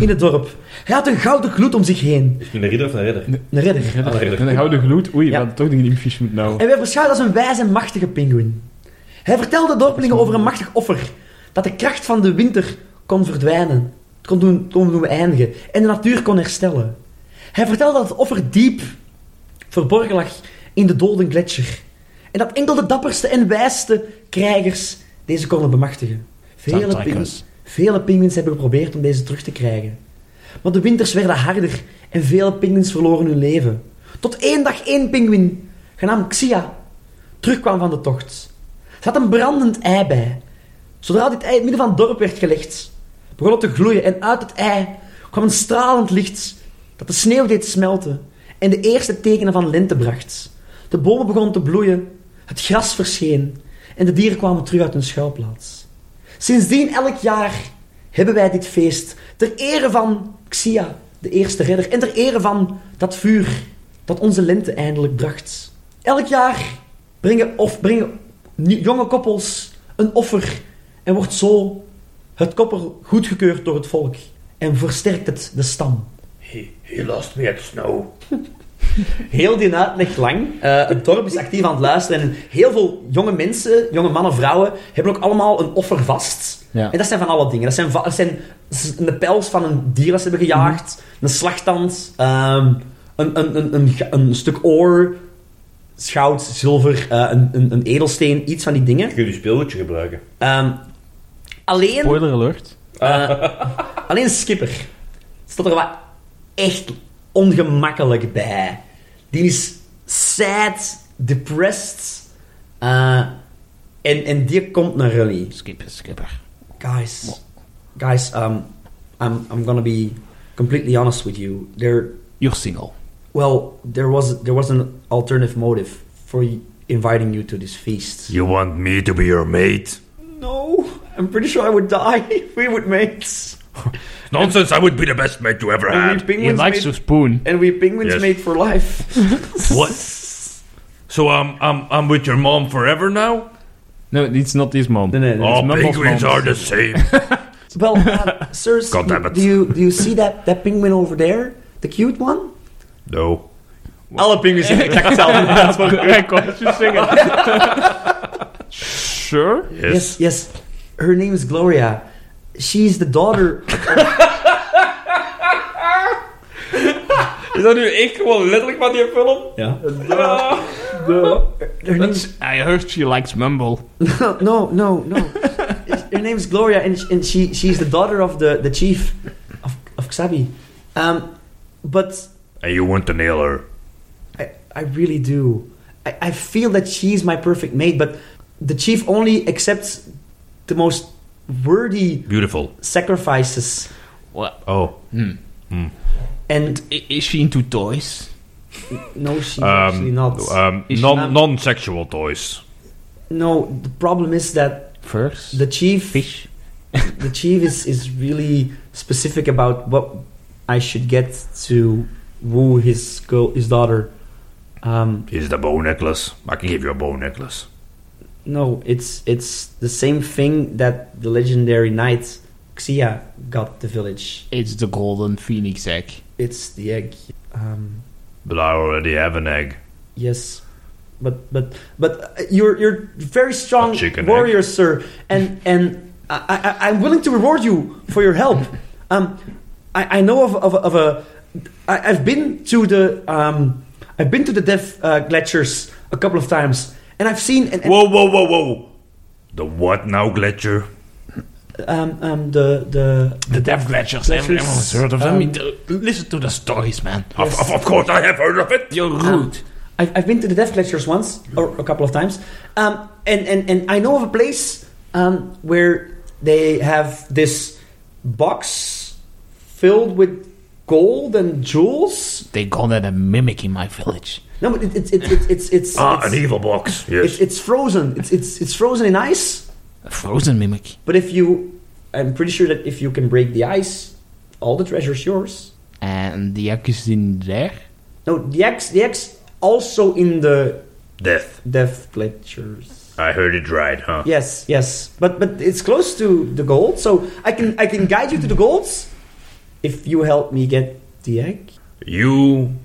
Speaker 2: in het dorp. Hij had een gouden gloed om zich heen.
Speaker 1: Is het een ridder of een redder?
Speaker 2: Een redder.
Speaker 4: En de gouden gloed, oei,
Speaker 2: Ja.
Speaker 4: we hadden toch niet in fish moeten nou.
Speaker 2: En werd beschouwd als een wijze en machtige pinguïn. Hij vertelde de dorpelingen over een machtig offer. Dat de kracht van de winter kon verdwijnen. Het kon doen, kon doen eindigen. En de natuur kon herstellen. Hij vertelde dat het offer diep verborgen lag in de doden gletsjer. En dat enkel de dapperste en wijste krijgers deze konden bemachtigen. Vele,
Speaker 4: Sounds like
Speaker 2: pingu-
Speaker 4: us.
Speaker 2: vele pinguïns hebben geprobeerd om deze terug te krijgen. Maar de winters werden harder en vele pinguïns verloren hun leven. Tot één dag één pinguïn, genaamd Xia, terugkwam van de tocht. Ze had een brandend ei bij. Zodra dit ei in het midden van het dorp werd gelegd, begon het te gloeien en uit het ei kwam een stralend licht dat de sneeuw deed smelten en de eerste tekenen van lente bracht. De bomen begonnen te bloeien, het gras verscheen en de dieren kwamen terug uit hun schuilplaats. Sindsdien elk jaar hebben wij dit feest ter ere van Xia, de eerste redder, en ter ere van dat vuur dat onze lente eindelijk bracht. Elk jaar brengen, of brengen ni- jonge koppels een offer en wordt zo het koppel goedgekeurd door het volk en versterkt het de stam.
Speaker 3: He, he lost me at snow.
Speaker 2: Heel die uitleg lang.
Speaker 3: Eh, het dorp is actief aan het luisteren. En heel veel jonge mensen, jonge mannen, vrouwen, hebben ook allemaal een offer vast.
Speaker 7: Ja.
Speaker 3: En dat zijn van alle dingen. Dat zijn, va- dat zijn s- de pels van een dier dat ze hebben gejaagd, een slagtand, ehm, een, een, een, een, ga- een stuk oor, goud, zilver, eh, een, een, een edelsteen, iets van die dingen.
Speaker 1: Je kunt je speelgoedje gebruiken.
Speaker 3: Ehm, alleen,
Speaker 4: Spoiler alert. <laughs>
Speaker 3: eh, alleen Skipper staat er wat echt ongemakkelijk bij. Die is sad, depressed. eh, en, en die komt naar jullie.
Speaker 4: Skipper, skipper.
Speaker 3: Guys, guys, um, I'm, I'm gonna be completely honest with you. There,
Speaker 4: You're single.
Speaker 3: well, there was, there was an alternative motive for y- inviting you to this feast.
Speaker 5: You want me to be your mate?
Speaker 3: No, I'm pretty sure I would die <laughs> if we would mates.
Speaker 5: Nonsense, I would be the best mate you ever
Speaker 3: And we
Speaker 5: had.
Speaker 3: penguins made,
Speaker 4: spoon.
Speaker 3: and we penguins
Speaker 5: Yes.
Speaker 3: made for life.
Speaker 5: <laughs> What? So I'm, I'm, I'm with your mom forever now?
Speaker 4: No, it's not this mom.
Speaker 3: Nee, nee, nee.
Speaker 5: All
Speaker 4: Muffles
Speaker 5: penguins
Speaker 4: mom.
Speaker 5: are the same.
Speaker 2: Well, uh, sirs,
Speaker 5: <laughs> God damn it.
Speaker 2: do you do you see that that penguin over there, the cute one?
Speaker 5: no.
Speaker 3: Alle penguins zijn exact hetzelfde. Dat is wel goed.
Speaker 4: Sure.
Speaker 5: Yes.
Speaker 2: yes, yes. Her name is Gloria. She's the daughter.
Speaker 4: <laughs>
Speaker 1: Is dat nu echt gewoon letterlijk van die film? <laughs>
Speaker 2: Her name is,
Speaker 4: I heard she likes mumble.
Speaker 2: no, no, no. Her name is Gloria, and and she she's the daughter of the the chief of of Xabi. Um, but
Speaker 5: And you want to nail her.
Speaker 2: I, I really do. I, I feel that she's my perfect mate, but the chief only accepts the most worthy
Speaker 5: Beautiful.
Speaker 2: sacrifices.
Speaker 5: Oh.
Speaker 2: And
Speaker 4: I- Is she into toys?
Speaker 2: no, she's actually
Speaker 5: Um,
Speaker 2: not.
Speaker 5: um,
Speaker 4: Is she
Speaker 5: non,
Speaker 4: not-
Speaker 5: non-sexual toys.
Speaker 2: no, the problem is that
Speaker 4: First.
Speaker 2: the chief,
Speaker 4: fish.
Speaker 2: <laughs> the chief is, is really specific about what I should get to woo his girl, his daughter. Um,
Speaker 5: Is the bow necklace. I can give you a bow necklace.
Speaker 2: no, it's it's the same thing that the legendary knight Xia got the village.
Speaker 4: It's the golden phoenix egg.
Speaker 2: It's the egg. Um,
Speaker 5: But I already have an egg.
Speaker 2: Yes, but but but uh, you're you're very strong
Speaker 5: A chicken
Speaker 2: warrior, sir, and and I, I I'm willing to reward you for your
Speaker 4: <laughs>
Speaker 2: help. Um, I, I know of of, of a I, I've been to the um I've been to the Death uh, Glaciers a couple of times, and I've seen and, and,
Speaker 5: Whoa, whoa, whoa, whoa! The what now, Gletscher?
Speaker 2: um um the the
Speaker 4: The Death Gladiators.
Speaker 2: Gladiators.
Speaker 4: Everyone's heard of them.
Speaker 2: Um,
Speaker 4: I mean, th- listen to the stories, man.
Speaker 5: Of, of, of course, I have heard of it!
Speaker 4: You're rude.
Speaker 2: I've, I've been to the Death Lectures once, or a couple of times, um, and, and, and I know of a place um, where they have this box filled with gold and jewels.
Speaker 4: They call that a mimic in my village.
Speaker 2: No, but it, it, it, it, it's it's
Speaker 5: Ah,
Speaker 2: it's,
Speaker 5: an evil box.
Speaker 2: it's
Speaker 5: Yes.
Speaker 2: it's frozen. It's it's it's frozen in ice.
Speaker 4: A frozen mimic.
Speaker 2: But if you, I'm pretty sure that if you can break the ice, all the treasure's yours.
Speaker 4: And the egg is in there.
Speaker 2: No, the X the X also in the
Speaker 5: Death.
Speaker 2: Death Lectures.
Speaker 5: I heard it right, huh?
Speaker 2: Yes, yes, but but it's close to the gold, so I can I can guide you to the golds if you help me get the egg.
Speaker 5: You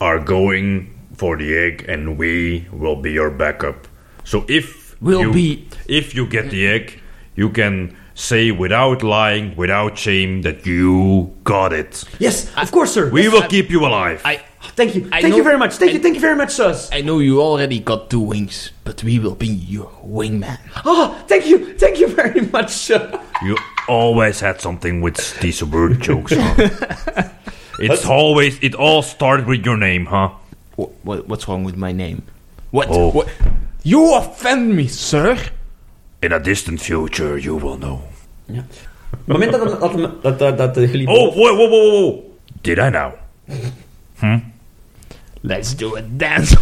Speaker 5: are going for the egg, and we will be your backup. So if
Speaker 4: Will
Speaker 5: you,
Speaker 4: be-
Speaker 5: if you get the egg, you can say without lying, without shame, that you got it.
Speaker 2: Yes, of course, sir.
Speaker 5: We will keep you alive.
Speaker 4: I,
Speaker 2: Thank you,
Speaker 4: I
Speaker 2: thank you
Speaker 4: know-
Speaker 2: very much, thank
Speaker 4: I-
Speaker 2: you, thank you very much, sirs.
Speaker 4: I know you already got two wings, but we will be your wingman.
Speaker 2: Oh, thank you, thank you very <laughs> much, sir.
Speaker 5: You always had something with these
Speaker 2: <laughs>
Speaker 5: word jokes. Huh? It's always it all started with your name, huh?
Speaker 4: What, what, what's wrong with my name? What,
Speaker 5: Oh.
Speaker 4: what? You offend me, sir.
Speaker 5: In a distant future, you will know.
Speaker 3: Op het moment dat, dat, dat, dat, dat, dat eh, jullie...
Speaker 5: Oh, whoa, whoa, whoa, whoa! whoa. Did I now?
Speaker 4: Let's do a dance.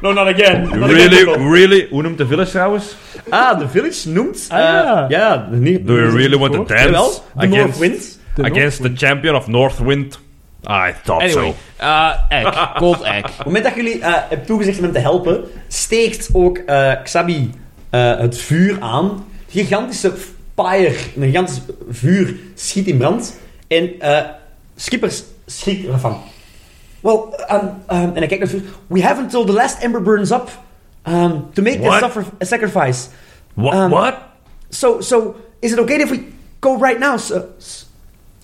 Speaker 2: No, not again. Not again,
Speaker 1: Really,
Speaker 2: Nicole.
Speaker 1: really? Hoe noemt de village trouwens?
Speaker 2: Ah, de village noemt... eh,
Speaker 4: Ah, ja.
Speaker 2: ja, niet...
Speaker 1: Do you really want to
Speaker 2: Jawel,
Speaker 1: dance
Speaker 2: de
Speaker 1: against,
Speaker 2: Northwind.
Speaker 1: against the champion of Northwind? I thought
Speaker 3: Anyway,
Speaker 1: so.
Speaker 4: uh,
Speaker 3: eh
Speaker 5: <laughs>
Speaker 3: Eik. Cold Eik.
Speaker 2: Op het moment dat jullie eh hebt toegezegd om hem te helpen, steekt ook eh, Xabi eh, het vuur aan. Een gigantische fire, een gigantisch vuur schiet in brand. En eh Skippers schrikt ervan. Well, um, um, en hij kijkt naar het vuur. We have until the last ember burns up um, to make a,
Speaker 5: What?
Speaker 2: suffer, a sacrifice.
Speaker 5: What?
Speaker 2: Um,
Speaker 5: what?
Speaker 2: So, so, is it okay if we go right now? So, s-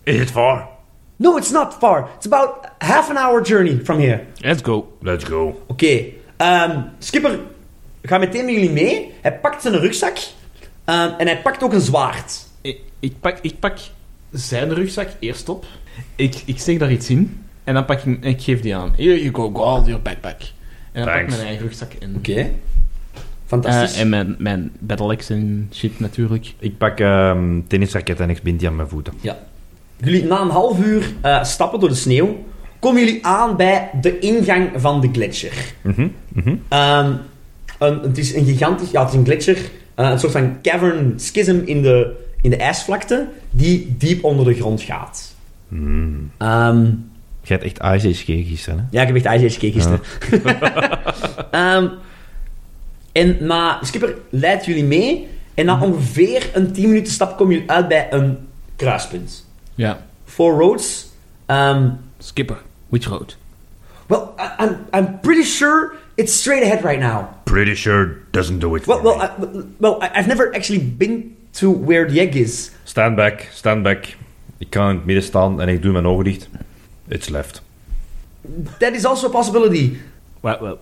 Speaker 5: Is it far?
Speaker 2: no, it's not far. It's about half an hour journey from here.
Speaker 4: Let's go.
Speaker 5: Let's go.
Speaker 2: Oké. ehm, Skipper gaat meteen met jullie mee. Hij pakt zijn rugzak. ehm, en hij pakt ook een zwaard.
Speaker 4: Ik, ik, pak, ik pak zijn rugzak eerst op. Ik, ik steek daar iets in. En dan pak ik, ik geef die aan. Here you go, go out your backpack. En dan pak ik
Speaker 5: Thanks.
Speaker 4: mijn eigen rugzak in.
Speaker 2: Oké. Fantastisch.
Speaker 4: Eh, en mijn, mijn battle axe en shit natuurlijk.
Speaker 1: Ik pak ehm tennisraket en ik bind die aan mijn voeten.
Speaker 2: Jullie na een half uur eh, stappen door de sneeuw. Komen jullie aan bij de ingang van de gletsjer.
Speaker 1: Mhm, mhm.
Speaker 2: Ehm, een, het is een gigantisch... Ja, het is een gletsjer. eh, een soort van cavern schism in de, in de ijsvlakte. Die diep onder de grond gaat.
Speaker 5: Hmm.
Speaker 1: Mm.
Speaker 2: Ehm,
Speaker 1: Je hebt echt Ice Age gekeken gisteren, hè?
Speaker 2: Ja, ik heb echt Ice Age gekeken gisteren. <laughs> Ehm, en na... Skipper leidt jullie mee. En na ongeveer een 10 minuten stap komen jullie uit bij een kruispunt.
Speaker 4: Ja.
Speaker 2: Four roads. Ehm,
Speaker 4: Skipper, which road?
Speaker 2: well, I- I'm, I'm pretty sure it's straight ahead right now.
Speaker 5: Pretty sure doesn't do it for
Speaker 2: Well, well,
Speaker 5: me.
Speaker 2: I, well I- I've never actually been to where the egg is.
Speaker 1: Stand back, stand back. Ik kan in het midden staan en ik doe mijn ogen dicht. It's left.
Speaker 2: That is also a possibility.
Speaker 4: Well, well,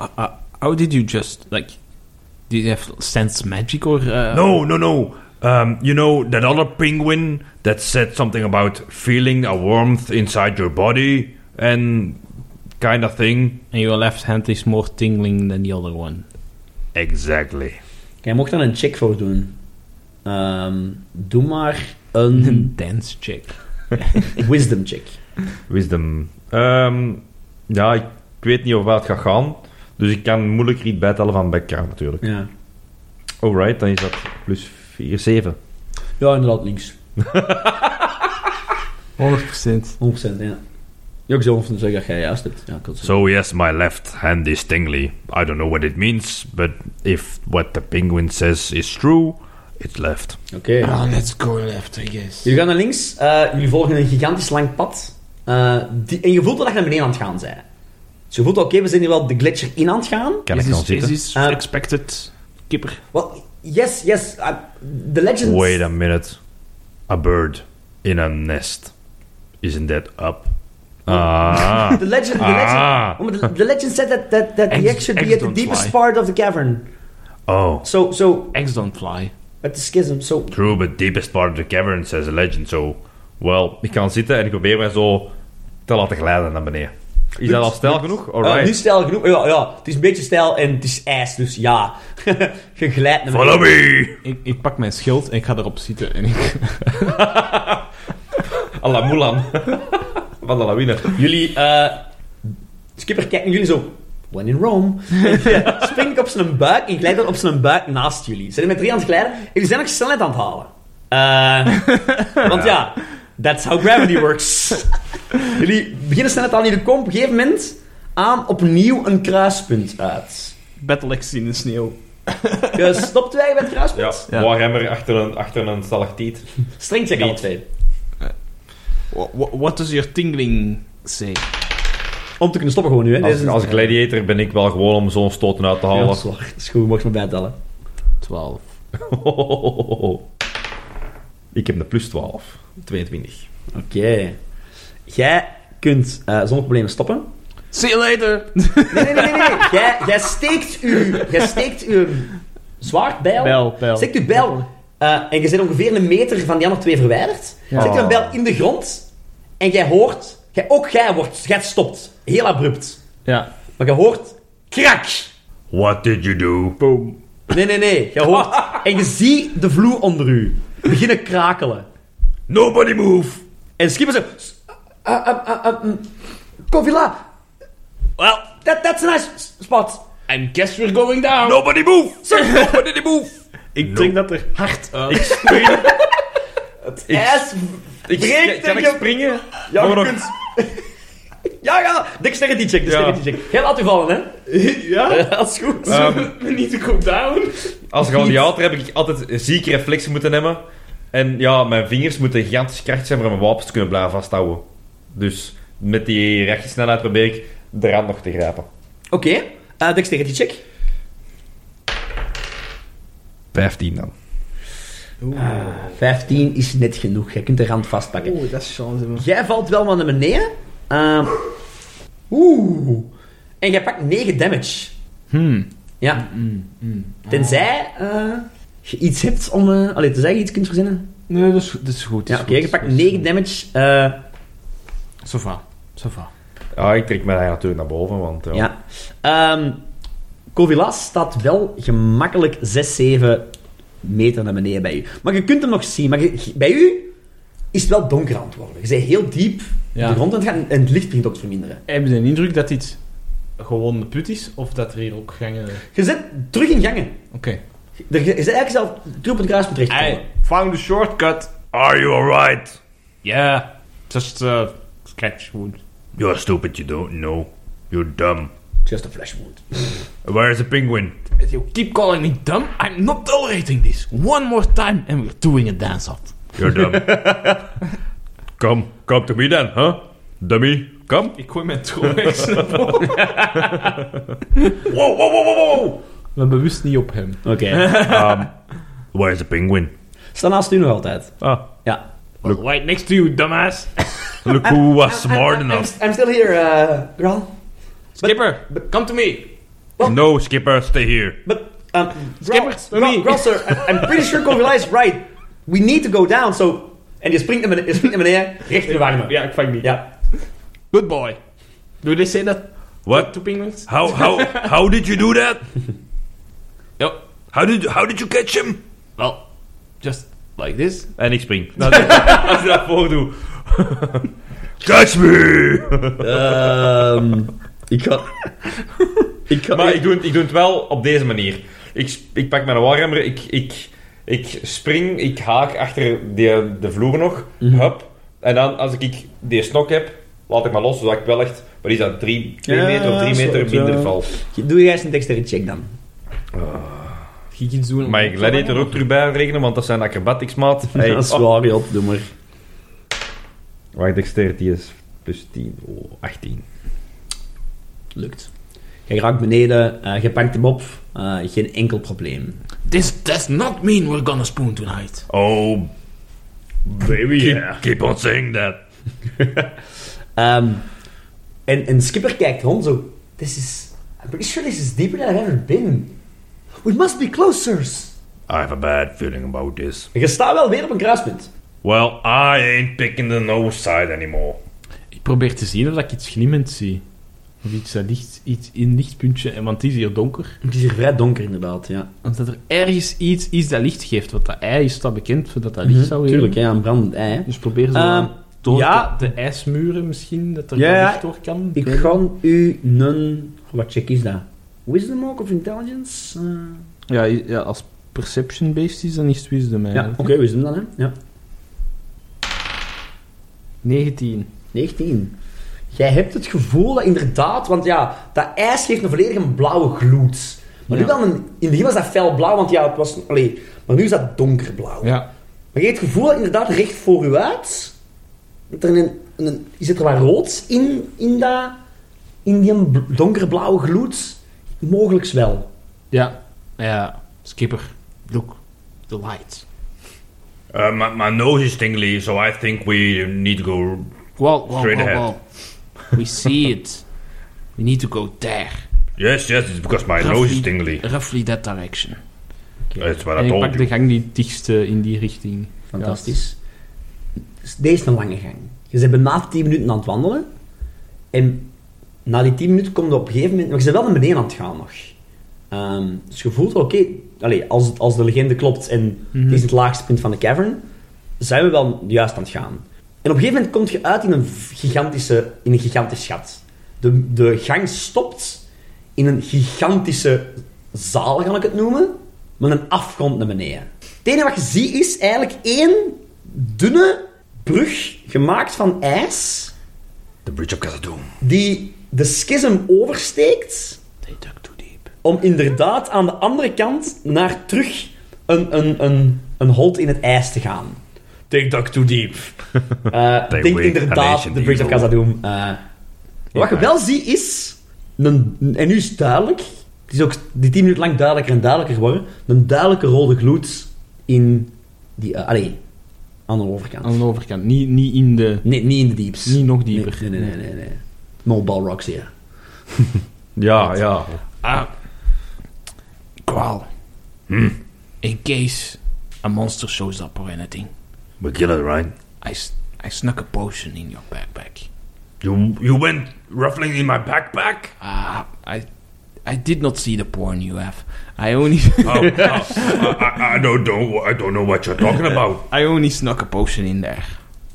Speaker 4: uh, uh, how did you just, like... Did you have sense magic or... Uh,
Speaker 5: no, no, no. Um, you know that other penguin that said something about feeling a warmth inside your body and kind of thing?
Speaker 4: And your left hand is more tingling than the other one.
Speaker 5: Exactly.
Speaker 2: Jij mocht dan een check voor doen. Ehm, doe maar een <laughs>
Speaker 4: Een dance check.
Speaker 2: wisdom check.
Speaker 1: Wisdom. Ehm, ja, ik weet niet over waar het gaat gaan. Dus ik kan moeilijk niet bijtellen van background natuurlijk.
Speaker 2: Ja.
Speaker 1: Alright, dan is dat plus 4, 7.
Speaker 2: Ja, inderdaad, links.
Speaker 4: 100%.
Speaker 2: 100%, ja. Ja, ik zou zeggen dat jij juist hebt. Ja, ik had
Speaker 5: So, yes, my left hand is tingly. I don't know what it means, but if what the penguin says is true, it's left.
Speaker 2: Oké.
Speaker 4: Ah, let's go left, I guess.
Speaker 2: Jullie gaan naar links. eh, jullie volgen een gigantisch lang pad. Eh, die, en je voelt dat je naar beneden aan het gaan bent. Dus je voelt, oké, we zijn hier wel de gletsjer in aan het gaan.
Speaker 1: Kan ik dan zitten?
Speaker 4: Is
Speaker 2: Eh,
Speaker 4: expected? Kipper.
Speaker 2: Well, yes, yes. eh, the legends...
Speaker 5: Wait a minute. A bird in a nest. Isn't that up? Ah.
Speaker 2: The legend... The legend
Speaker 5: ah.
Speaker 2: Oh, maar the, the legend said that, that, that the
Speaker 4: Eggs-
Speaker 2: egg should be
Speaker 4: eggs
Speaker 2: at the
Speaker 4: don't
Speaker 2: deepest
Speaker 4: fly.
Speaker 2: part of the cavern.
Speaker 5: Oh.
Speaker 2: So, so,
Speaker 4: Eggs don't fly.
Speaker 2: at the schism, so...
Speaker 5: True, but deepest part of the cavern says a legend, so.
Speaker 1: Wel, ik kan zitten en ik probeer mij zo te laten glijden naar beneden. Is dat al snel genoeg?
Speaker 2: Eh,
Speaker 1: Alright.
Speaker 2: nu stijl genoeg. Ja, ja, het is een beetje stijl en het is ijs, dus ja. <laughs> je glijdt naar
Speaker 5: Follow me!
Speaker 4: Ik, ik pak mijn schild en ik ga erop zitten. En ik... <laughs>
Speaker 1: Alla Mulan. Van de lawine.
Speaker 2: Jullie, eh Skipper kijkt naar jullie zo. When in Rome. <laughs> Spring op zijn buik en glijdt dan op zijn buik naast jullie. Ze zijn met drie aan het glijden en jullie zijn nog snelheid aan het halen. Eh,
Speaker 1: <laughs>
Speaker 2: want ja, that's how gravity works. jullie beginnen snelheid aan, jullie komen op een gegeven moment aan opnieuw een kruispunt uit. Dus
Speaker 4: Battle axe in de sneeuw.
Speaker 2: Je stopt wij bij het
Speaker 1: Ja,
Speaker 2: kruispunt?
Speaker 4: Ja.
Speaker 1: Warhammer achter een, achter een stalactiet.
Speaker 2: Streng check alle twee.
Speaker 4: What, what does your tingling say?
Speaker 2: Om te kunnen stoppen gewoon nu, hè. Deze
Speaker 1: Als,
Speaker 2: is-
Speaker 1: als gladiator ben ik wel gewoon om zo'n stoten uit te
Speaker 2: Ja,
Speaker 1: halen.
Speaker 2: dat is waar. Dat is goed, je mag me bijtellen.
Speaker 4: 12.
Speaker 1: Ik heb de plus 12. 22.
Speaker 2: Oké. Jij kunt eh, zonder problemen stoppen.
Speaker 4: See you later!
Speaker 2: Nee, nee, nee, nee. nee. Jij, jij steekt uw, jij steekt uw zwaardbijl.
Speaker 4: Bel, bel.
Speaker 2: Steekt uw bijl. eh, en je bent ongeveer een meter van die andere twee verwijderd. Steekt uw bijl in de grond. En jij hoort... Jij, ook jij wordt... Jij stopt. Heel abrupt.
Speaker 4: Ja.
Speaker 2: Maar je hoort... Krak!
Speaker 5: What did you do?
Speaker 4: Boom.
Speaker 2: Nee, nee, nee. Je hoort... En je ziet de vloer onder u beginnen krakelen.
Speaker 5: Nobody move!
Speaker 2: En Skipper zegt... "S- eh, eh, eh, eh, mm, Covilla!
Speaker 5: Well,
Speaker 8: That, that's a nice s- spot.
Speaker 3: And guess we're going down.
Speaker 5: Nobody move! <laughs> Nobody move!
Speaker 1: Ik trek dat er hard
Speaker 3: uit.
Speaker 1: Ik spring.
Speaker 5: <laughs>
Speaker 1: ik,
Speaker 8: Yes.
Speaker 1: ik,
Speaker 8: breekt
Speaker 1: kan ik
Speaker 8: tegen-
Speaker 1: springen?
Speaker 8: Ja,
Speaker 1: Nog-
Speaker 8: je kunt... Ja, ja. Dexterity check, dexterity check.
Speaker 2: Jij laat u vallen, hè?
Speaker 1: <laughs>
Speaker 3: Ja?
Speaker 2: <laughs> Dat is goed. <laughs>
Speaker 1: Ehm,
Speaker 3: We need to go down.
Speaker 1: als gladiator heb ik altijd zieke reflexen moeten hebben. En ja, mijn vingers moeten gigantisch krachtig zijn om mijn wapens te kunnen blijven vasthouden. Dus met die rechtsnelheid probeer ik de rand nog te grijpen.
Speaker 2: Oké, eh, dexterity check.
Speaker 1: 15 dan.
Speaker 2: 15 Ah, is net genoeg. Jij kunt de rand vastpakken.
Speaker 4: Oeh, dat is chance, man.
Speaker 2: Jij valt wel maar naar beneden. Ehm, Oeh. En jij pakt 9 damage.
Speaker 4: Hmm.
Speaker 2: Ja. Tenzij eh, je iets hebt om... eh allee, tenzij je iets kunt verzinnen.
Speaker 4: Nee, dat is, dat is goed.
Speaker 2: Ja, oké. je pakt 9 damage. eh,
Speaker 4: Sova. Sova.
Speaker 1: Ja, Ah, ik trek mij daar natuurlijk naar boven, want... Ja.
Speaker 2: ja. Ehm Kovilas staat wel gemakkelijk 6, 7 meter naar beneden bij u. Maar je kunt hem nog zien. Maar je- bij u is het wel donker aan het worden. Je bent heel diep
Speaker 4: Ja.
Speaker 2: de grond aan het gaan en het licht begint ook te verminderen.
Speaker 4: Hebben ze een indruk dat dit gewoon de put is? Of dat er hier ook gangen... Oké.
Speaker 2: Je zit terug in gangen. Je je zit eigenlijk zelf terug op het kruispunt terechtgekomen.
Speaker 4: found a shortcut.
Speaker 5: Are you alright?
Speaker 4: Yeah. Just uh, scratch wound.
Speaker 5: You're stupid, you don't know. You're dumb.
Speaker 2: Just a flash wound.
Speaker 4: <laughs>
Speaker 5: Where's the penguin?
Speaker 4: You keep calling me dumb? I'm not tolerating this. One more time and we're doing a dance-off.
Speaker 5: You're dumb. <laughs> come, come to me then, huh? Dummy, come.
Speaker 4: Ik gooi mijn troex naar boven.
Speaker 5: Whoa, whoa, whoa, whoa, whoa!
Speaker 4: Maar bewust niet op hem.
Speaker 2: Oké. <laughs>
Speaker 5: Where's the penguin?
Speaker 2: Staat naast u nog altijd.
Speaker 5: Ah,
Speaker 2: Ja.
Speaker 4: Right next to you, dumbass.
Speaker 5: look who was smart
Speaker 8: I'm,
Speaker 5: enough.
Speaker 8: I'm still here, uh,
Speaker 2: eh,
Speaker 8: girl.
Speaker 4: Skipper, come to me.
Speaker 5: No, skipper, stay here.
Speaker 8: But, um,
Speaker 4: Skipper,
Speaker 8: Gro- Gro-
Speaker 4: Tommy.
Speaker 8: Gro- sir, I- I'm pretty sure Kovilai is right. We need to go down, so... En je springt naar beneden, je springt naar beneden richting waar me.
Speaker 4: Ja, ik vang die.
Speaker 8: Ja.
Speaker 4: Good boy. Do they say that
Speaker 5: What?
Speaker 4: to penguins?
Speaker 5: How, how, how did you do <laughs> that?
Speaker 4: Yep.
Speaker 5: How did, how did you catch him?
Speaker 4: Well, just like this.
Speaker 1: En ik spring. Dat is- Als je dat <laughs> voordoet.
Speaker 5: Catch me!
Speaker 2: Ehm, ik ga... Ik ga...
Speaker 1: Maar ik doe, het, ik doe het wel op deze manier. Ik, sp- ik pak mijn warhammer, ik, ik, ik spring, ik haak achter die, de vloer nog.
Speaker 2: Mhm.
Speaker 1: Hup. En dan, als ik die snok heb, laat ik maar los, zodat ik wel echt... Wat is dat? 2
Speaker 2: Ja,
Speaker 1: meter of 3
Speaker 2: zo,
Speaker 1: meter
Speaker 2: zo.
Speaker 1: minder val.
Speaker 2: Doe jij eens een dexterity check dan.
Speaker 4: Ging iets doen. om-
Speaker 1: Maar ik laat dit er ook terug bij rekenen, want dat zijn acrobatics,
Speaker 2: <laughs>
Speaker 1: maat. Hey.
Speaker 2: dat is
Speaker 1: oh.
Speaker 2: waar, joh. Doe maar.
Speaker 1: Wacht, dexterity is plus 10. Oh, 18.
Speaker 2: Lukt. Je raakt beneden, eh je pakt hem op. eh, geen enkel probleem.
Speaker 3: This does not mean we're gonna spoon tonight.
Speaker 5: Oh,
Speaker 1: Baby,
Speaker 5: keep, keep on saying that.
Speaker 2: Ehm, en, en Skipper kijkt rond zo. This is... I'm pretty sure this is deeper than I've ever been.
Speaker 8: We must be close, sirs.
Speaker 5: I have a bad feeling about this.
Speaker 2: Je staat wel weer op een kruispunt.
Speaker 5: Well, I ain't picking the no side anymore.
Speaker 4: Ik probeer te zien of ik iets glimmends zie. Of iets, dat licht, iets in lichtpuntje, en want het is hier donker.
Speaker 2: Het is hier vrij donker inderdaad, ja.
Speaker 4: Of dat er ergens iets is dat licht geeft. Want dat ei is dat bekend, voor dat dat licht zou geven.
Speaker 2: Mhm, Tuurlijk, ja, een brandend ei. hè.
Speaker 4: Dus probeer zo
Speaker 2: Ehm,
Speaker 4: aan door
Speaker 2: ja.
Speaker 4: de, de ijsmuren misschien, dat er
Speaker 2: Ja,
Speaker 4: wel
Speaker 2: ja.
Speaker 4: licht door kan.
Speaker 2: Ik
Speaker 4: weet het.
Speaker 2: ga u een... Wat check is dat? Wisdom ook of intelligence? Eh,
Speaker 4: ja, i- ja, als perception-based is, dan is het wisdom
Speaker 2: ja,
Speaker 4: eigenlijk.
Speaker 2: oké, wisdom dan, hè. Ja.
Speaker 4: 19.
Speaker 2: 19. Jij hebt het gevoel dat inderdaad... Want ja, dat ijs geeft een volledig een blauwe gloed. Maar nu
Speaker 4: Ja.
Speaker 2: dan... Een, in het begin was dat felblauw, want ja, het was... Allee, maar nu is dat donkerblauw.
Speaker 4: Ja.
Speaker 2: Maar je hebt het gevoel dat inderdaad recht voor u uit... Dat er een, een, zit er wat rood in, in, dat, in die bl- donkerblauwe gloed? Mogelijks wel.
Speaker 4: Ja. Ja. Skipper, look. The light.
Speaker 5: Uh, my, my nose is tingly, so I think we need to go.
Speaker 3: Well, well,
Speaker 5: Straight
Speaker 3: well,
Speaker 5: ahead.
Speaker 3: well. We see it. We need to go there.
Speaker 5: Yes, yes, it's because my nose is tingly.
Speaker 3: Roughly that direction.
Speaker 5: That's what
Speaker 4: en
Speaker 5: I
Speaker 4: ik
Speaker 5: told
Speaker 4: pak de
Speaker 5: you.
Speaker 4: gang die het dichtste in die richting.
Speaker 2: Fantastisch. Dus Deze is een lange gang. Dus Je bent bijna 10 minuten aan het wandelen. En na die 10 minuten komt er op een gegeven moment... Maar je bent wel naar beneden aan het gaan nog. Ehm, dus je voelt, oké... allee, als, het- als de legende klopt en het is het laagste punt van de cavern... Zijn we wel juist aan het gaan. En op een gegeven moment kom je uit in een v- gigantische... In een gigantisch gat. De, de gang stopt in een gigantische zaal, kan ik het noemen, met een afgrond naar beneden. Het enige wat je ziet is eigenlijk één dunne brug gemaakt van ijs
Speaker 5: The Bridge of Khazad-dûm.
Speaker 2: die de schism oversteekt. Om inderdaad aan de andere kant naar terug een, een, een, een hol in het ijs te gaan. Take duck too deep.
Speaker 3: <laughs>
Speaker 2: Eh, Ik denk
Speaker 5: wake
Speaker 2: inderdaad
Speaker 5: Annihilation
Speaker 2: de Bridge of
Speaker 5: Evil.
Speaker 2: Khazad-dûm. eh. wat je wel ziet is... Een, en nu is het duidelijk. Het is ook die tien minuten lang duidelijker en duidelijker geworden. Een duidelijke rode gloed in die... eh, allee, aan de overkant.
Speaker 3: Aan de overkant. Niet, niet in de...
Speaker 2: Nee, niet in de dieps.
Speaker 3: Niet nog dieper.
Speaker 2: Nee, nee, nee. nee, nee. No ball rocks hier.
Speaker 1: Ja, ja.
Speaker 4: Ah. Kwaal.
Speaker 5: Hmm.
Speaker 4: In case a monster shows up or anything,
Speaker 5: We kill it, right?
Speaker 4: I, s- I snuck a potion in your backpack.
Speaker 5: You you went ruffling in my backpack?
Speaker 4: Ah, I, I did not see the porn you have. I only, <laughs>
Speaker 5: Oh, oh, I, I- I don't know. I don't know what you're talking about.
Speaker 4: I only snuck a potion in there.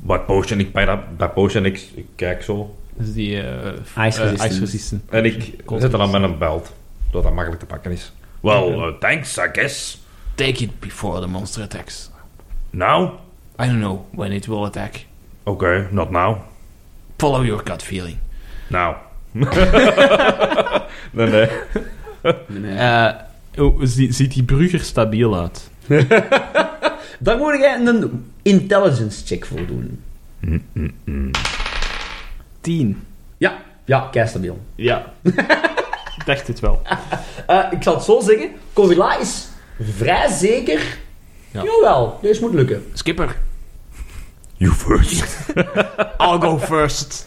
Speaker 1: Wat potion? Ik pak dat, dat potion, ik, ik kijk zo.
Speaker 3: Dat is die... eh
Speaker 2: Ice
Speaker 3: eh,
Speaker 2: resistant.
Speaker 3: ice resistant.
Speaker 1: En ik
Speaker 3: Cold
Speaker 1: zet dat aan mijn belt, zodat dat makkelijk te pakken is.
Speaker 5: Well, uh, thanks, I guess.
Speaker 4: Take it before the monster attacks.
Speaker 5: Now?
Speaker 4: I don't know when it will attack.
Speaker 5: Okay, not now.
Speaker 4: Follow your gut feeling.
Speaker 5: Now.
Speaker 1: Nee, nee.
Speaker 3: Eh, oh, zie- ziet die brug er stabiel uit?
Speaker 2: Dan moet jij een intelligence check voor doen.
Speaker 3: 10.
Speaker 2: Ja, ja, kei stabiel.
Speaker 3: Ja. Ik dacht het wel.
Speaker 2: <laughs> Eh, ik zal het zo zeggen, Covila is vrij zeker.
Speaker 3: Ja.
Speaker 2: Jawel, deze moet lukken.
Speaker 4: Skipper,
Speaker 5: You first.
Speaker 4: I'll go first.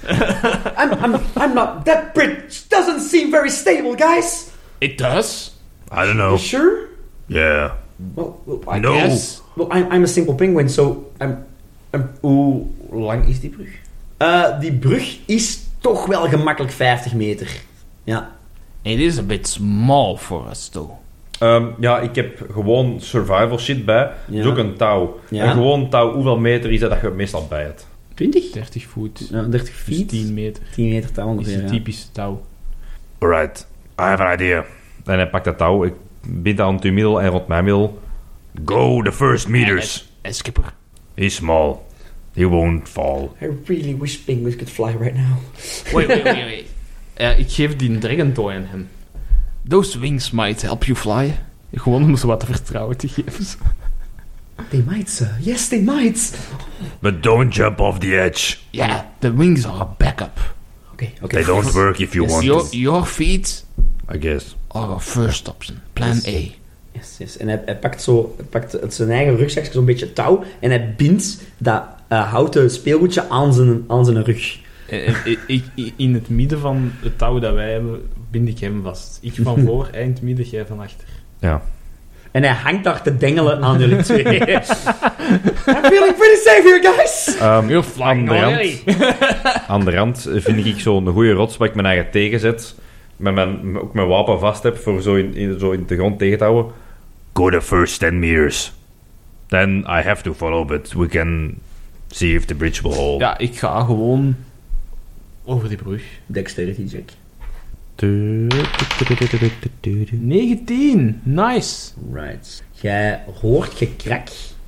Speaker 2: I'm, I'm, I'm not, that bridge doesn't seem very stable, guys.
Speaker 4: It does?
Speaker 5: I don't know.
Speaker 2: You sure?
Speaker 5: Yeah.
Speaker 2: Well, well, I,
Speaker 5: No.
Speaker 4: Yes.
Speaker 2: well, I'm, I'm a single penguin, so I'm, I'm- hoe lang is die brug? Eh, die brug is toch wel gemakkelijk 50 meter. Ja.
Speaker 4: It is a bit small for us though.
Speaker 1: Ehm, ja, ik heb gewoon survival shit bij.
Speaker 2: Ja.
Speaker 1: Dus ook een touw.
Speaker 2: Ja.
Speaker 1: En gewoon touw, hoeveel meter is dat dat je meestal bij hebt?
Speaker 2: 20?
Speaker 3: 30 voet.
Speaker 2: Ja, 30
Speaker 3: Dus
Speaker 2: feet.
Speaker 3: 10 meter.
Speaker 2: 10 meter touw
Speaker 3: Is
Speaker 2: ongeveer,
Speaker 3: een
Speaker 2: ja.
Speaker 3: typische touw.
Speaker 5: Alright. I have an idea.
Speaker 1: En hij pakt dat touw, ik bind dat rond uw middel en rond mijn middel.
Speaker 5: Go the first meters.
Speaker 4: Eh, skipper,
Speaker 5: He's small. He won't fall.
Speaker 2: I really wish penguins could fly right now.
Speaker 4: wait, wait, wait,
Speaker 3: <laughs>
Speaker 4: wait.
Speaker 3: Eh, ik geef die Dragon Toy aan hem.
Speaker 4: Those wings might help you fly.
Speaker 3: Gewoon om ze wat vertrouwen te geven. zo.
Speaker 2: They might, sir. Yes, they might.
Speaker 5: But don't jump off the edge.
Speaker 4: Yeah, the wings are a backup.
Speaker 2: Okay,
Speaker 5: They
Speaker 2: okay. <laughs>
Speaker 5: don't work if you want
Speaker 4: Your,
Speaker 5: to,
Speaker 4: your feet
Speaker 5: I guess.
Speaker 4: are our first option. Plan
Speaker 2: Yes.
Speaker 4: A.
Speaker 2: Yes, yes. En hij, hij pakt, zo, hij pakt uit zijn eigen rugzakje zo'n beetje touw en hij bindt dat eh, houten speelgoedje aan zijn, aan zijn rug.
Speaker 3: En- en- Eh, ik- ik- in het midden van het touw dat wij hebben, bind ik hem vast. Ik van voor, hij in het midden, jij van achter.
Speaker 1: Ja.
Speaker 2: En hij hangt daar te dengelen aan jullie twee. <laughs> I'm feeling pretty safe here, guys.
Speaker 1: Ehm,
Speaker 4: You're flying
Speaker 1: aan de rand-
Speaker 4: already.
Speaker 1: <laughs> Aan de rand vind ik zo'n goede rots waar ik mijn eigen tegenzet. Met mijn, ook mijn wapen vast heb voor zo in, in- zo in de grond tegen te houden.
Speaker 5: Go the first 10 meters. Then I have to follow, but we can see if the bridge will hold.
Speaker 3: Ja, ik ga gewoon over die brug.
Speaker 2: Dexterity check.
Speaker 3: 19, nice.
Speaker 2: Right. Jij hoort gekrak.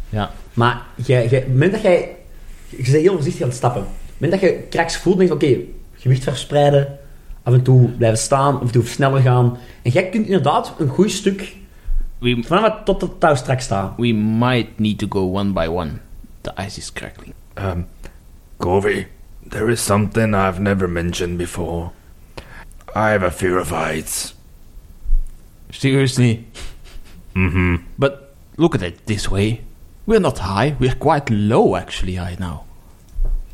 Speaker 3: Ja.
Speaker 2: Maar jij, jij, op het moment dat jij... Je bent heel voorzichtig aan het stappen. Op het moment dat je kraks voelt, denk je... Oké, gewicht verspreiden. Af en toe blijven staan. Af en toe sneller gaan. En jij kunt inderdaad een goed stuk...
Speaker 4: We,
Speaker 2: Vanaf het tot het touw strak
Speaker 4: <laughs>
Speaker 2: staan.
Speaker 4: we might need to go one by one. The ice is crackling.
Speaker 5: Um, Covey, there is something I've never mentioned before. I have a fear of heights.
Speaker 4: Seriously?
Speaker 5: Mm-hmm.
Speaker 4: But look at it this way. We're not high, we're quite low actually right now.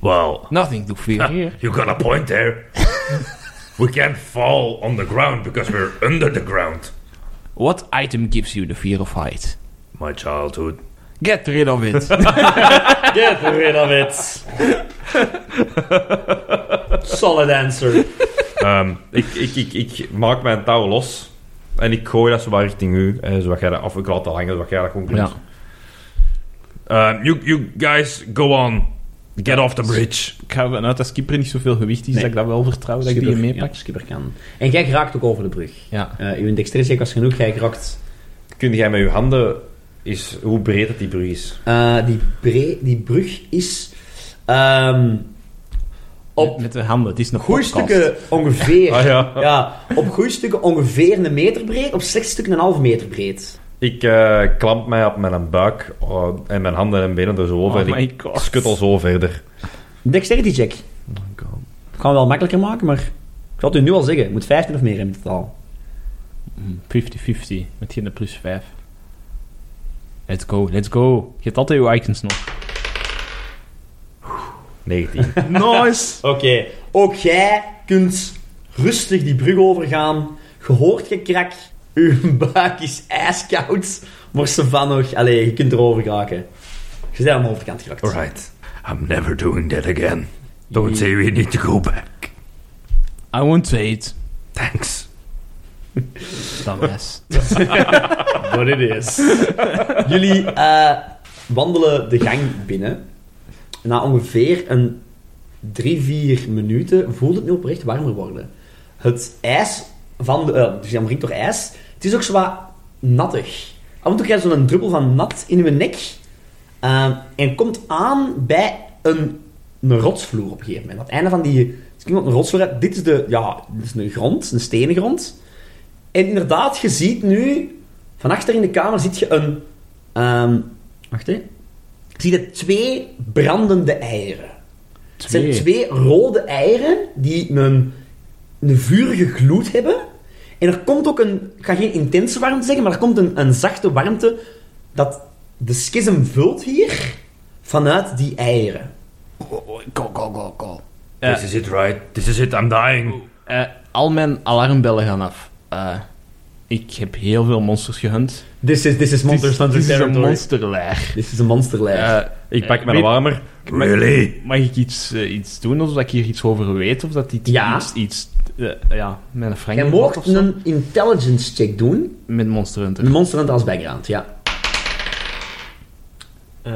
Speaker 5: Well, <laughs>
Speaker 4: Nothing to fear <laughs> here.
Speaker 5: you got a point there. <laughs> we can't fall on the ground because we're under the ground.
Speaker 4: What item gives you the fear of height?
Speaker 5: My childhood.
Speaker 4: Get rid of it. <laughs>
Speaker 2: Get rid of it. Solid answer.
Speaker 1: Ehm, ik, ik, ik, ik maak mijn touw los. En ik gooi dat zo wat richting u. En zodat jij dat af... Ik laat dat hangen, zodat jij dat gewoon
Speaker 4: Ja.
Speaker 1: klikt.
Speaker 5: Um, you, you guys go on. Get off the bridge.
Speaker 4: Ik ga ervan uit dat skipper niet zoveel gewicht is,
Speaker 2: Nee.
Speaker 4: dat ik dat wel vertrouw, dat ik die
Speaker 2: Skipper,
Speaker 4: meepak.
Speaker 2: ja, skipper kan. En jij raakt ook over de brug.
Speaker 4: Ja.
Speaker 2: Eh uw dexterity check was genoeg, jij raakt...
Speaker 1: Kun jij met je handen... Is, hoe breed dat die brug is?
Speaker 2: eh, die, bre- die brug is... ehm, op
Speaker 4: Met, met de handen, het is nog
Speaker 2: goeie
Speaker 4: podcast. Oh
Speaker 2: stukken
Speaker 4: <laughs>
Speaker 2: ongeveer...
Speaker 1: Ah ja.
Speaker 2: Ja, op goede stukken ongeveer een meter breed, op slechte stukken een halve meter breed.
Speaker 1: Ik eh, klamp mij op mijn buik eh, en mijn handen en benen er zo over.
Speaker 4: Oh
Speaker 1: en ik
Speaker 4: my god.
Speaker 1: skut al zo verder.
Speaker 2: Dexterity check. Gaan we wel makkelijker maken, maar ik zal het u nu al zeggen. Je moet 15 of meer hebben in totaal.
Speaker 4: Mm, 50-50, met geen plus 5. Let's go, let's go. Je hebt altijd je icons nog.
Speaker 1: 19.
Speaker 4: Nice!
Speaker 2: Oké, ook jij kunt rustig die brug overgaan. Gehoord gekrak, uw buik is ijskoud. Maar ze van nog, allee, je kunt erover geraken. Je bent aan de overkant geraakt.
Speaker 5: Alright. I'm never doing that again. Don't say we need to go back.
Speaker 4: I want to eat.
Speaker 5: Thanks.
Speaker 4: Dat <laughs> was.
Speaker 2: What it is. <laughs> Jullie eh, wandelen de gang binnen. Na ongeveer een drie, vier minuten voelt het nu oprecht warmer worden. Het ijs van de... eh, dus je omringt door ijs. Het is ook zwaar nattig. Af en toe krijg je zo'n druppel van nat in je nek. eh, en komt aan bij een, een rotsvloer op een gegeven moment. Aan het einde van die... Het komt op een rotsvloer. uit. Dit is de... Ja, dit is een grond. Een stenen grond. En inderdaad, je ziet nu... Van achter in de kamer ziet je een... ehm, wacht, hè. Zie je twee brandende eieren. Het zijn twee rode eieren die een, een vurige gloed hebben. En er komt ook een... Ik ga geen intense warmte zeggen, maar er komt een, een zachte warmte dat de schism vult hier vanuit die eieren.
Speaker 5: Go, go, go, go.
Speaker 1: Uh,
Speaker 4: Eh.
Speaker 5: This is it, right? This is it, I'm
Speaker 1: Oh,
Speaker 5: dying.
Speaker 4: Eh, al mijn alarmbellen gaan af. Eh, ik heb heel veel monsters gehunt.
Speaker 2: This is, this is Monster
Speaker 4: Het
Speaker 2: Hunter
Speaker 4: is een
Speaker 2: territory.
Speaker 4: monsterlair.
Speaker 2: This is een monsterlijf.
Speaker 4: Eh,
Speaker 1: <laughs> Ik pak
Speaker 4: Eh,
Speaker 1: mijn
Speaker 4: weet-
Speaker 1: alarmer.
Speaker 5: Really?
Speaker 4: mag ik iets, eh, iets doen, of dat ik hier iets over weet, of dat iets...
Speaker 2: Ja.
Speaker 4: Iets, iets, eh, ja, met een Frank
Speaker 2: Jij
Speaker 4: of
Speaker 2: mocht
Speaker 4: zo.
Speaker 2: een intelligence check doen.
Speaker 4: Met Monster Hunter.
Speaker 2: Een monster Hunter als background, ja.
Speaker 4: Eh,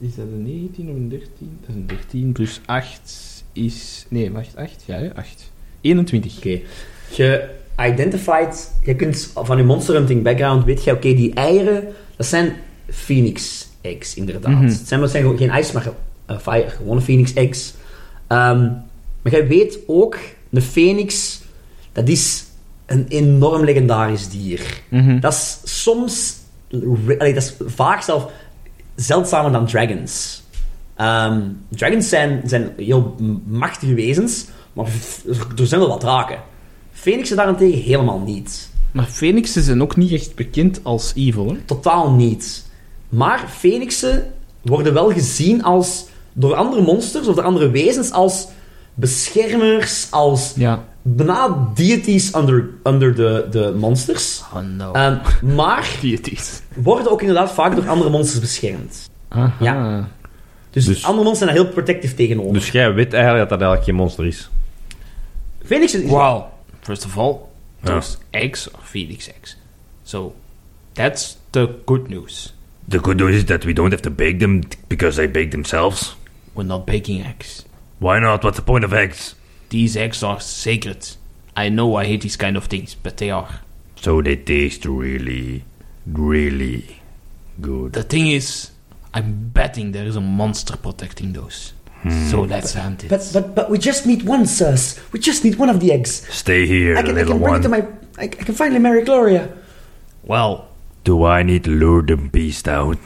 Speaker 4: is dat een 19 of een 13? Dat is een 13 plus 8 is. Nee, wacht, 8? Ja, hè, 8. 21.
Speaker 2: Oké. Je identified, je kunt van je monster hunting background, weet je, oké, die eieren, dat zijn phoenix eggs, inderdaad.
Speaker 4: Mhm.
Speaker 2: Het zijn, het zijn gewoon geen ijs, maar ge- eh, fire, gewone phoenix eggs. Ehm, maar jij weet ook, de phoenix, dat is een enorm legendarisch dier.
Speaker 4: Mhm.
Speaker 2: Dat is soms, re- allee, dat is vaak zelf zeldzamer dan dragons. Ehm, dragons zijn, zijn heel m- machtige wezens, maar v- er zijn wel wat draken. Phoenixen daarentegen helemaal niet.
Speaker 4: Maar Phoenixen zijn ook niet echt bekend als evil, hè?
Speaker 2: Totaal niet. Maar phoenixen worden wel gezien als, door andere monsters of door andere wezens als beschermers, als
Speaker 4: Ja.
Speaker 2: bijna deities onder, onder de, de monsters.
Speaker 4: Oh no.
Speaker 2: Ehm, maar
Speaker 4: <laughs> Deities.
Speaker 2: worden ook inderdaad vaak door andere monsters beschermd.
Speaker 4: Aha.
Speaker 2: Ja. Dus,
Speaker 1: Dus-
Speaker 2: andere monsters zijn daar heel protective tegenover.
Speaker 1: Dus jij weet eigenlijk dat dat eigenlijk geen monster is.
Speaker 2: Phoenix is...
Speaker 4: Wow. First of all,
Speaker 5: Ja.
Speaker 4: those eggs are Phoenix eggs. So, that's the good news.
Speaker 5: The good news is that we don't have to bake them because they bake themselves.
Speaker 4: We're not baking eggs.
Speaker 5: Why not? What's the point of eggs?
Speaker 4: These eggs are sacred. I know I hate these kind of things, but they are.
Speaker 5: So they taste really, really good.
Speaker 4: The thing is, I'm betting there is a monster protecting those. So let's hunt it.
Speaker 8: But, but, but we just need one, sirs. We just need one of the eggs.
Speaker 5: Stay here,
Speaker 8: I can, I
Speaker 5: little
Speaker 8: can bring it
Speaker 5: one.
Speaker 8: to my... I, I can finally marry Gloria.
Speaker 4: well,
Speaker 5: Do I need to lure the beast out?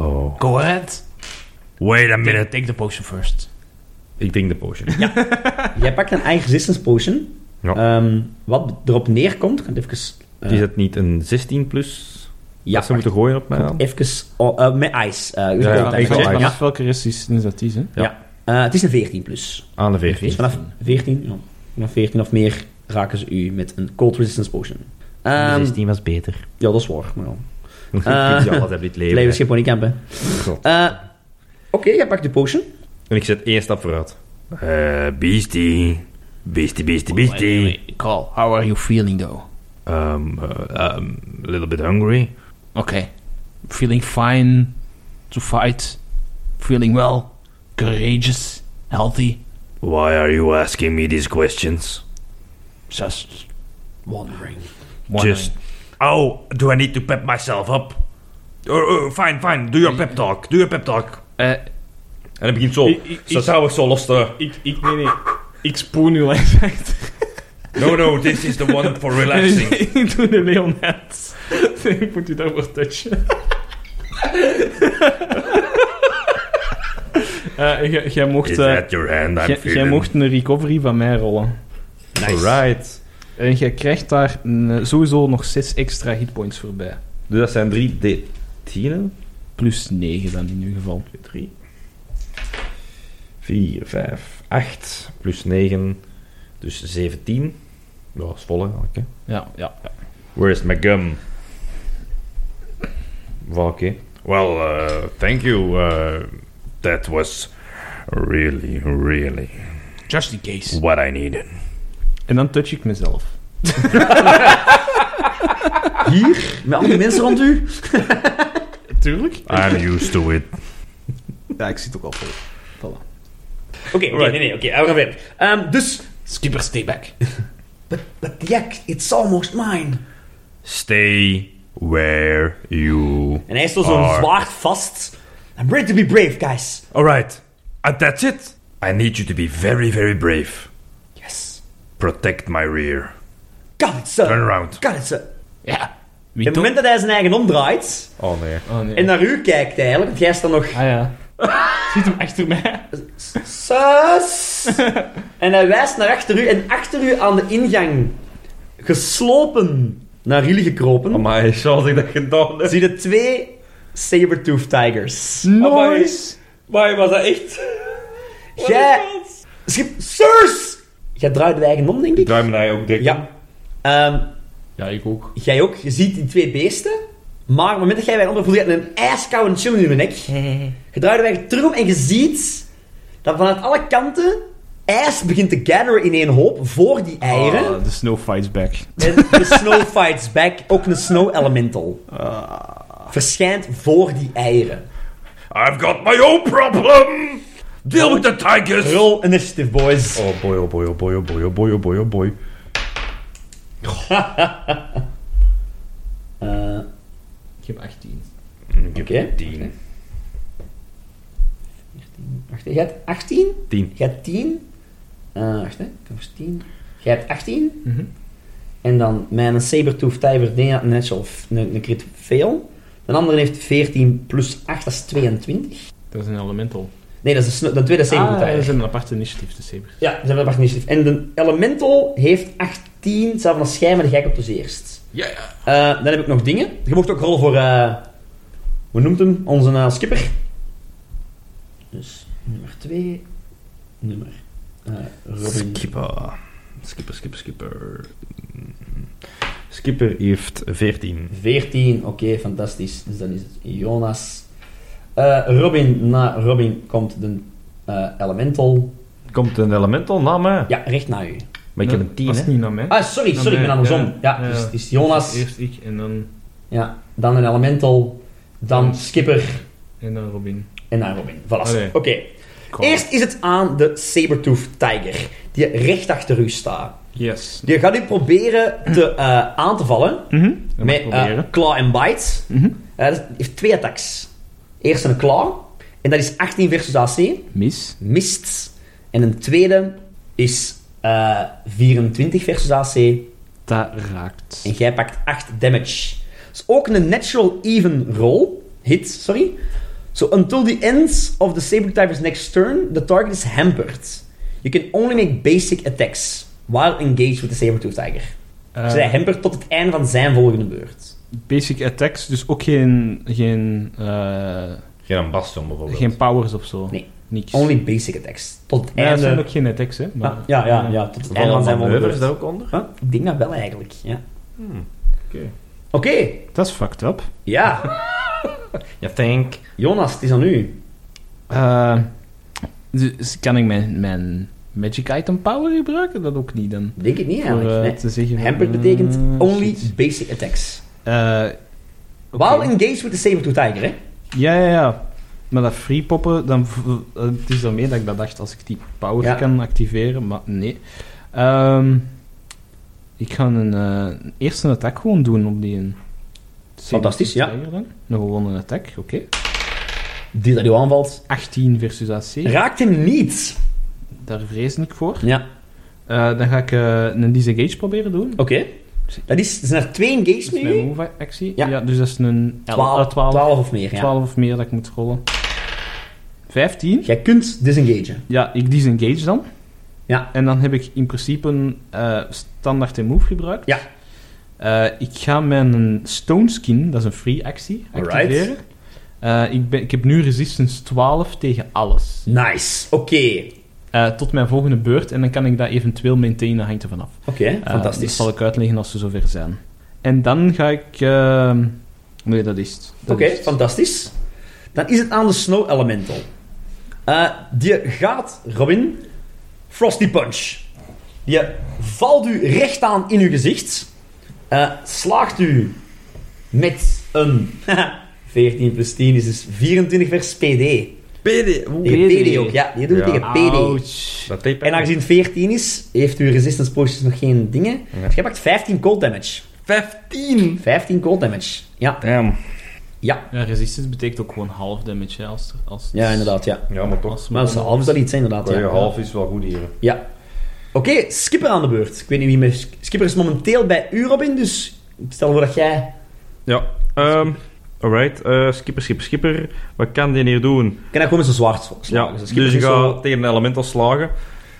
Speaker 5: Oh.
Speaker 4: go ahead.
Speaker 5: Wait a
Speaker 4: Take,
Speaker 5: minute.
Speaker 4: take the potion first.
Speaker 1: Ik drink de potion.
Speaker 2: <laughs> Jij pakt een eigen resistance potion.
Speaker 1: Ja.
Speaker 2: Ehm, wat erop neerkomt... Ik ga het even... eh,
Speaker 1: Is het niet een 16 plus?
Speaker 2: ja,
Speaker 1: dat ze moeten gooien op mij dan?
Speaker 2: Even... oh, eh, met ice.
Speaker 1: Ja,
Speaker 2: eh, dus ik
Speaker 1: ja,
Speaker 2: wil het
Speaker 1: ik
Speaker 2: even
Speaker 1: weet
Speaker 2: checken.
Speaker 1: maar
Speaker 2: Ja.
Speaker 4: welke resistance dat is, hè?
Speaker 2: Eh, het is een 14 plus.
Speaker 1: Aan de 14.
Speaker 2: Dus vanaf 14, ja, vanaf 14 of meer raken ze u met een cold resistance potion. Ehm,
Speaker 1: was beter.
Speaker 2: ja, dat is waar. Maar
Speaker 1: <laughs>
Speaker 2: ja.
Speaker 1: Ik ja, wat heb je het leven.
Speaker 2: Leven is geen ponykampen.
Speaker 1: God.
Speaker 2: Eh, Oké, jij pakt de potion.
Speaker 1: En ik zet één stap vooruit. Oh,
Speaker 5: Uh, beastie. Beastie, beastie, beastie.
Speaker 4: Carl, how are you feeling though?
Speaker 5: Um, uh, um, a little bit hungry.
Speaker 4: Okay. Feeling fine to fight. Feeling well.
Speaker 9: courageous, healthy.
Speaker 5: Why are you asking me these questions?
Speaker 9: Just wondering.
Speaker 5: Just. Oh, do I need to pep myself up? Uh, uh, fine, fine. Do your pep talk. Do your pep talk. en het begint zo.
Speaker 4: Ik- ik-
Speaker 1: Ze zouden zo los te...
Speaker 4: Ik, ik, nee, nee. Ik spoel u langs achter.
Speaker 5: No, no, this is the one for relaxing.
Speaker 4: <laughs> Ik doe de Leon Hens. <laughs> Ik moet u daarvoor touchen. <laughs> Eh, jij- Jij mocht...
Speaker 5: Is
Speaker 3: uh,
Speaker 4: eh,
Speaker 5: that your hand I'm
Speaker 4: jij- Jij
Speaker 5: feeling?
Speaker 4: mocht een recovery van mij rollen.
Speaker 1: Alright.
Speaker 4: En jij krijgt daar mm, sowieso nog 6 extra hitpoints voor bij.
Speaker 1: Dus dat zijn drie D10'en.
Speaker 4: Plus 9 dan in ieder geval.
Speaker 1: 3, 4, 5, 8, plus 9, dus 17. Ja, Dat is vol eigenlijk. Hè.
Speaker 4: Ja, ja. ja.
Speaker 1: Where's my gum? Wel, oké.
Speaker 5: Well, uh, thank you. Uh, that was really, really
Speaker 9: Just in case.
Speaker 5: what I needed.
Speaker 4: En dan touch ik mezelf.
Speaker 8: Hier? Met al die mensen rond u?
Speaker 4: Tuurlijk.
Speaker 5: I'm used to it.
Speaker 4: Ja, ik zit ook al vol.
Speaker 2: Oké, oké, nee, nee, oké, we gaan verder. Ehm, dus,
Speaker 9: Skipper, stay back.
Speaker 8: But Jack, it's almost mine.
Speaker 5: Stay where you.
Speaker 2: en hij is door zo'n
Speaker 5: are.
Speaker 2: zwaard vast.
Speaker 8: I'm ready to be brave, guys.
Speaker 5: All right, uh, that's it. I need you to be very, very brave.
Speaker 8: Yes.
Speaker 5: Protect my rear.
Speaker 8: Got it, sir.
Speaker 5: Turn around.
Speaker 8: Got it, sir.
Speaker 9: Ja.
Speaker 2: Op het moment dat hij zijn eigen omdraait
Speaker 1: Oh nee.
Speaker 4: Oh nee.
Speaker 2: en naar u kijkt eigenlijk, want jij staat nog...
Speaker 4: Ah ja. Ziet hem achter mij.
Speaker 5: <laughs>
Speaker 2: Sus! en hij wijst naar achter u en achter u aan de ingang, geslopen naar jullie
Speaker 5: Oh
Speaker 2: gekropen,
Speaker 1: Amai, Charles, ik dat gedaan heb.
Speaker 2: zie je twee saber-tooth tigers.
Speaker 4: Nice.
Speaker 1: Maar was dat echt?
Speaker 2: Jij... Schip... Sirs! Jij draait de eigen om, denk
Speaker 1: Ik
Speaker 2: ik.
Speaker 1: draai me naar je ook dik.
Speaker 2: Ja. Ehm,
Speaker 3: Ja, ik ook.
Speaker 2: jij ook, je ziet die twee beesten. Maar op het moment dat jij bij een ander voelt, je hebt een ijskoude chill in je
Speaker 4: <laughs>
Speaker 2: nek. Je draait de weg terug om en je ziet dat vanuit alle kanten ijs begint te gatheren in één hoop voor die eieren.
Speaker 4: Ah, de snow fights back.
Speaker 2: En de snow fights back, ook een snow elemental.
Speaker 4: Ah.
Speaker 2: Verschijnt voor die eieren.
Speaker 5: I've got my own problem. Deal with the tigers.
Speaker 2: Roll initiative, boys.
Speaker 1: Oh boy, oh boy, oh boy, oh boy, oh boy, oh boy, oh boy.
Speaker 2: Eh,
Speaker 3: Ik heb 18.
Speaker 2: Oké. 10. Wacht, hè. jij hebt 18?
Speaker 1: 10.
Speaker 2: Jij hebt 10. Eh, wacht, hè. Ik heb eens 10. Jij hebt 18.
Speaker 3: Mhm.
Speaker 2: En dan mijn Sabertooth Tiger deed een natural f- een, een crit fail. De andere heeft 14 plus 8, dat is 22.
Speaker 3: Dat is een elemental.
Speaker 2: Nee, dat is de, sno- de tweede Sabertooth
Speaker 3: Ah, dat
Speaker 2: Tiger.
Speaker 3: is een apart initiatief, de Saber.
Speaker 2: Ja, ze hebben dat initiatief. En de Elemental heeft 18, zelfs van een schijn, maar de gek op dus eerst.
Speaker 9: Ja,
Speaker 2: Eh, dan heb ik nog dingen. Je mocht ook rollen voor, eh, hoe noemt hem? Onze eh, skipper. Dus nummer 2, nummer eh, Robin.
Speaker 1: Skipper. Skipper, skipper, skipper. Skipper heeft 14.
Speaker 2: 14, oké, fantastisch. Dus dan is het Jonas. Eh, Robin, na Robin komt de eh, Elemental.
Speaker 1: Komt een elemental na mij?
Speaker 2: Ja, recht naar u.
Speaker 1: Maar ik heb een 10,
Speaker 4: Past
Speaker 1: hè.
Speaker 4: niet naar mij.
Speaker 2: Ah, sorry,
Speaker 3: Dan
Speaker 2: sorry, ik ben
Speaker 3: ben ik,
Speaker 2: andersom. Ja,
Speaker 3: ja.
Speaker 2: dus het is Jonas,
Speaker 3: Eerst ik en dan,
Speaker 2: ja, dan een Elemental, dan Skipper.
Speaker 3: en dan Robin.
Speaker 2: En naar Robin. Voilà.
Speaker 3: Allee.
Speaker 2: Oké. Eerst is het aan de Sabertooth Tiger, die recht achter u staat.
Speaker 3: Yes.
Speaker 2: Die gaat u proberen te, eh, aan te vallen met eh,
Speaker 4: proberen.
Speaker 2: Claw and Bite. Eh, dat heeft twee attacks. Eerst een Claw, en dat is 18 versus AC,
Speaker 4: Mis.
Speaker 2: mist. En een tweede is eh, 24 versus AC,
Speaker 4: Dat raakt.
Speaker 2: en jij pakt 8 damage. Dat is ook een natural even roll. Hit, sorry. So until the end of the Sabertyper's next turn, the target is hampered. You can only make basic attacks while engaged with the Sabertooth Tiger.
Speaker 4: Eh,
Speaker 2: Dus hij hampered tot het einde van zijn volgende beurt.
Speaker 4: basic attacks, dus ook geen, geen, eh,
Speaker 1: Geen een bastion bijvoorbeeld.
Speaker 4: geen powers of zo.
Speaker 2: Nee.
Speaker 4: Niks.
Speaker 2: Only basic attacks. Tot het
Speaker 4: Ja, dat
Speaker 2: einde...
Speaker 4: zijn ook geen attacks, hè? Maar,
Speaker 2: ja, ja, ja, ja, tot het einde
Speaker 1: Vallen
Speaker 2: van zijn volgende
Speaker 1: manoeuvres
Speaker 2: beurt.
Speaker 1: daar ook onder?
Speaker 2: Huh? Ik denk dat wel eigenlijk, ja.
Speaker 1: oké.
Speaker 2: Oké,
Speaker 4: Dat is fucked up.
Speaker 2: ja.
Speaker 1: Ja, thank.
Speaker 2: Jonas, het is aan u.
Speaker 4: Eh, dus kan ik mijn, mijn magic item power gebruiken? Dat ook niet dan.
Speaker 2: Denk ik niet
Speaker 4: Voor,
Speaker 2: eigenlijk.
Speaker 4: eh,
Speaker 2: nee.
Speaker 4: te zeggen,
Speaker 2: Hampered
Speaker 4: eh,
Speaker 2: betekent only
Speaker 4: shit.
Speaker 2: basic attacks.
Speaker 4: Eh,
Speaker 2: While engaged with the Sabertooth Tiger, hè?
Speaker 4: Ja, ja, ja. Met dat free poppen, dan, v- eh, het is daarmee dat ik dat dacht, als ik die power
Speaker 2: Ja.
Speaker 4: kan activeren, maar nee. Ehm, ik ga een eh, eerste attack gewoon doen op die... een.
Speaker 2: Fantastisch, ja.
Speaker 4: Steiger dan. Een gewone attack, oké.
Speaker 2: Die dat jou aanvalt.
Speaker 4: 18 versus AC,
Speaker 2: Raakt hem niet.
Speaker 4: daar vrees ik voor.
Speaker 2: Ja,
Speaker 4: Eh, dan ga ik eh, een disengage proberen doen.
Speaker 2: oké. Dat is, zijn er twee engages
Speaker 4: Dat is
Speaker 2: mee
Speaker 4: mijn
Speaker 2: nu?
Speaker 4: move-actie.
Speaker 2: Ja.
Speaker 4: Ja. eh, dus dat is een
Speaker 2: 12,
Speaker 4: 12, 12,
Speaker 2: 12 of meer, ja.
Speaker 4: of meer dat ik moet rollen. 15.
Speaker 2: Jij kunt disengagen.
Speaker 4: Ja, ik disengage dan.
Speaker 2: Ja.
Speaker 4: En dan heb ik in principe een eh, standaard move gebruikt.
Speaker 2: Ja.
Speaker 4: Eh, ik ga mijn stone skin, dat is een free actie,
Speaker 2: Alright.
Speaker 4: activeren. Eh, ik, ben, ik heb nu resistance 12 tegen alles.
Speaker 2: Nice. Oké.
Speaker 4: Eh, tot mijn volgende beurt. En dan kan ik dat eventueel maintainen, hangt er vanaf.
Speaker 2: Oké,
Speaker 4: Eh, Dat
Speaker 2: fantastisch.
Speaker 4: zal ik uitleggen als ze zover zijn. En dan ga ik... ehm, nee, dat is het.
Speaker 2: Oké,
Speaker 4: Dat is het.
Speaker 2: fantastisch. Dan is het aan de Snow Elemental. Eh, die gaat, Robin, Frosty Punch. Die valt u recht aan in uw gezicht. Eh, slaagt u met een <laughs> 14 plus 10 is dus 24 vers PD.
Speaker 1: PD. Oeh,
Speaker 2: Tegen PD ook, ja. Die doen we
Speaker 1: Ja.
Speaker 2: tegen PD.
Speaker 1: Dat tape.
Speaker 2: En aangezien het 14 is, heeft uw resistance potions nog geen dingen.
Speaker 1: Ja.
Speaker 2: Dus jij pakt 15 cold damage.
Speaker 1: 15.
Speaker 2: 15 cold damage. Ja,
Speaker 1: Damn.
Speaker 2: ja.
Speaker 3: Ja, resistance betekent ook gewoon half damage, hè, als, als
Speaker 2: Ja, inderdaad, ja.
Speaker 1: Ja, maar toch.
Speaker 3: Als
Speaker 2: Maar dat is half is dat iets, hè, inderdaad.
Speaker 1: Ja,
Speaker 2: Ja.
Speaker 1: half is wel goed hier.
Speaker 2: Ja. Oké, Skipper aan de beurt. Ik weet niet wie meer... Skipper is momenteel bij u, Robin, dus ik stel voor dat jij...
Speaker 1: Ja. Ehm alright. eh, skipper, skipper, skipper. Wat kan die hier doen?
Speaker 2: Ik kan dat gewoon met zijn zwaard sla-
Speaker 1: Ja,
Speaker 2: slagen.
Speaker 1: dus
Speaker 2: Skipper
Speaker 1: je
Speaker 2: is
Speaker 1: gaat
Speaker 2: zo-
Speaker 1: tegen een elemental slagen.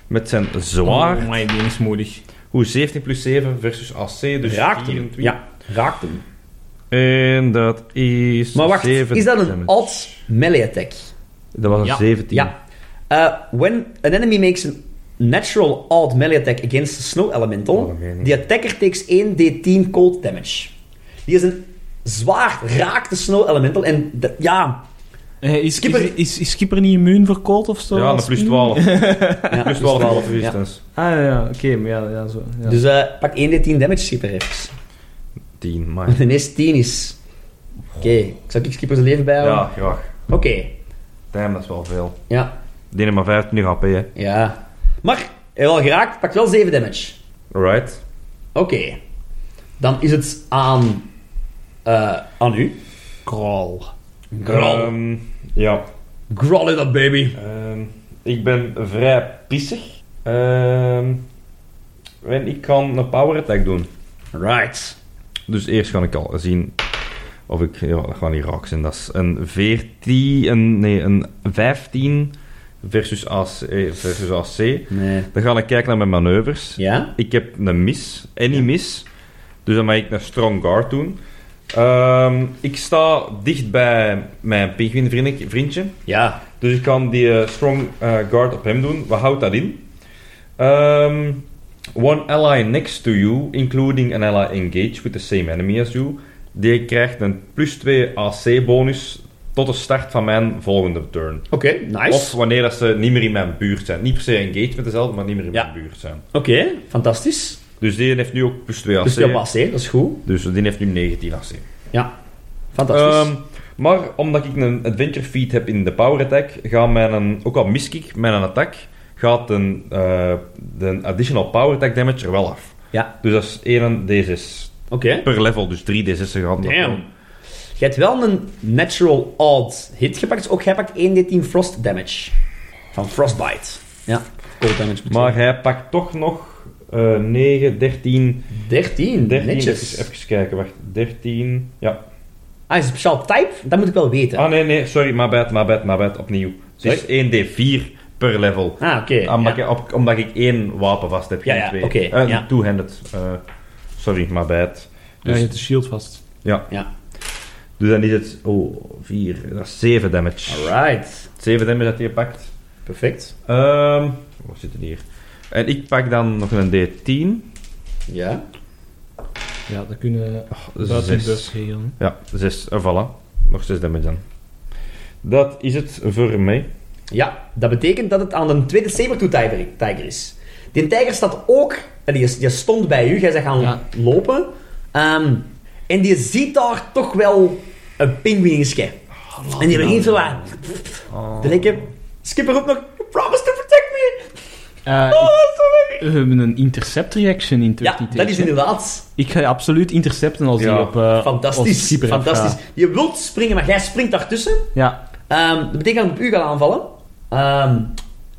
Speaker 1: Met zijn zwaar.
Speaker 3: Oh my, die is moedig.
Speaker 1: Hoe 17 plus 7 versus AC, dus
Speaker 2: raakt hem.
Speaker 1: 24.
Speaker 2: Ja, raakt hem.
Speaker 1: En dat is.
Speaker 2: Maar wacht,
Speaker 1: 7
Speaker 2: is dat een
Speaker 1: damage.
Speaker 2: alt melee attack?
Speaker 1: Dat was een
Speaker 3: Ja.
Speaker 1: 17.
Speaker 2: Ja. Uh, when an enemy makes a natural alt melee attack against a snow elemental,
Speaker 1: Oh, dat meen ik niet.
Speaker 2: the attacker takes 1d10 cold damage. Die is een zwaar raakte snow elemental en dat- ja,
Speaker 1: <laughs>
Speaker 4: Eh, is,
Speaker 2: Skipper-
Speaker 4: Skipper... Is, is, is Skipper niet immuun voor cold of zo?
Speaker 1: Ja, een
Speaker 4: Als-
Speaker 1: plus 12.
Speaker 2: <laughs> ja,
Speaker 1: plus 12
Speaker 2: dus-
Speaker 1: half
Speaker 2: ja.
Speaker 1: resistance.
Speaker 4: Ah ja, ja, oké, maar ja, ja, zo. Ja.
Speaker 2: Dus eh, pak 1d10 damage, Skipper, even.
Speaker 1: 10,
Speaker 2: Want <laughs>
Speaker 1: maar.
Speaker 2: de eerste 10 is... Oké, ik zal ik Skipper zijn leven bijhouden?
Speaker 1: Ja, graag.
Speaker 2: Oké,
Speaker 1: Damn, dat is wel veel.
Speaker 2: ja,
Speaker 1: Die heeft maar 25 HP, hè.
Speaker 2: ja. Maar, hij heeft wel geraakt, pakt wel 7 damage.
Speaker 1: Alright.
Speaker 2: Oké. Dan is het aan... eh, aan u.
Speaker 4: Kral.
Speaker 2: Grol.
Speaker 1: Ehm, ja.
Speaker 2: Grol it up, baby.
Speaker 1: Ehm, ik ben vrij pissig. Ehm, en ik kan een power attack doen.
Speaker 2: Right.
Speaker 1: Dus eerst ga ik al zien of ik... Ja, dat gaat niet raak zijn. Dat is een 14... Een, nee, een 15 versus AC. eh, Versus AC.
Speaker 2: Nee.
Speaker 1: Dan ga ik kijken naar mijn manoeuvres.
Speaker 2: Ja?
Speaker 1: Ik heb een mis. En die mis. Dus dan mag ik een strong guard doen. Ehm, ik sta dicht bij mijn pinguïnvriendje. vriendje.
Speaker 2: Ja.
Speaker 1: Dus ik kan die eh, strong eh, guard op hem doen. Wat houdt dat in? Ehm, one ally next to you, including an ally engaged with the same enemy as you, die krijgt een plus 2 AC bonus tot de start van mijn volgende turn.
Speaker 2: Oké, nice.
Speaker 1: Of wanneer dat ze niet meer in mijn buurt zijn. Niet per se engaged met dezelfde, maar niet meer in
Speaker 2: Ja.
Speaker 1: mijn buurt zijn.
Speaker 2: Oké, fantastisch.
Speaker 1: Dus die heeft nu ook plus 2 AC.
Speaker 2: Dus je was, hè? Dat is goed.
Speaker 1: Dus die heeft nu 19 AC. Ehm,
Speaker 2: Fantastisch.
Speaker 1: maar omdat ik een adventure feed heb in de power attack, gaat mijn, ook al miskick, mijn attack, gaat een, eh, de additional power attack damage er wel af.
Speaker 2: Ja.
Speaker 1: Dus dat is 1 D6
Speaker 2: Oké.
Speaker 1: per level, dus 3 D6'en gaan. dat
Speaker 2: Damn.
Speaker 1: wel.
Speaker 2: Je hebt wel een natural odd hit gepakt, dus ook jij pakt 1d10 frost damage. Van frostbite. Ja, cold damage. betekent.
Speaker 1: Maar hij pakt toch nog eh 9, 13,
Speaker 2: 13,
Speaker 1: 13.
Speaker 2: netjes.
Speaker 1: Even, even kijken, wacht. 13, ja.
Speaker 2: Ah, is een speciaal type? Dat moet ik wel weten.
Speaker 1: Ah nee, nee, sorry, my bad, my bad, my bad, opnieuw. Dus Het is 1 D4 per level.
Speaker 2: Ah, oké.
Speaker 1: Omdat,
Speaker 2: ja.
Speaker 1: ik, op- omdat ik één wapen vast heb,
Speaker 2: Ja,
Speaker 1: geen
Speaker 2: ja,
Speaker 1: twee.
Speaker 2: oké,
Speaker 1: Eh,
Speaker 2: ja.
Speaker 1: Two-handed. eh, sorry, my bad.
Speaker 4: Ja, je hebt de shield vast.
Speaker 1: Ja.
Speaker 2: Ja.
Speaker 1: Dus dan is het... Oh, vier. Dat is zeven damage.
Speaker 2: Alright.
Speaker 1: Zeven damage dat hij pakt.
Speaker 2: Perfect.
Speaker 1: Ehm wat zit er hier? En ik pak dan nog een D10.
Speaker 2: Ja.
Speaker 4: Ja, dat kunnen we
Speaker 1: Zes.
Speaker 4: buiten de
Speaker 3: dus-
Speaker 4: bus regelen.
Speaker 1: Ja, zes. Eh, voilà. Nog zes damage dan. Dat is het voor mij.
Speaker 2: Ja, dat betekent dat het aan de tweede sabertooth tiger, tiger is. Die tijger staat ook... en Die, is- die stond bij u, jij bent gaan
Speaker 3: Ja.
Speaker 2: lopen. Ehm, en die ziet daar toch wel een pinguïnske.
Speaker 3: Oh,
Speaker 2: en die begint zo Oh. aan.
Speaker 3: nou.
Speaker 2: Dan denk ik, Skipper roept nog, you promised to protect me.
Speaker 3: Eh,
Speaker 2: Oh, dat is zo erg.
Speaker 3: we hebben een intercept reaction in
Speaker 2: Ja,
Speaker 3: 30
Speaker 2: dat is inderdaad
Speaker 3: Ik ga je absoluut intercepten als
Speaker 1: Ja.
Speaker 3: die op... eh, als
Speaker 2: fantastisch.
Speaker 3: keeper afgaat.
Speaker 2: Fantastisch. Je wilt springen, maar jij springt daartussen.
Speaker 3: Ja.
Speaker 2: Ehm, dat betekent dat ik op u gaat aanvallen. Ehm,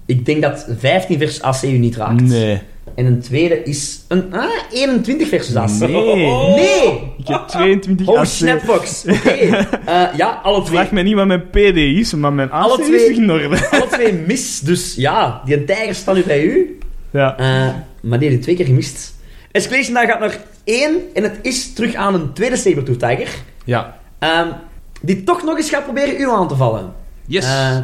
Speaker 2: ik denk dat 15 versus AC u niet raakt.
Speaker 3: Nee.
Speaker 2: En een tweede is een ah, 21 versus AC.
Speaker 3: Nee.
Speaker 2: Nee!
Speaker 3: Ik heb 22
Speaker 2: Oh,
Speaker 3: AC.
Speaker 2: snapbox.
Speaker 3: <laughs>
Speaker 2: Oké. Eh, ja, alle twee,
Speaker 3: Vraag mij niet wat mijn PD is, maar mijn AC
Speaker 2: Alle
Speaker 3: is
Speaker 2: twee-
Speaker 3: in orde.
Speaker 2: alle twee mis. Dus ja, die tijger staat nu bij u.
Speaker 3: Ja.
Speaker 2: Eh, maar nee, die twee keer gemist. Escalation daar gaat naar één. En het is terug aan een tweede Sabertooth Tiger.
Speaker 3: Ja. <laughs>
Speaker 2: Ehm, die toch nog eens gaat proberen u aan te vallen.
Speaker 3: Yes.
Speaker 2: Eh,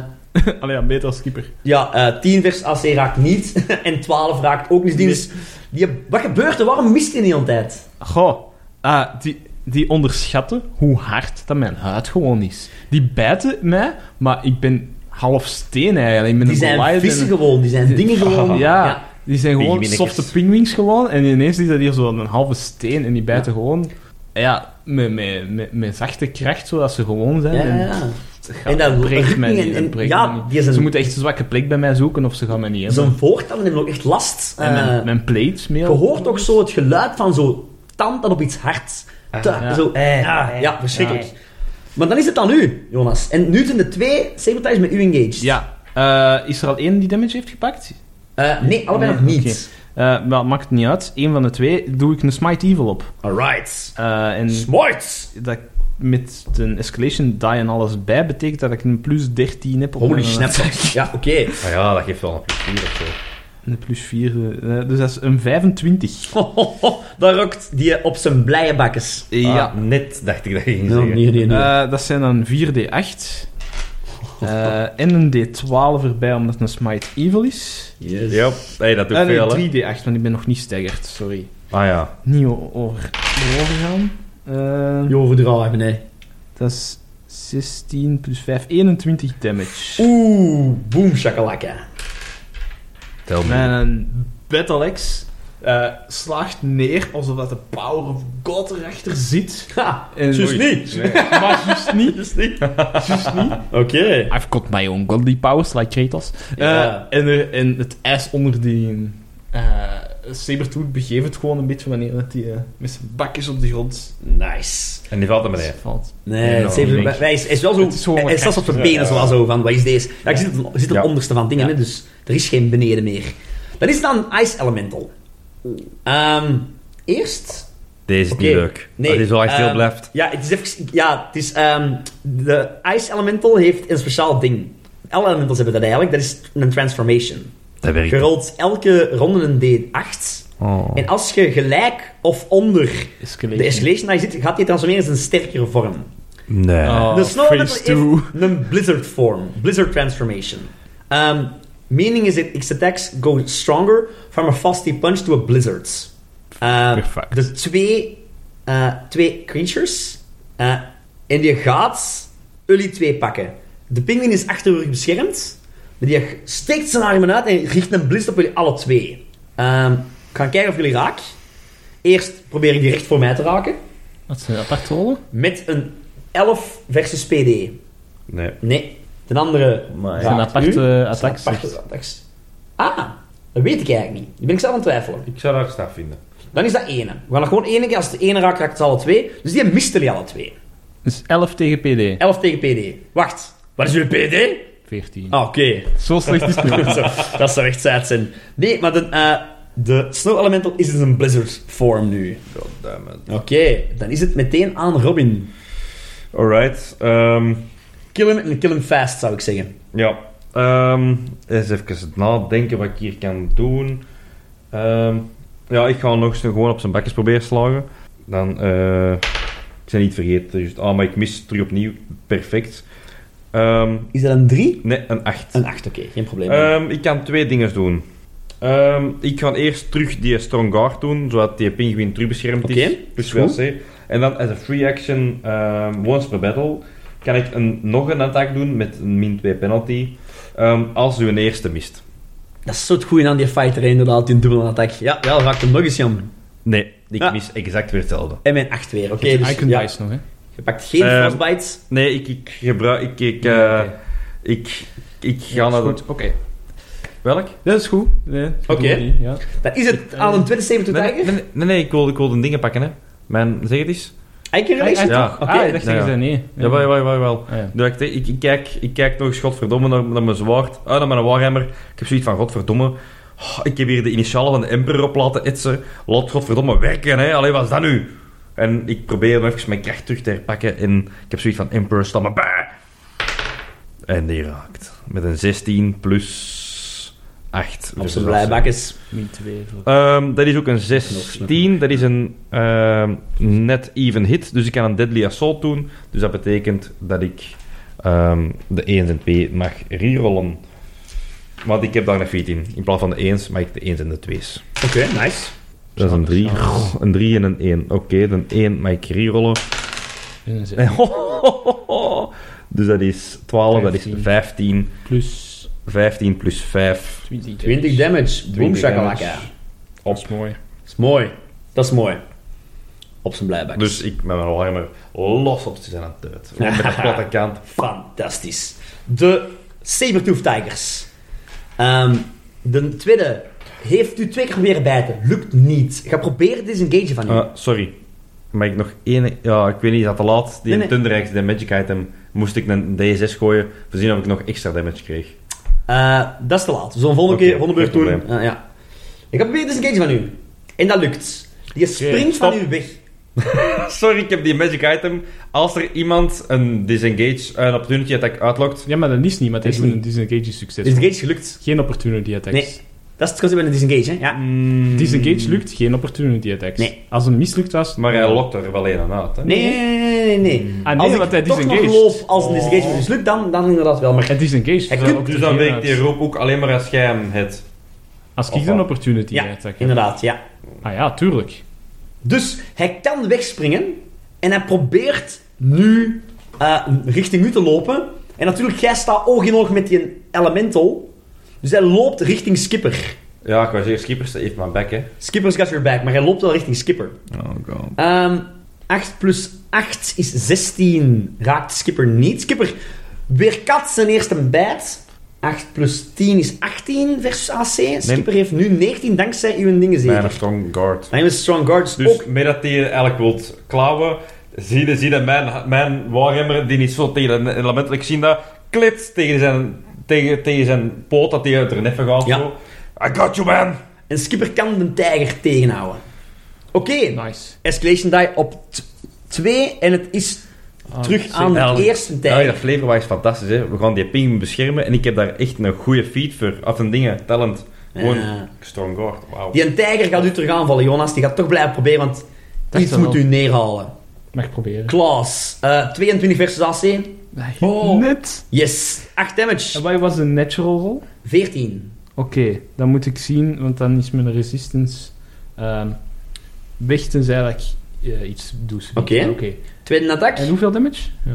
Speaker 3: Allee, ja, beter als keeper.
Speaker 2: Ja, eh 10 vers AC raakt niet. <laughs> en 12 raakt ook niet. Die is- die, wat gebeurt er? Waarom mist hij niet altijd?
Speaker 3: Goh. Ah, die, die onderschatten hoe hard dat mijn huid gewoon is. Die bijten mij, maar ik ben half steen eigenlijk. Ik ben
Speaker 2: Die
Speaker 3: een
Speaker 2: zijn
Speaker 3: Goliath en
Speaker 2: vissen
Speaker 3: een-
Speaker 2: gewoon. Die zijn <laughs> dingen gewoon.
Speaker 3: <laughs> Ja, die zijn gewoon
Speaker 1: Pingwinnetjes.
Speaker 3: softe pingwings gewoon. En ineens is dat hier zo'n halve steen en die bijten gewoon... Ja, met, met, met, met zachte kracht, zodat ze gewoon zijn.
Speaker 2: Ja, ja,
Speaker 3: En
Speaker 2: ja.
Speaker 3: het gaat-
Speaker 2: En dat
Speaker 3: het breekt mij
Speaker 2: en-
Speaker 3: niet. het
Speaker 2: en-
Speaker 3: breekt
Speaker 2: ja,
Speaker 3: mij niet.
Speaker 2: die is een-
Speaker 3: Ze moeten echt een zwakke plek bij mij zoeken of ze gaan mij niet hebben.
Speaker 2: Zo'n voortanden hebben ook echt last.
Speaker 3: En
Speaker 2: Eh,
Speaker 3: mijn, mijn plates meer.
Speaker 2: je hoort ook zo het geluid van zo'n tand dat op iets hards. Tu-
Speaker 3: ja.
Speaker 2: Zo, eh, ah, ja, verschrikkelijk. Maar dan is het aan u, Jonas. En nu zijn de twee sabotage met u engaged.
Speaker 3: Ja. Eh, is er al één die damage heeft gepakt?
Speaker 2: Eh, nee, allebei
Speaker 3: Nee,
Speaker 2: nog niet.
Speaker 3: Eh wel, maakt niet uit. Eén van de twee doe ik een Smite Evil op.
Speaker 2: Alright.
Speaker 3: Eh, en
Speaker 2: Smarts!
Speaker 3: dat ik met een Escalation die en alles bij betekent dat ik een plus 13 heb op
Speaker 2: Holy
Speaker 3: mijn-
Speaker 2: snap.
Speaker 3: <laughs>
Speaker 2: Ja, oké. <laughs>
Speaker 1: Ah ja, dat geeft wel een plus 4 of zo.
Speaker 3: Een plus 4, dus dat is een 25.
Speaker 2: Ho, ho, ho, Daar rokt die op zijn blije bakkes.
Speaker 3: ja.
Speaker 1: Ah, net dacht ik dat je ging
Speaker 2: Nee,
Speaker 1: zeggen.
Speaker 2: nee, nee. nee.
Speaker 3: Eh, dat zijn dan <laughs> 4d8. eh, en een d12 erbij, omdat het een smite evil is.
Speaker 2: Yes.
Speaker 1: Ja, hey, dat doet
Speaker 3: Eh, nee,
Speaker 1: veel, hè.
Speaker 3: 3d8, want ik ben nog niet staggerd, sorry.
Speaker 1: Ah ja.
Speaker 3: Niet o- over, overgaan. Eh,
Speaker 2: Je overdragen, nee.
Speaker 3: dat is 16 plus 5, 21 damage.
Speaker 2: Oeh, boom shakalaka.
Speaker 1: Tel me.
Speaker 3: En een eh, battle axe eh, slaagt neer alsof dat de power of god erachter zit.
Speaker 2: Ha,
Speaker 3: En
Speaker 2: juist niet. <laughs>
Speaker 3: Maar juist niet.
Speaker 2: Juist niet. Oké.
Speaker 3: I've got my own godly powers, like Kratos.
Speaker 2: Ja.
Speaker 3: Eh, en, er, en het ijs onder die eh Sabertooth begeeft het gewoon een beetje wanneer dat die eh, met zijn bakjes op de grond
Speaker 2: Nice.
Speaker 1: En die valt er beneden.
Speaker 3: valt.
Speaker 2: Nee,
Speaker 1: Ja,
Speaker 2: het heeft-
Speaker 1: Nou, niks.
Speaker 2: maar hij is, hij is wel zo...
Speaker 3: Het is gewoon
Speaker 2: hij hij staat op zijn
Speaker 1: echt-
Speaker 2: benen
Speaker 1: ja.
Speaker 2: zoals zo van, wat is deze? Ja, ik zit op, ik zit op
Speaker 1: Ja.
Speaker 2: het onderste van dingen,
Speaker 3: Ja.
Speaker 2: hè, dus er is geen beneden meer. Dan is het dan Ice Elemental. Ehm, eerst...
Speaker 1: Deze is
Speaker 2: Oké.
Speaker 1: niet leuk.
Speaker 2: Nee,
Speaker 1: dat is wel echt heel
Speaker 2: ehm,
Speaker 1: blijft.
Speaker 2: Ja, het is even... Ja, het is... ehm, de Ice Elemental heeft een speciaal ding. Alle elementals hebben dat eigenlijk. Dat is een transformation.
Speaker 1: Dat werkt.
Speaker 2: Je rolt elke ronde een D8.
Speaker 1: Oh.
Speaker 2: En als je gelijk of onder de
Speaker 3: Escalation.
Speaker 2: escalation die zit, gaat die transformeren in een sterkere vorm.
Speaker 1: Nee.
Speaker 5: Uh,
Speaker 3: Oh,
Speaker 2: de Snow
Speaker 3: phase
Speaker 2: Elemental heeft een blizzard vorm. Blizzard transformation. Ehm, meaning is that its attacks go stronger from a frosty punch to a blizzard. Ehm,
Speaker 3: Perfect.
Speaker 2: dus twee, eh, twee creatures. eh, en die gaat jullie twee pakken. De pinguïn is achter u beschermd. Maar die steekt zijn armen uit en richt een blizzard op jullie alle twee. Ehm, ik ga kijken of jullie raak. Eerst probeer ik die recht voor mij te raken.
Speaker 3: Wat zijn dat, apart rollen?
Speaker 2: Met een 11 versus PD.
Speaker 1: Nee.
Speaker 2: Nee. De andere
Speaker 1: Maar ja.
Speaker 2: raakt
Speaker 3: Zijn aparte
Speaker 2: u. Dat zijn
Speaker 3: attacks,
Speaker 2: aparte attacks. Ah, dat weet ik eigenlijk niet. Daar ben ik zelf aan het twijfelen.
Speaker 1: Ik zou daar staf vinden.
Speaker 2: Dan is dat ene. We gaan nog gewoon één keer. Als de ene raakt, raakt het alle twee. Dus die misten jullie alle twee.
Speaker 3: Dus 11 tegen PD.
Speaker 2: 11 tegen PD. Wacht. Wat is jullie PD?
Speaker 3: 14.
Speaker 2: Ah, oké.
Speaker 3: Zo slecht is
Speaker 2: <laughs>
Speaker 3: het niet.
Speaker 2: Zo, dat zou echt zaad zijn. Nee, maar de, eh, de Snow Elemental is in zijn Blizzard vorm nu.
Speaker 1: Goddammit.
Speaker 2: Oké, dan is het meteen aan Robin.
Speaker 1: Alright. ehm,
Speaker 2: Kill hem en kill hem fast, zou ik zeggen.
Speaker 1: ja. Ehm, eens even nadenken wat ik hier kan doen. Ehm, ja, ik ga nog eens gewoon op zijn bekjes proberen slagen. Dan, eh ik zijn niet vergeten. Dus, ah, maar ik mis terug opnieuw. Perfect. Ehm,
Speaker 2: Is dat een 3?
Speaker 1: nee, een 8.
Speaker 2: Een 8, oké. Geen probleem.
Speaker 1: Ehm, ik kan twee dingen doen. Ehm, ik ga eerst terug die Strong Guard doen, zodat die pinguïn terug beschermd is.
Speaker 2: Oké,
Speaker 1: Plus
Speaker 2: goed.
Speaker 1: WLC. En dan als een free action, ehm, once per battle, kan ik een, nog een attack doen met een min 2 penalty. ehm, als u een eerste mist.
Speaker 2: Dat is zo het goede aan die fighter, hè, inderdaad, die dubbele attack. Ja, ja, raakt hem nog eens, jam.
Speaker 1: Nee, Ah. ik
Speaker 2: Ja.
Speaker 1: mis exact weer hetzelfde.
Speaker 2: En mijn 8 weer, oké.
Speaker 3: Icon
Speaker 2: dus, ja.
Speaker 3: dice nog, hè?
Speaker 2: Je pakt geen
Speaker 1: Ehm,
Speaker 2: frostbites.
Speaker 1: Nee, ik, ik gebruik... Ik, ik, eh, ik, ik ga naar de...
Speaker 3: Goed, oké.
Speaker 1: Welk?
Speaker 3: Dat is goed. Nee, dat
Speaker 2: Oké.
Speaker 3: doen we niet, ja.
Speaker 2: Dat is het aan een 72
Speaker 1: eh, Nee,
Speaker 2: dagen.
Speaker 1: nee, nee, nee, nee, ik wil, ik wil de dingen pakken, hè. Mijn... Zeg het eens.
Speaker 2: Eiken relation?
Speaker 1: Ja.
Speaker 2: Oké.
Speaker 3: Ah, ik dacht dat
Speaker 1: Ja,
Speaker 3: je
Speaker 1: ja.
Speaker 3: zei nee.
Speaker 1: Jawel, jawel, jawel. jawel.
Speaker 3: Ah, ja.
Speaker 1: Dus ik, ik, ik kijk, ik kijk nog eens, godverdomme, naar, naar mijn zwaard. Ah, naar mijn warhammer. Ik heb zoiets van, godverdomme... oh, ik heb hier de initialen van de emperor op laten etsen. Laat godverdomme werken, hè. Allee, wat is dat nu? En ik probeer hem even mijn kracht terug te herpakken. En ik heb zoiets van, emperor, sta maar bij. En die raakt. Met een 16 plus Dus 8.
Speaker 2: Op zijn blijbakkes.
Speaker 3: Min 2. voor-
Speaker 1: Ehm, dat is ook een
Speaker 2: sneller.
Speaker 1: 16. Dat is een ehm, net even hit. Dus ik kan een deadly assault doen. Dus dat betekent dat ik ehm, de 1 en 2 mag rerollen. Want ik heb daar een 14. In plaats van de 1 mag ik de 1 en de 2's.
Speaker 2: Oké, nice.
Speaker 1: Dat is een 3. Een 3 en een 1. Oké, de 1 mag ik rerollen. <laughs>
Speaker 10: En dan zeg-
Speaker 1: Dus dat is 12, dat is 15.
Speaker 10: Plus
Speaker 1: 15 plus 5.
Speaker 10: 20.
Speaker 2: 20 damage. Boom,
Speaker 1: 20
Speaker 2: shakalaka.
Speaker 1: Op. is mooi.
Speaker 2: Dat is mooi. Dat is mooi. Op zijn blijbakkes.
Speaker 1: Dus ik met mijn warmer los op zijn aan het uit. Gewoon Met de platte kant.
Speaker 2: <laughs> Fantastisch. De Sabertooth Tigers. Ehm, de tweede heeft u twee keer proberen bijten. Lukt niet. Ga proberen disengage van u.
Speaker 1: Eh, sorry. Maar ik nog één... Ja, ik weet niet, is dat te laat? Die
Speaker 2: Nee, nee.
Speaker 1: Thunderix, de magic item, moest ik een D6 gooien. Voor zien of ik nog extra damage kreeg.
Speaker 2: Eh, dat is te laat. We zullen volgende
Speaker 1: Oké,
Speaker 2: keer, volgende beurt
Speaker 1: geen
Speaker 2: doen. Eh, ja. Ik ga proberen disengage van u. En dat lukt. Die springt van
Speaker 1: stop.
Speaker 2: u weg.
Speaker 1: Sorry, ik heb die magic item. Als er iemand een disengage, een opportunity attack uitlokt...
Speaker 3: Ja, maar dat is niet, maar het
Speaker 2: Dat
Speaker 3: is
Speaker 2: is
Speaker 3: een disengage is succes.
Speaker 2: Disengage is gelukt.
Speaker 3: Geen opportunity attacks.
Speaker 2: Nee. Dat is het concept met een disengage, hè? Ja.
Speaker 1: mm,
Speaker 3: Disengage lukt, geen opportunity attacks.
Speaker 2: Nee.
Speaker 3: Als een mislukt was...
Speaker 1: Maar hij lokt er wel één aan uit, hè?
Speaker 2: Nee, nee, nee, nee, nee. nee.
Speaker 3: Ah nee,
Speaker 2: Als ik
Speaker 3: want hij
Speaker 2: toch nog
Speaker 3: disengaged.
Speaker 2: loop als een disengage is mislukt, dan, dan inderdaad wel. Maar
Speaker 3: Hij disengaged.
Speaker 2: Hij
Speaker 3: dus
Speaker 2: kunt-
Speaker 3: ook
Speaker 1: Dus
Speaker 3: de
Speaker 1: dan
Speaker 3: geen
Speaker 1: weet ik
Speaker 3: uit.
Speaker 1: die roep ook alleen maar als jij hem het.
Speaker 3: Als ik
Speaker 1: Of
Speaker 3: een
Speaker 1: wat?
Speaker 3: opportunity
Speaker 2: ja,
Speaker 3: attack heb.
Speaker 2: inderdaad, ja.
Speaker 3: Ah ja, tuurlijk.
Speaker 2: Dus hij kan wegspringen en hij probeert nu eh, richting u te lopen. En natuurlijk, jij staat oog in oog met die elemental. Dus hij loopt richting Skipper.
Speaker 1: Ja, ik wou zeggen, Skippers heeft mijn bek, hè.
Speaker 2: Skipper's got your back, maar hij loopt wel richting Skipper.
Speaker 1: Oh god.
Speaker 2: Ehm 8 plus 8 is 16. Raakt Skipper niet. Skipper weerkatst zijn eerste bijt. 8 plus 10 is 18 versus AC. Skipper heeft nu 19 dankzij uw dingen
Speaker 1: Mijn
Speaker 2: zeker.
Speaker 1: strong guard.
Speaker 2: Hij is Strong Guards
Speaker 1: Dus
Speaker 2: ook.
Speaker 1: met dat hij eigenlijk wilt klauwen, zie je, zie je mijn, mijn warhammer, die niet zo tegen een element, ik zie dat, klits tegen zijn, tegen, tegen zijn poot, dat hij uit de neffen gaat.
Speaker 2: Ja.
Speaker 1: Zo. I got you, man!
Speaker 2: En Skipper kan de tijger tegenhouden. Oké.
Speaker 3: Nice.
Speaker 2: Escalation die op 2 en het is Ah, terug aan
Speaker 1: Ja,
Speaker 2: de
Speaker 1: dat-
Speaker 2: eerste
Speaker 1: Ah, Ja, dat
Speaker 2: tijger.
Speaker 1: flavorwaar is fantastisch, hè. We gaan die ping beschermen en ik heb daar echt een goede feed voor. Af en dingen, talent. Gewoon
Speaker 2: Ja.
Speaker 1: strong guard, wauw.
Speaker 2: Eh, Die een tijger gaat u terug aanvallen, Jonas. Die gaat toch blijven proberen, want iets
Speaker 3: wel.
Speaker 2: moet u neerhalen.
Speaker 3: Mag proberen.
Speaker 2: Klaas, eh, 22 versus AC.
Speaker 3: Oh. Net.
Speaker 2: Yes, 8 damage.
Speaker 3: En wat was een natural roll?
Speaker 2: 14.
Speaker 3: Oké, dan moet ik zien, want dan is mijn resistance ehm weg tenzij dat ik eh, iets doe.
Speaker 2: Oké. Tweede attack.
Speaker 3: En hoeveel damage? Ja.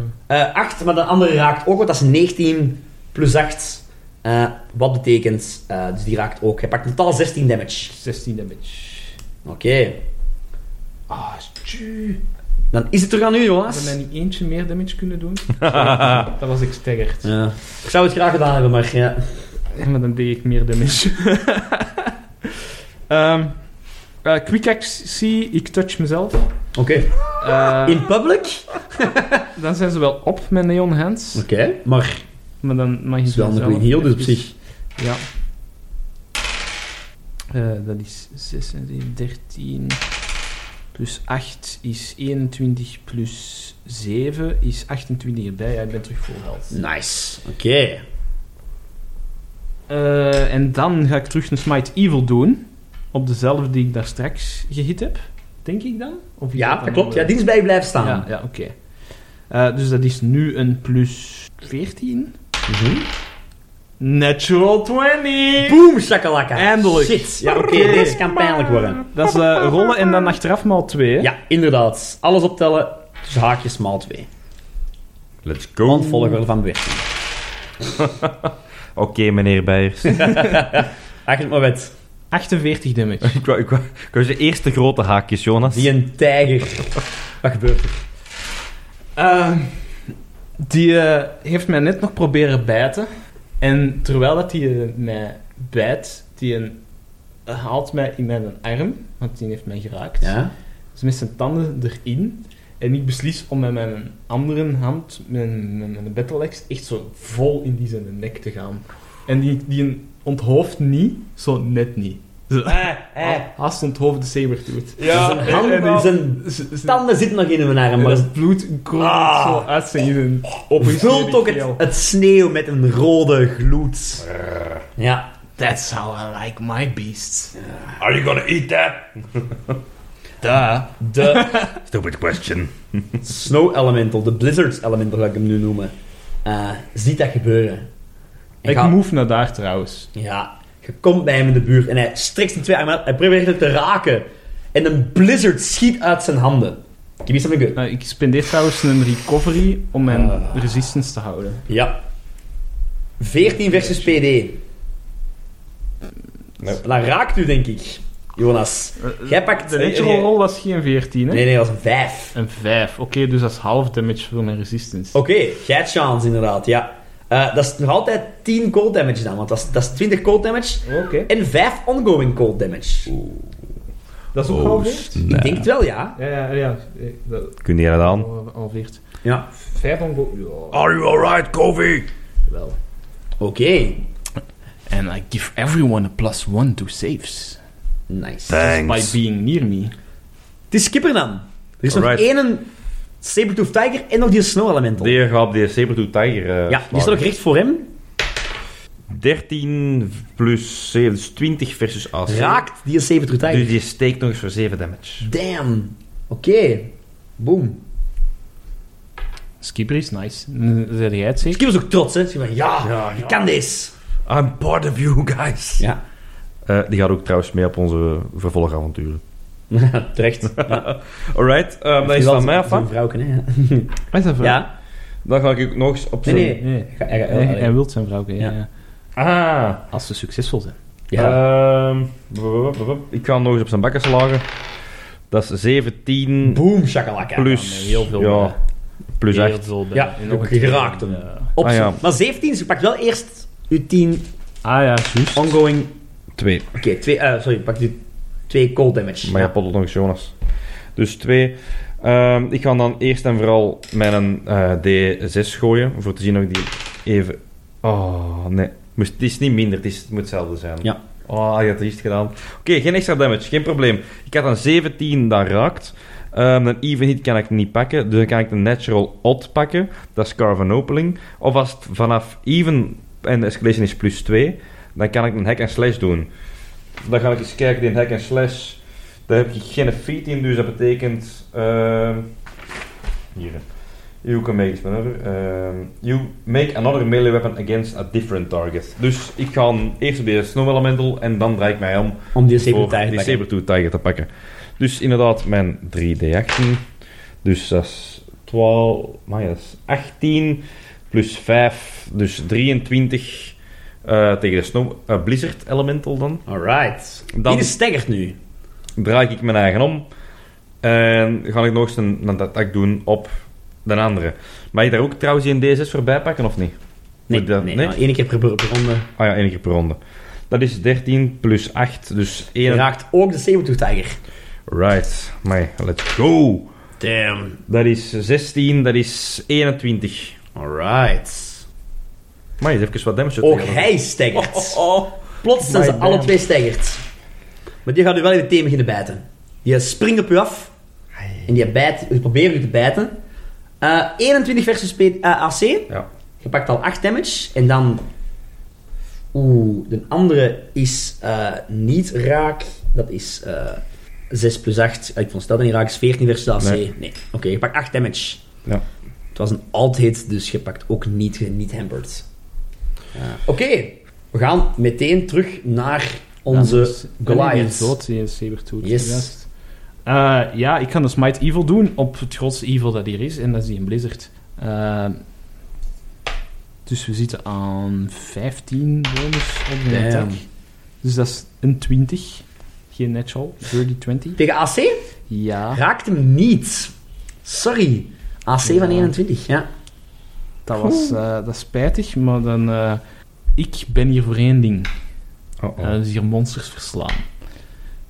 Speaker 2: Eh 8, maar de andere raakt ook, want dat is 19 plus 8. Eh, wat betekent, eh, dus die raakt ook. Hij pakt in totaal 16 damage.
Speaker 3: 16 damage.
Speaker 2: Oké. Ah, Dan is het terug aan u,
Speaker 3: Zou
Speaker 2: Jonas.
Speaker 3: mij niet eentje meer damage
Speaker 2: <laughs>
Speaker 3: kunnen doen? Sorry, dat was ik staggerd.
Speaker 2: Ja. Ik zou het graag gedaan hebben, maar ja.
Speaker 3: Ja, maar dan deed ik meer
Speaker 2: <laughs>
Speaker 3: damage. Ehm eh, quick actie, ik touch mezelf.
Speaker 2: Oké.
Speaker 3: Eh,
Speaker 2: In public?
Speaker 3: Dan zijn ze wel op met neon hands.
Speaker 2: Oké, maar
Speaker 3: Maar dan mag je
Speaker 2: het is wel een
Speaker 3: zelf
Speaker 2: goede heal, dus op
Speaker 3: even-
Speaker 2: zich.
Speaker 3: Ja. Eh, dat is 6 en 10, 13. Plus 8 is 21. Plus 7 is 28 erbij. Ja, ik ben terug vol health.
Speaker 2: Nice. Oké.
Speaker 3: Eh, en dan ga ik terug een Smite Evil doen. Op dezelfde die ik daar straks gehit heb. Denk ik dan? Of is
Speaker 2: Ja,
Speaker 3: dan
Speaker 2: dat klopt.
Speaker 3: een-
Speaker 2: Ja, die is bij je blijven staan.
Speaker 3: Ja, ja oké. Eh, dus dat is nu een plus 14.
Speaker 2: Mhm.
Speaker 3: Natural 20!
Speaker 2: Boom, shakalaka.
Speaker 3: Eindelijk.
Speaker 2: Shit. Ja, oké, deze kan pijnlijk worden.
Speaker 3: Dat is eh, rollen en dan achteraf maal 2.
Speaker 2: Ja, inderdaad. Alles optellen, dus haakjes maal 2.
Speaker 1: Let's go.
Speaker 2: Want volgorde van bewerking.
Speaker 1: Oké, meneer Beijers.
Speaker 2: Haak het maar wet.
Speaker 3: 48 damage.
Speaker 1: <laughs> ik wou, ik wou, ik wou de eerste grote haakjes, Jonas.
Speaker 2: Die een tijger. Wat gebeurt er?
Speaker 4: Eh, die eh, heeft mij net nog proberen bijten. En terwijl dat die eh, mij bijt, die een, eh, haalt mij in mijn arm, want die heeft mij geraakt.
Speaker 2: Ja?
Speaker 4: Dus met zijn tanden erin. En ik beslis om met mijn andere hand, mijn, mijn, mijn battle axe, echt zo vol in die zijn nek te gaan. En die, die onthoofd niet, zo net niet. Zo,
Speaker 2: Eh.
Speaker 3: eh.
Speaker 4: ha- Haast onthoofd de saber doet.
Speaker 2: Ja,
Speaker 4: en- en-
Speaker 2: en zijn tanden zitten nog in mijn arm,
Speaker 4: En
Speaker 2: maar
Speaker 4: dat
Speaker 2: het
Speaker 4: bloed komt
Speaker 2: Ah.
Speaker 4: zo uit zijn zijn
Speaker 2: vult ook het, het sneeuw met een rode gloed.
Speaker 5: Uh,
Speaker 2: Ja.
Speaker 9: That's how I like my beasts.
Speaker 5: Are you gonna eat that?
Speaker 9: Duh.
Speaker 2: De
Speaker 5: Stupid question.
Speaker 2: Snow Elemental, de Blizzards Elemental ga ik hem nu noemen, eh, ziet dat gebeuren. En
Speaker 4: Ik
Speaker 2: gaat-
Speaker 4: move naar daar trouwens.
Speaker 2: Ja, je komt bij hem in de buurt en hij strekt zijn twee armen uit. Hij probeert het te raken. En een blizzard schiet uit zijn handen. Give me something good.
Speaker 4: Nou, ik spendeer trouwens een recovery om mijn
Speaker 2: Ah.
Speaker 4: resistance te houden.
Speaker 2: Ja. 14 versus PD.
Speaker 1: Nope.
Speaker 2: Dat raakt u, denk ik, Jonas. Jij
Speaker 9: Eh,
Speaker 2: pakt... eh,
Speaker 4: De natural roll was geen 14, hè?
Speaker 2: Nee, nee, dat was een 5.
Speaker 4: Een 5. Oké, dus dat is half damage voor mijn resistance.
Speaker 2: Oké, jij hebt chance, inderdaad, ja. Eh, dat is nog altijd 10 cold damage dan, want dat is, dat is 20 cold damage
Speaker 4: Oké.
Speaker 2: en 5 ongoing cold damage.
Speaker 4: Dat is ook
Speaker 1: Oh,
Speaker 4: halveerd?
Speaker 2: Ik
Speaker 1: snap.
Speaker 2: denk het wel, ja.
Speaker 4: Ja, ja, ja. eh, Dat
Speaker 1: Kun je dat aan?
Speaker 4: halveert.
Speaker 2: Ja.
Speaker 4: Vijf ongo... Ja,
Speaker 5: Are you alright, Kofi?
Speaker 4: wel.
Speaker 2: Oké.
Speaker 9: And I give everyone a plus one to saves.
Speaker 2: Nice.
Speaker 4: By
Speaker 5: Thanks.
Speaker 4: being near me.
Speaker 2: Het is Kippernam. Er is nog
Speaker 1: Alright.
Speaker 2: één Sabertooth Tiger en nog die Snow Elemental.
Speaker 1: Die gaat op die Sabertooth Tiger eh,
Speaker 2: ja, die
Speaker 1: slagen.
Speaker 2: staat ook recht voor hem.
Speaker 1: 13 plus 7, dus 20 versus AC.
Speaker 2: Raakt die Sabertooth Tiger.
Speaker 1: Dus die steekt nog eens voor 7 damage.
Speaker 2: Damn. Oké. Boom.
Speaker 4: Skipper is nice. Eh, Zeg jij het zeker?
Speaker 2: Skip was ook trots, hè. Ze van, ja, ik kan deze.
Speaker 5: I'm part of you guys.
Speaker 2: Ja. <laughs>
Speaker 1: Eh, die gaat ook trouwens mee op onze vervolgavonturen.
Speaker 2: Terecht. Ja.
Speaker 1: Alright, ehm dat is dan mij af. hè?
Speaker 2: Zo'n vrouwke, hè.
Speaker 4: Hij is een vrouw.
Speaker 2: Ja.
Speaker 1: Dan ga ik ook nog eens op
Speaker 2: Nee,
Speaker 1: zijn...
Speaker 2: nee.
Speaker 4: Nee.
Speaker 2: Ga- ga- ga-
Speaker 4: Hij,
Speaker 2: allee.
Speaker 1: Eh,
Speaker 4: hij wil zijn vrouw. Ja.
Speaker 2: Ja.
Speaker 4: ja.
Speaker 1: Ah,
Speaker 4: Als ze succesvol zijn.
Speaker 2: Ja.
Speaker 1: ehm, wup, wup, wup, wup. ik ga hem nog eens op zijn bakken slagen. Dat is 17
Speaker 2: Boom, shakalaka.
Speaker 1: plus...
Speaker 4: heel veel bij.
Speaker 1: ja, plus 8.
Speaker 4: veel bij.
Speaker 2: Ja,
Speaker 4: En nog
Speaker 2: ook
Speaker 4: een keer.
Speaker 2: geraakt hem.
Speaker 4: Ja.
Speaker 2: Op
Speaker 1: Ah, ja.
Speaker 2: Maar 17, ze pakt wel eerst uw 10
Speaker 4: Ah ja, juist.
Speaker 2: ongoing...
Speaker 1: 2.
Speaker 2: Oké, twee... eh, sorry, pakt u 2 cold damage.
Speaker 1: Maar ja, potelt nog eens Jonas. Dus 2. ik ga dan eerst en vooral mijn eh, D6 gooien. Voor te zien of ik die even... Oh, nee. Moest, het is niet minder, het, is, het moet hetzelfde zijn.
Speaker 2: Ja.
Speaker 1: Oh, je had het gedaan. Oké, geen extra damage, geen probleem. Ik had een 17, dat raakt. Ehm een even hit kan ik niet pakken. Dus dan kan ik de natural odd pakken. Dat is carve an opening. Of als het vanaf even en de escalation is plus 2, dan kan ik een hack en slash doen. Dan ga ik eens kijken, die hack en slash... Daar heb je geen feat in, dus dat betekent... ehm, hier. You can make this maneuver. ehm, you make another melee weapon against a different target. Dus ik ga eerst op deze Snow Elemental en dan draai ik mij om
Speaker 2: Om die
Speaker 1: voor
Speaker 2: Sabertooth Tiger te
Speaker 1: die
Speaker 2: pakken.
Speaker 1: Sabertooth Tiger te pakken. Dus inderdaad, mijn 3D18. Dus dat is 12... Maar dat is 18 plus 5, dus 23 eh, tegen de Snow... eh, Blizzard Elemental dan.
Speaker 2: Alright.
Speaker 1: Dan-
Speaker 2: Die is staggerd nu.
Speaker 1: draai ik mijn eigen om. En ga ik nog eens een, een attack doen op de andere. Mag je daar ook trouwens die een D6 voorbij pakken of niet?
Speaker 2: Nee,
Speaker 1: Moet dat-
Speaker 2: nee,
Speaker 1: nee?
Speaker 2: nou, één keer per, per per ronde.
Speaker 1: Ah ja, één keer per ronde. Dat is 13 plus 8, dus 1.
Speaker 2: raakt ook de Sabertooth Tiger.
Speaker 1: Right, maar let's go.
Speaker 2: Damn.
Speaker 1: Dat is 16, dat is 21.
Speaker 2: Alright.
Speaker 1: Maar je hebt even wat damage.
Speaker 2: Ook
Speaker 1: tegen.
Speaker 2: hij staggert.
Speaker 1: Oh,
Speaker 2: Plots zijn ze
Speaker 4: My
Speaker 2: alle
Speaker 4: damn.
Speaker 2: twee staggert. Maar die gaat nu wel in meteen beginnen bijten. Je springt op u af. En die bijt, je probeert u te bijten. Eh, 21 versus P- eh, AC.
Speaker 1: Ja.
Speaker 2: Je pakt al 8 damage. En dan... Oeh, de andere is eh, niet raak. Dat is eh 6 plus 8. Eh, Ik vond stel dat niet raak is 14 versus AC. Nee.
Speaker 1: Nee.
Speaker 2: Oké, je pakt 8 damage.
Speaker 1: Ja.
Speaker 2: Het was een alt-hit, dus je pakt ook niet, niet hampered. Eh, Oké, we gaan meteen terug naar onze
Speaker 4: dus Die
Speaker 2: Goliath.
Speaker 4: is dood, die is Sabertooth.
Speaker 2: Yes.
Speaker 4: Juist. Eh, ja, ik kan de Smite Evil doen op het grootste evil dat hier is. En dat is die een Blizzard. Ehm, dus we zitten aan 15 bonus op de
Speaker 2: Damn.
Speaker 4: attack. Dus dat is een 20. Geen natural. Dirty 20.
Speaker 2: Tegen AC
Speaker 4: Ja.
Speaker 2: raakt hem niet. Sorry. AC van 21, ja.
Speaker 4: Dat was eh, dat is spijtig, maar dan... eh, ik ben hier voor één ding.
Speaker 1: Oh, oh.
Speaker 4: Eh, dus hier monsters verslaan.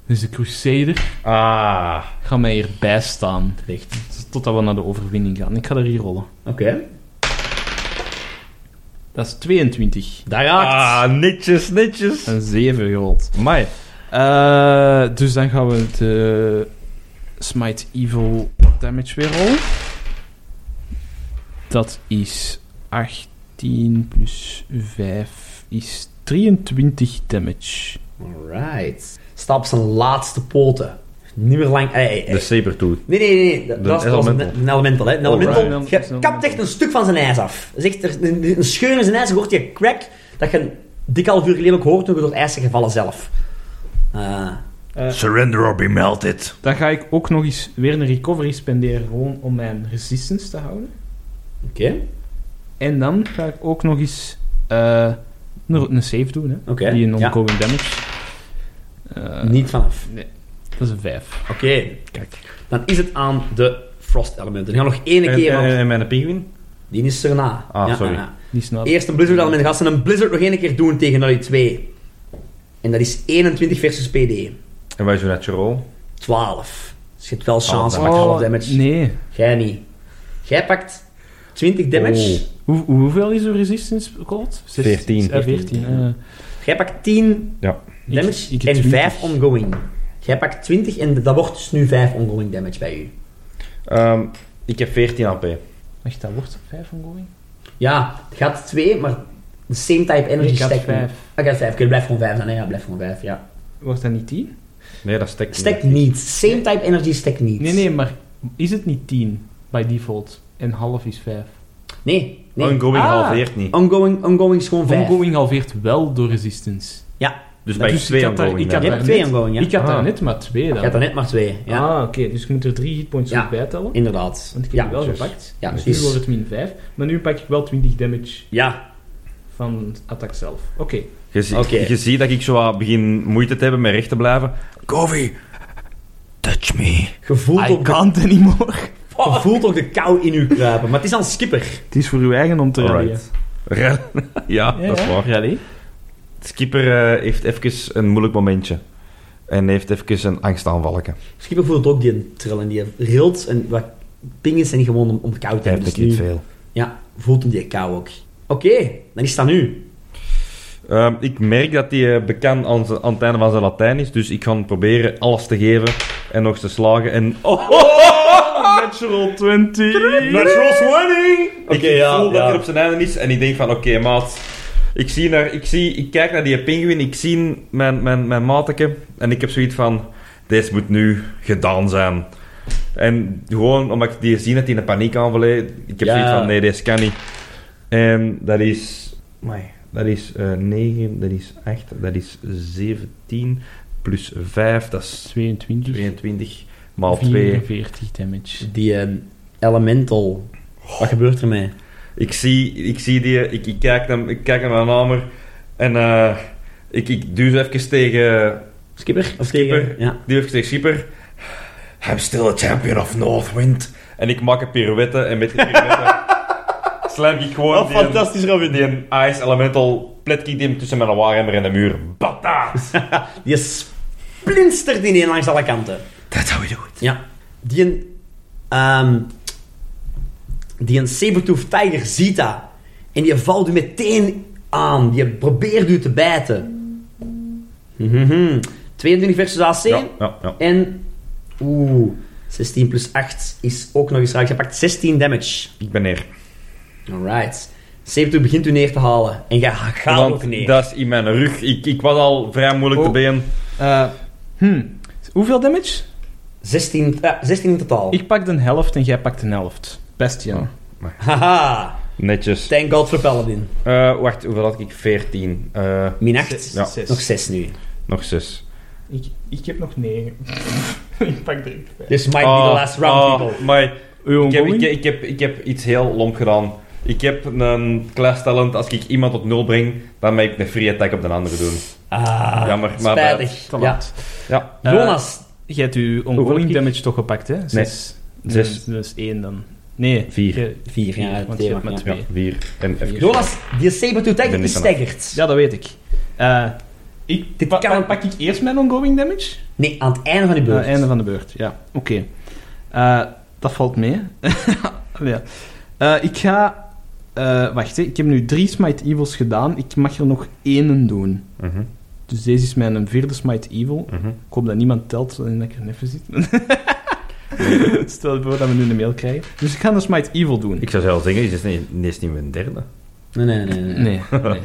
Speaker 4: Dus de Crusader
Speaker 1: Ah.
Speaker 4: gaat mij hierbij staan. Dus
Speaker 2: Terecht.
Speaker 4: Totdat we naar de overwinning gaan. Ik ga er hier rollen.
Speaker 2: Oké.
Speaker 4: Dat is 22.
Speaker 2: Daar raakt.
Speaker 1: Ah, netjes, netjes.
Speaker 4: Een 7 gerold.
Speaker 1: Amai.
Speaker 4: Eh, dus dan gaan we de Smite Evil Damage weer rollen. Dat is 18 plus 5 is 23 damage.
Speaker 2: Alright. Sta op zijn laatste poten. Niet meer lang... Ei, ei, ei.
Speaker 1: De Sabertooth.
Speaker 2: Nee, nee, nee. nee, Dat,
Speaker 1: De
Speaker 2: dat is dat was een,
Speaker 1: Dus- elemental.
Speaker 2: een elemental, hè. Een elemental.
Speaker 4: right.
Speaker 2: Je kapt echt een stuk van zijn ijs af. Dat is echt er- een, een scheur in zijn ijs. Je hoort je crack. Dat je een dik half uur geleden ook hoort toen we door het ijs zijn gevallen zelf. Ah.
Speaker 5: Uh. Surrender or be melted.
Speaker 4: Dan ga ik ook nog eens weer een recovery spenderen gewoon om mijn resistance te houden.
Speaker 2: Oké.
Speaker 4: En dan ga ik ook nog eens eh, een, een save doen. Hè?
Speaker 2: Oké,
Speaker 4: Die een
Speaker 2: ja.
Speaker 4: ongoing damage. Eh,
Speaker 2: Niet vanaf.
Speaker 4: Dat is een 5.
Speaker 2: Oké. Kijk. Dan is het aan de frost elementen. We gaan nog één
Speaker 1: En,
Speaker 2: keer...
Speaker 1: en,
Speaker 2: want
Speaker 1: en mijn pinguïn?
Speaker 2: die is erna.
Speaker 1: Ah, sorry.
Speaker 4: Die snap ik.
Speaker 2: Eerst een blizzard element. Gaan ze een blizzard nog één keer doen tegen die 2. En dat is 21 versus PD.
Speaker 1: En wij zijn net je rol.
Speaker 2: 12. Dus je hebt wel chance,
Speaker 1: Oh,
Speaker 2: maar half damage.
Speaker 4: Nee.
Speaker 2: Jij niet. Jij pakt 20 damage.
Speaker 1: Oh.
Speaker 4: Hoe, hoeveel is uw resistance gold?
Speaker 1: 14.
Speaker 4: Eh, 14. eh.
Speaker 2: Jij pakt 10
Speaker 1: Oh. Ja.
Speaker 2: damage
Speaker 4: ik
Speaker 2: en
Speaker 4: heb 20.
Speaker 2: 5 ongoing. Jij pakt 20 en dat wordt dus nu 5 ongoing damage bij u.
Speaker 1: Ehm, ik heb 14 AP.
Speaker 4: Wacht, dat wordt 5 ongoing?
Speaker 2: Ja, het gaat 2, maar de same type energy
Speaker 4: Nee, ik had
Speaker 2: stekt niet.
Speaker 4: vijf.
Speaker 2: Ah, je had 5. Oké, blijf gewoon 5 dan. hè. Ja, blijf gewoon 5, ja.
Speaker 4: Wordt dat niet 10?
Speaker 1: Nee, dat stekt
Speaker 2: Stekt niet. Same type energy stekt niet.
Speaker 4: Nee, nee, maar is het niet 10 by default? En half is 5.
Speaker 2: Nee, nee.
Speaker 1: Ongoing
Speaker 4: Ah.
Speaker 1: Oh, halveert niet.
Speaker 2: Ongoing, ongoing is gewoon 5.
Speaker 4: Ongoing halveert wel door resistance.
Speaker 2: Ja,
Speaker 1: Dus bij
Speaker 4: Dus ik
Speaker 1: 2
Speaker 4: had daar-
Speaker 1: ongoing.
Speaker 4: ik had
Speaker 1: dan.
Speaker 2: je
Speaker 4: maar
Speaker 2: hebt 2
Speaker 4: net-
Speaker 2: ongoing, ja.
Speaker 4: Ik had daar
Speaker 1: Ah.
Speaker 4: net maar 2
Speaker 2: Je hebt
Speaker 4: dan.
Speaker 2: er net maar 2, ja.
Speaker 4: Ah, oké, dus ik moet er 3 hitpoints
Speaker 2: Ja.
Speaker 4: nog bij tellen.
Speaker 2: Inderdaad.
Speaker 4: Want ik heb
Speaker 2: ja,
Speaker 4: die wel
Speaker 1: juist.
Speaker 4: gepakt.
Speaker 2: Ja,
Speaker 4: dus nu
Speaker 2: precies.
Speaker 4: wordt het min 5. Maar nu pak ik wel 20 damage
Speaker 2: ja,
Speaker 4: van het attack zelf. Oké.
Speaker 1: Je, zie-
Speaker 2: Oké.
Speaker 1: je ziet dat ik zo wat begin moeite te hebben met recht te blijven.
Speaker 5: Govi, touch me.
Speaker 2: gevoeld op de
Speaker 4: can't anymore.
Speaker 2: Je voelt ook de kou in u kruipen, maar het is aan skipper.
Speaker 4: Het is voor uw eigen om te
Speaker 1: Alright.
Speaker 4: rijden.
Speaker 1: Rel- <laughs> ja,
Speaker 4: Ja,
Speaker 1: dat is
Speaker 4: ja.
Speaker 1: waar.
Speaker 4: Rally?
Speaker 1: Skipper eh, heeft even een moeilijk momentje. En heeft even een angstaanvalken.
Speaker 2: Skipper voelt ook die trill en die rilt en wat ping is en gewoon om, om koud te
Speaker 1: Hij heeft
Speaker 2: hebben.
Speaker 1: ik
Speaker 2: Dus
Speaker 1: niet
Speaker 2: nu-
Speaker 1: veel.
Speaker 2: Ja, voelt hem die kou ook. Oké, dan is dat nu.
Speaker 1: Ehm, ik merk dat hij eh, bekend aan, zijn- aan het einde van zijn Latijn is, dus ik ga hem proberen alles te geven en nog eens te slagen. En <laughs> oh,
Speaker 4: Natural 20!
Speaker 1: Natural's winning! Oké,
Speaker 2: Oké, ja,
Speaker 1: ik voel dat
Speaker 2: ja.
Speaker 1: hij op zijn einde is en ik denk van, oké, maat. Ik, zie naar, ik, zie, ik kijk naar die pinguïn, ik zie mijn, mijn, mijn mateke en ik heb zoiets van, deze moet nu gedaan zijn. En gewoon omdat ik die zie dat hij in de paniek aanval hè, ik heb
Speaker 2: Ja.
Speaker 1: zoiets van, nee, deze kan niet. En dat is... Amai, dat is 9, dat is 8, dat is 17, plus 5, dat is
Speaker 2: Dus
Speaker 4: 22.
Speaker 1: 22, maal 2.
Speaker 4: 44 damage.
Speaker 2: Die eh, elemental. Wat gebeurt er mee?
Speaker 1: Ik zie, ik zie die, ik, ik, kijk naar, ik kijk naar mijn hamer en eh, ik, ik duw zo even tegen,
Speaker 2: Skipper? Of
Speaker 1: Skipper.
Speaker 2: tegen- Ja.
Speaker 1: duw even tegen Schieper.
Speaker 5: I'm still a champion of Northwind.
Speaker 1: En ik maak een pirouette en met die
Speaker 2: <laughs>
Speaker 1: pirouette slam ik gewoon die,
Speaker 2: fantastisch, Robin.
Speaker 1: die een ice elemental pletkick die hem tussen mijn waarhammer en de muur.
Speaker 2: <laughs>
Speaker 1: Bata!
Speaker 2: Die splinstert in één langs alle kanten.
Speaker 5: That's how we do it.
Speaker 2: Ja. Die een... ehm, die een sabertooth tiger ziet dat. En die valt u meteen aan. Die probeert u te bijten. Mhm. 22 versus AC.
Speaker 1: Ja, ja, ja.
Speaker 2: En... Oeh. 16 plus 8 is ook nog eens raak. Je pakt 16 damage.
Speaker 1: Ik ben neer.
Speaker 2: Alright. Sabertooth begint u neer te halen. En jij gaat ook
Speaker 1: Want
Speaker 2: neer.
Speaker 1: dat is in mijn rug. Ik, ik was al vrij moeilijk te
Speaker 4: Oh.
Speaker 1: been.
Speaker 4: Eh, hmm. Hoeveel damage?
Speaker 2: 16, ah, 16 in totaal.
Speaker 4: Ik pak de helft en jij pakt de helft. Bastian.
Speaker 2: Oh. Haha.
Speaker 1: Netjes.
Speaker 2: Thank God voor Paladin.
Speaker 1: Eh, wacht, hoeveel had ik? 14. Eh,
Speaker 2: Min 8.
Speaker 1: Ja.
Speaker 4: Zes.
Speaker 2: Nog 6 nu.
Speaker 1: nog 6.
Speaker 4: Ik, ik heb nog 9. <laughs> ik pak er
Speaker 2: This might
Speaker 1: Ah,
Speaker 2: be the last round,
Speaker 1: ah,
Speaker 2: people.
Speaker 1: my.
Speaker 4: Uw
Speaker 1: Ik heb, ik,
Speaker 4: ongoing?
Speaker 1: ik, heb, ik heb iets heel lomp gedaan. Ik heb een class talent. Als ik iemand op nul breng, dan mag ik een free attack op de andere doen.
Speaker 2: Ah,
Speaker 1: Jammer, maar
Speaker 2: spijtig.
Speaker 4: Te
Speaker 2: Ja.
Speaker 4: laat.
Speaker 1: Ja,
Speaker 4: Eh,
Speaker 2: Jonas,
Speaker 4: Jij hebt uw
Speaker 1: Hoeveel heb
Speaker 4: ongoing
Speaker 1: ik?
Speaker 4: damage toch gepakt, hè? Zes.
Speaker 1: Zes.
Speaker 4: Dus, dus één dan. Nee.
Speaker 1: Vier.
Speaker 4: Je-
Speaker 2: Vier, ja.
Speaker 4: want
Speaker 2: het
Speaker 4: je
Speaker 2: thema,
Speaker 4: hebt maar
Speaker 2: ja.
Speaker 4: twee.
Speaker 1: Vier. En even.
Speaker 2: Jonas, die saber-tooth-attack
Speaker 1: Ben ik
Speaker 2: is
Speaker 1: vanaf.
Speaker 2: staggerd.
Speaker 4: Ja, dat weet ik. Eh, ik
Speaker 2: Dit
Speaker 4: pa-
Speaker 2: kan-
Speaker 4: pak ik eerst mijn ongoing damage?
Speaker 2: Nee, aan het einde van die
Speaker 4: Aan
Speaker 2: beurt.
Speaker 4: het einde van de beurt, ja. Oké. Eh, dat valt mee. <laughs> ja. Eh, ik ga... eh, wacht, hè. ik heb nu drie Smite Evils gedaan. Ik mag er nog één doen.
Speaker 1: Mhm,
Speaker 4: Dus deze is mijn vierde Smite Evil.
Speaker 1: mhm.
Speaker 4: Ik hoop dat niemand telt en dat ik er net voor zit. <laughs> Stel je voor dat we nu een mail krijgen. Dus ik ga een Smite Evil doen.
Speaker 1: Ik zou zelf zeggen, is dit niet, nee, is niet mijn derde?
Speaker 2: Nee, nee, nee. nee.
Speaker 4: Nee.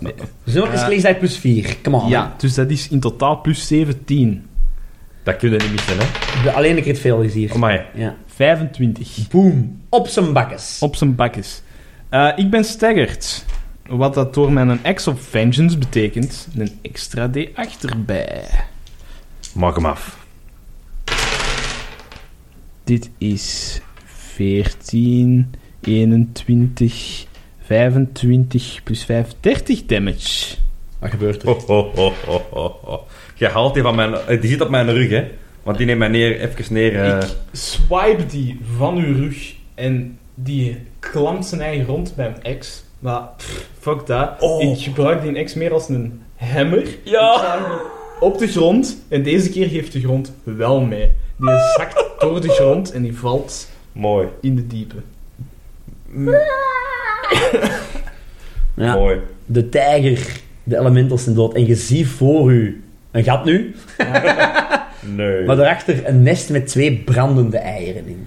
Speaker 4: nee.
Speaker 2: Zo is gelegenheid plus 4. Come
Speaker 1: Oh,
Speaker 2: on.
Speaker 4: Ja, dus dat is in totaal plus 17.
Speaker 1: Dat kun je niet missen, hè?
Speaker 2: De- Alleen de crit fail is hier.
Speaker 1: Amai.
Speaker 2: Ja.
Speaker 4: 25.
Speaker 2: Boom. Op zijn bakkes.
Speaker 4: Op zijn bakjes. Eh, ik ben staggerd. Wat dat door mijn Axe of Vengeance betekent. Een extra D8 erbij.
Speaker 1: Maak hem af.
Speaker 4: Dit is 14, 21, 25 plus 5, 30 damage.
Speaker 2: Wat gebeurt
Speaker 1: Ho, ho, ho, ho, ho, ho. Je oh, haalt die van mijn... eh, Die zit op mijn rug, hè? Want die neemt mij neer, even neer... eh,
Speaker 4: Ik swipe die van uw rug en die klampt zijn eigen rond bij mijn ex. Maar pff, fuck dat. Ik gebruik die ex meer als een hammer. Ik sla hem op de grond en deze keer geeft de grond wel mee. Die zakt door de grond en die valt
Speaker 1: Mooi.
Speaker 4: in de diepe.
Speaker 2: Ja.
Speaker 1: Mooi.
Speaker 2: De tijger, de elementals zijn dood. En je ziet voor u een gat nu,
Speaker 1: Nee.
Speaker 2: maar daarachter een nest met twee brandende eieren in.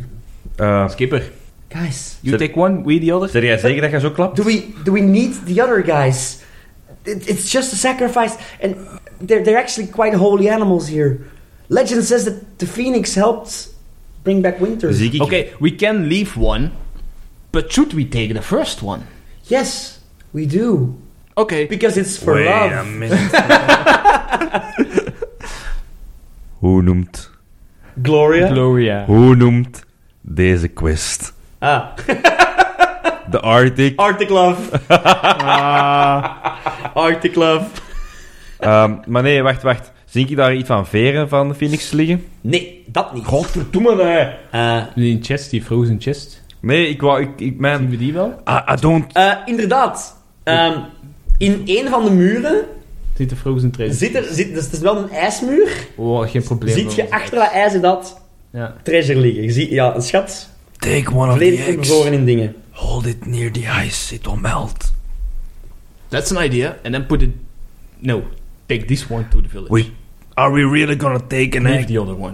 Speaker 1: Eh,
Speaker 9: Skipper,
Speaker 2: Guys,
Speaker 9: you
Speaker 1: Zet-
Speaker 9: take one, we the other.
Speaker 1: Zeg jij zeker dat je zo klapt?
Speaker 8: Do we, do we need the other guys? It, it's just a sacrifice, and they're, they're actually quite holy animals here. Legend says that the phoenix helped bring back winter.
Speaker 1: Zie ik...
Speaker 9: Okay, we can leave one, but should we take the first one?
Speaker 8: Yes, we do.
Speaker 9: Okay.
Speaker 8: Because it's for
Speaker 1: Wait a
Speaker 8: love.
Speaker 5: <laughs>
Speaker 1: minute. Hoe noemt...
Speaker 2: Gloria.
Speaker 4: Gloria.
Speaker 1: Hoe noemt deze quest?
Speaker 2: ah,
Speaker 1: <laughs> De Arctic.
Speaker 2: Arctic Love. Ah. Arctic Love.
Speaker 1: Ehm, maar nee, wacht, wacht. Zie ik daar iets van veren van de Phoenix liggen?
Speaker 2: Nee, dat niet.
Speaker 1: Godverdomme, nee.
Speaker 2: Eh,
Speaker 4: Die chest, die frozen chest.
Speaker 1: Nee, ik wou... Ik, ik, mijn...
Speaker 4: we die wel?
Speaker 1: I, I don't...
Speaker 2: eh, inderdaad, Ehm, in een van de muren
Speaker 4: Zit de frozen treasure.
Speaker 2: zit er, zit, dus het is wel een ijsmuur,
Speaker 4: Oh, geen probleem.
Speaker 2: ziet je achter dat ijs dat
Speaker 4: Ja.
Speaker 2: treasure liggen. Je ziet, ja, een schat,
Speaker 5: Take one of the
Speaker 2: volledig
Speaker 5: eggs.
Speaker 2: ingevroren in dingen.
Speaker 5: Hold it near the ice. It will melt.
Speaker 9: That's an idea, and then put it. No, take this one to the village.
Speaker 5: We are we really gonna take an
Speaker 9: leave
Speaker 5: egg?
Speaker 9: the other one.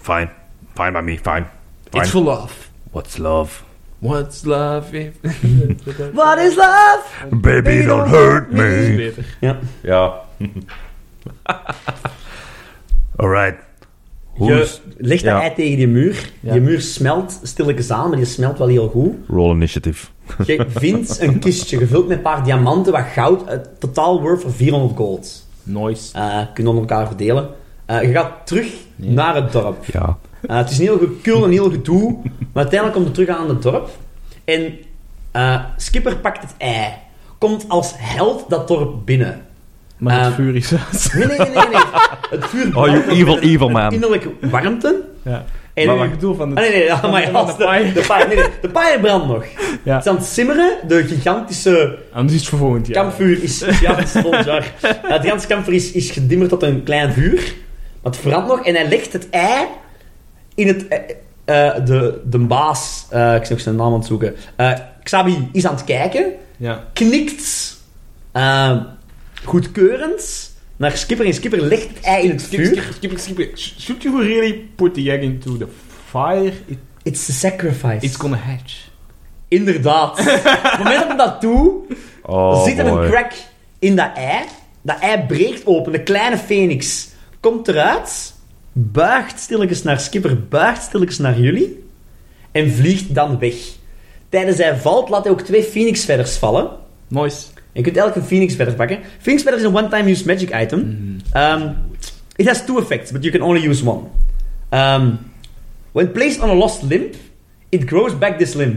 Speaker 1: Fine. Fine by me, fine.
Speaker 9: It's
Speaker 1: Fine.
Speaker 9: for love.
Speaker 5: What's love?
Speaker 9: What's love if
Speaker 8: What is love?
Speaker 5: Baby, don't hurt me.
Speaker 1: Ja.
Speaker 5: Alright.
Speaker 1: Who's...
Speaker 2: Je legt dat
Speaker 1: ja.
Speaker 2: ei tegen die muur.
Speaker 4: Ja.
Speaker 2: Die muur smelt stilletjes aan, maar die smelt wel heel goed.
Speaker 1: Roll initiative.
Speaker 2: Je vindt een kistje gevuld met een paar diamanten, wat goud. eh, totaal worth voor 400 gold.
Speaker 4: Nice.
Speaker 2: Eh kunnen onder elkaar verdelen. Eh, je gaat terug naar het dorp.
Speaker 1: Ja.
Speaker 2: Eh, het is een heel gekul, een heel gedoe. Maar uiteindelijk komt het terug aan het dorp. En eh, Skipper pakt het ei. Komt als held dat dorp binnen.
Speaker 4: Maar het
Speaker 2: Eh,
Speaker 4: vuur is <laughs> uit.
Speaker 2: Nee, nee, nee, nee. nee. Het vuur
Speaker 1: Oh, you
Speaker 2: <laughs> brandt ook
Speaker 1: evil,
Speaker 2: met een-
Speaker 1: evil
Speaker 2: een
Speaker 1: man.
Speaker 2: Innerlijke warmte.
Speaker 4: Ja.
Speaker 2: En
Speaker 1: Maar
Speaker 4: Ik
Speaker 1: wacht.
Speaker 4: bedoel van
Speaker 2: Ah,
Speaker 4: het...
Speaker 2: nee, nee, ja, maar ja,
Speaker 4: de
Speaker 2: de,
Speaker 4: paai.
Speaker 2: de paai- nee, nee, de paai brandt nog.
Speaker 4: Ja.
Speaker 2: Het is aan het simmeren, de gigantische
Speaker 4: Anders Ah, is het voor volgend jaar.
Speaker 2: kampvuur is... Ja, het is volgend jaar.
Speaker 4: <laughs>
Speaker 2: Ja, het gigantische kampvuur is, is gedimmerd tot een klein vuur. Maar het brandt nog en hij legt het ei in het... eh, eh, de, de baas, eh, ik ben nog zijn naam aan het zoeken, Eh, Xabi is aan het kijken,
Speaker 4: Ja.
Speaker 2: knikt eh, goedkeurend naar Skipper en Skipper legt het ei in het vuur.
Speaker 4: Skip, skip. Should you really put the egg into the fire? It-
Speaker 2: It's a sacrifice.
Speaker 4: It's gonna hatch. <laughs>
Speaker 2: Inderdaad. Op het moment dat ik dat doe,
Speaker 1: Oh,
Speaker 2: zit er
Speaker 1: boy.
Speaker 2: een crack in dat ei. Dat ei breekt open. De kleine phoenix komt eruit. Buigt stilletjes naar Skipper. Buigt stilletjes naar jullie. En vliegt dan weg. Tijdens hij valt laat hij ook twee phoenixvedders vallen.
Speaker 4: Nice.
Speaker 2: Je kunt elke phoenixvedder pakken. Phoenixvedder is een one-time use magic item.
Speaker 1: Mhm.
Speaker 2: Um, it has two effects, but you can only use one. Um, when placed on a lost limb, it grows back this limb.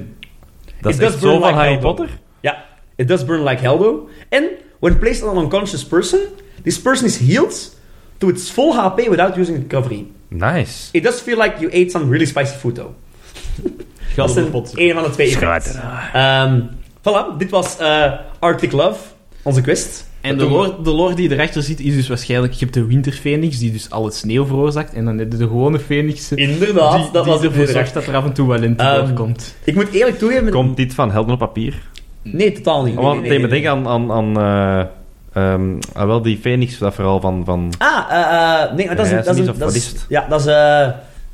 Speaker 1: Dat is
Speaker 2: It does
Speaker 1: echt
Speaker 2: burn
Speaker 1: zo van
Speaker 2: like
Speaker 1: Harry
Speaker 2: hell, though.
Speaker 1: Potter?
Speaker 2: Yeah, it does burn like hell though. And when placed on an unconscious person, this person is healed to its full HP without using recovery.
Speaker 1: Nice.
Speaker 2: It does feel like you ate some really spicy food though. Dat is een, een van de twee effecten. Ehm, voilà, dit was eh, Arctic Love, onze quest.
Speaker 4: En de lore, de lore die erachter zit, is dus waarschijnlijk... Je hebt de winterfenix, die dus al het sneeuw veroorzaakt. En dan heb je de gewone fenix, die,
Speaker 2: Inderdaad, dat was
Speaker 4: die
Speaker 2: het
Speaker 4: ervoor
Speaker 2: inderdaad.
Speaker 4: zorgt dat er af en toe wel in
Speaker 2: Ehm,
Speaker 4: komt.
Speaker 2: Ik moet eerlijk toegeven...
Speaker 1: Komt dit van Helden op papier?
Speaker 2: Nee, totaal
Speaker 4: Oh,
Speaker 2: niet.
Speaker 1: Want
Speaker 2: Nee,
Speaker 1: het
Speaker 2: nee,
Speaker 1: deed me
Speaker 2: nee,
Speaker 1: denken aan... aan, aan eh, ehm, ah, wel die Phoenix, dat verhaal van... van
Speaker 2: nee. Ah, eh, eh, nee, maar dat
Speaker 1: Vrijzenis
Speaker 2: is... een- Dat is, een-
Speaker 1: of
Speaker 2: dat
Speaker 1: wat
Speaker 2: is
Speaker 1: is het?
Speaker 2: ja, dat is... eh,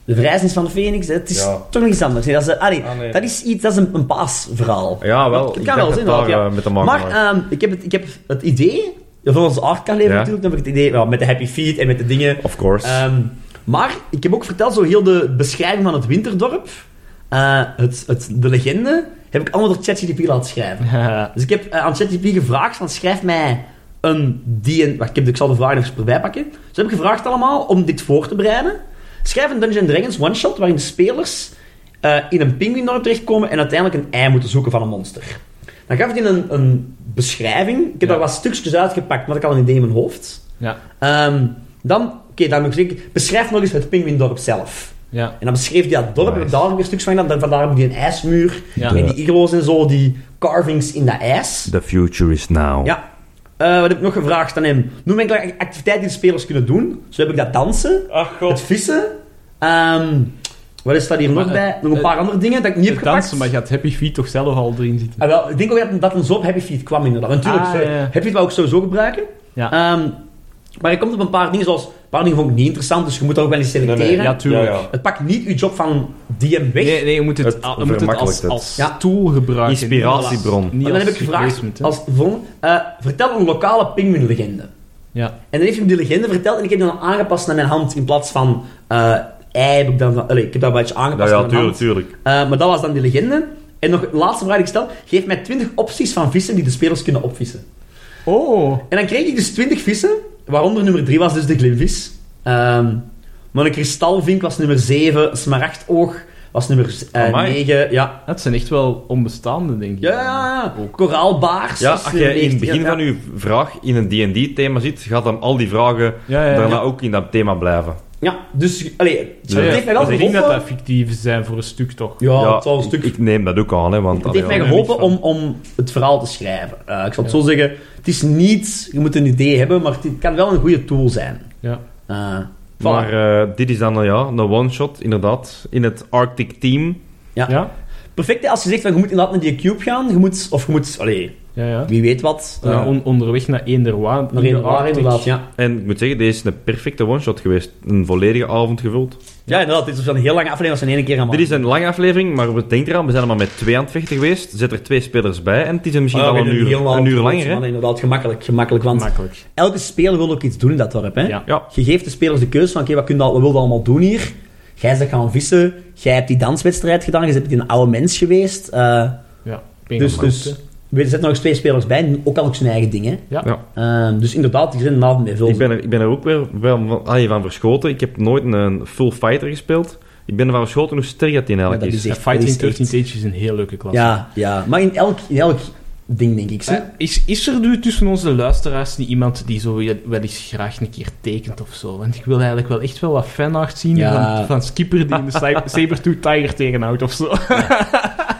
Speaker 2: de verrijzenis van de Phoenix, hè. het is
Speaker 1: Ja.
Speaker 2: toch nog iets anders. Nee, dat, is, eh, ah, nee,
Speaker 1: Ah, nee.
Speaker 2: dat is iets, dat is een, een paasverhaal.
Speaker 1: ja, wel.
Speaker 2: Dat
Speaker 1: ik
Speaker 2: kan
Speaker 1: dacht
Speaker 2: wel
Speaker 1: dat
Speaker 2: zijn,
Speaker 1: daar,
Speaker 2: dat, ja.
Speaker 1: eh, met te maken
Speaker 2: Maar
Speaker 1: had.
Speaker 2: ehm, ik, heb het, ik heb het idee, ja, voor onze artcard leven
Speaker 1: Ja.
Speaker 2: natuurlijk, heb ik het idee, wel, met de happy feet en met de dingen.
Speaker 1: Of course.
Speaker 2: Ehm, maar ik heb ook verteld, zo heel de beschrijving van het winterdorp, eh, het, het, de legende, heb ik allemaal door ChatGPT laten schrijven. Dus ik heb eh, aan ChatGPT gevraagd van schrijf mij een die en... Wacht, ik, heb, ik zal de vraag nog eens voorbij pakken. Dus heb ik gevraagd allemaal om dit voor te bereiden. Schrijf een Dungeons Dragons one-shot waarin de spelers eh, in een pinguïndorp terechtkomen en uiteindelijk een ei moeten zoeken van een monster. Dan gaf het in een, een beschrijving. Ik heb daar wat stukjes uitgepakt, want ik had een idee in mijn hoofd.
Speaker 4: Ja.
Speaker 2: Ehm, dan, oké, dan moet ik zeggen, beschrijf nog eens het pinguïndorp zelf.
Speaker 4: Ja.
Speaker 2: En dan beschreef hij dat dorp, en
Speaker 1: Nice.
Speaker 2: daar nog een stukje van gedaan. Dan- Vandaar ook die ijsmuur,
Speaker 4: Ja.
Speaker 2: en die iglo's en zo, die carvings in dat ijs.
Speaker 1: The future is now.
Speaker 2: Ja. Eh, wat heb ik nog gevraagd aan hem? Noem enkele activiteiten die de spelers kunnen doen. Zo heb ik dat dansen,
Speaker 4: Ach
Speaker 2: het vissen. ehm, wat is dat hier nog
Speaker 4: eh,
Speaker 2: bij? Nog een
Speaker 4: eh,
Speaker 2: paar andere dingen dat ik niet heb gepakt.
Speaker 4: dansen, maar je had Happy Feet toch zelf al erin zitten.
Speaker 2: Ah, wel, ik denk ook dat, dat een zo op Happy Feet kwam inderdaad. Natuurlijk,
Speaker 4: Ah,
Speaker 2: sorry.
Speaker 4: ja, ja.
Speaker 2: Happy Feet wou ik sowieso gebruiken.
Speaker 4: Ja.
Speaker 2: Ehm, maar je komt op een paar dingen zoals... Een paar dingen vond ik niet interessant, dus je moet dat ook wel eens selecteren.
Speaker 4: Ja, tuurlijk.
Speaker 1: Ja, ja.
Speaker 2: Het pakt niet je job van DM weg.
Speaker 4: Nee, nee, je moet het,
Speaker 1: Het
Speaker 4: ah, je moet het
Speaker 1: vermakkelijkt
Speaker 4: als,
Speaker 1: het.
Speaker 4: als
Speaker 2: Ja.
Speaker 4: tool gebruiken.
Speaker 1: Inspiratiebron.
Speaker 4: Niet
Speaker 2: en dan
Speaker 4: als
Speaker 2: heb ik gevraagd,
Speaker 4: replacement, hè.
Speaker 2: als volgende, eh, vertel een lokale pinguïnlegende.
Speaker 4: Ja.
Speaker 2: En dan heeft hij hem die legende verteld en ik heb die dan aangepast naar mijn hand in plaats van eh ei heb ik dan van, allee, ik heb dat een beetje
Speaker 1: Ja,
Speaker 2: aangepast
Speaker 1: ja,
Speaker 2: naar mijn
Speaker 1: tuurlijk,
Speaker 2: hand.
Speaker 1: tuurlijk.
Speaker 2: Eh, maar dat was dan die legende. En nog de laatste vraag die ik stel, geef mij 20 opties van vissen die de spelers kunnen opvissen.
Speaker 4: Oh,
Speaker 2: En dan kreeg ik dus 20 vissen, waaronder nummer 3 was dus de glimvis. Ehm, maar een kristalvink was nummer 7, smaragdoog was nummer
Speaker 1: Amai.
Speaker 2: 9, ja.
Speaker 4: dat zijn echt wel onbestaande, denk ik.
Speaker 2: Ja, ja, ja, ja. Koraalbaars.
Speaker 1: Ja,
Speaker 2: was
Speaker 1: als
Speaker 2: nummer
Speaker 1: je in het
Speaker 2: 19,
Speaker 1: begin
Speaker 2: ja.
Speaker 1: van je vraag in een D&D-thema zit, gaat dan al die vragen
Speaker 4: Ja, ja, ja.
Speaker 1: daarna ook in dat thema blijven.
Speaker 2: Ja, dus... Allee, het
Speaker 1: Ja, ja.
Speaker 2: heeft mij wel
Speaker 4: ik denk dat
Speaker 2: geholpen...
Speaker 4: dat fictief zijn voor een stuk, toch?
Speaker 2: Ja,
Speaker 1: Ja,
Speaker 2: het zal een stuk...
Speaker 1: Ik neem dat ook aan, hè, want...
Speaker 2: het heeft mij
Speaker 1: allee,
Speaker 2: geholpen om, om het verhaal te schrijven. Eh, ik zal het zo zeggen. Het is niet... Je moet een idee hebben, maar het kan wel een goede tool zijn.
Speaker 4: Ja.
Speaker 2: Eh, voilà.
Speaker 1: Maar eh, dit is dan eh, ja, een one-shot, inderdaad, in het Arctic Team.
Speaker 4: Ja?
Speaker 2: Perfect, hè, als je zegt, van, je moet inderdaad naar die cube gaan. Je moet... Of je moet... Allee,
Speaker 4: Ja, ja.
Speaker 2: wie weet wat. eh,
Speaker 4: Ja, on- onderweg naar eender waar.
Speaker 2: nog één waar, inderdaad. Ja.
Speaker 1: En ik moet zeggen, deze is een perfecte one-shot geweest. Een volledige avond gevuld.
Speaker 2: ja, inderdaad. Dit is een heel lange aflevering. Dat is in één keer aan
Speaker 1: Dit is een lange aflevering, maar we denken eraan, we zijn er maar met twee aan het vechten geweest. Zet er twee spelers bij en het is er
Speaker 2: Ah,
Speaker 1: misschien al een uur, een uur langer, hè.
Speaker 2: Inderdaad, gemakkelijk. Gemakkelijk, want...
Speaker 4: Makkelijk.
Speaker 2: elke speler wil ook iets doen in dat dorp. Hè?
Speaker 4: Ja.
Speaker 1: Ja.
Speaker 2: Je geeft de spelers de keuze van, oké, wat, kun je al- wat wil je allemaal doen hier? Jij bent gaan vissen, jij hebt die danswedstrijd gedaan, je bent een oude mens geweest. eh,
Speaker 4: Ja.
Speaker 2: dus, dus we zetten nog eens twee spelers bij, die ook al zijn eigen dingen.
Speaker 4: Ja.
Speaker 1: Ja.
Speaker 2: dus inderdaad, die zijn een avond mee veel.
Speaker 1: Ik ben, er, ik ben er ook weer wel van, allee, van verschoten. Ik heb nooit een, een full fighter gespeeld. Ik ben ervan verschoten hoe sterk dat in
Speaker 2: Ja, dat
Speaker 1: eigenlijk
Speaker 2: is
Speaker 1: is.
Speaker 2: echt- dat
Speaker 4: Fighting
Speaker 2: is
Speaker 4: 13
Speaker 2: echt-
Speaker 4: Stage is een heel leuke klas.
Speaker 2: Ja, ja, maar in elk, in elk ding, denk ik. hè.
Speaker 4: Eh, Is, is er nu tussen onze luisteraars niet iemand die zo wel wel eens graag een keer tekent of zo? Want ik wil eigenlijk wel echt wel wat fanart zien
Speaker 2: Ja.
Speaker 4: van, van Skipper die in de
Speaker 2: <laughs>
Speaker 4: Cy- Sabertooth Tiger tegenhoudt of zo.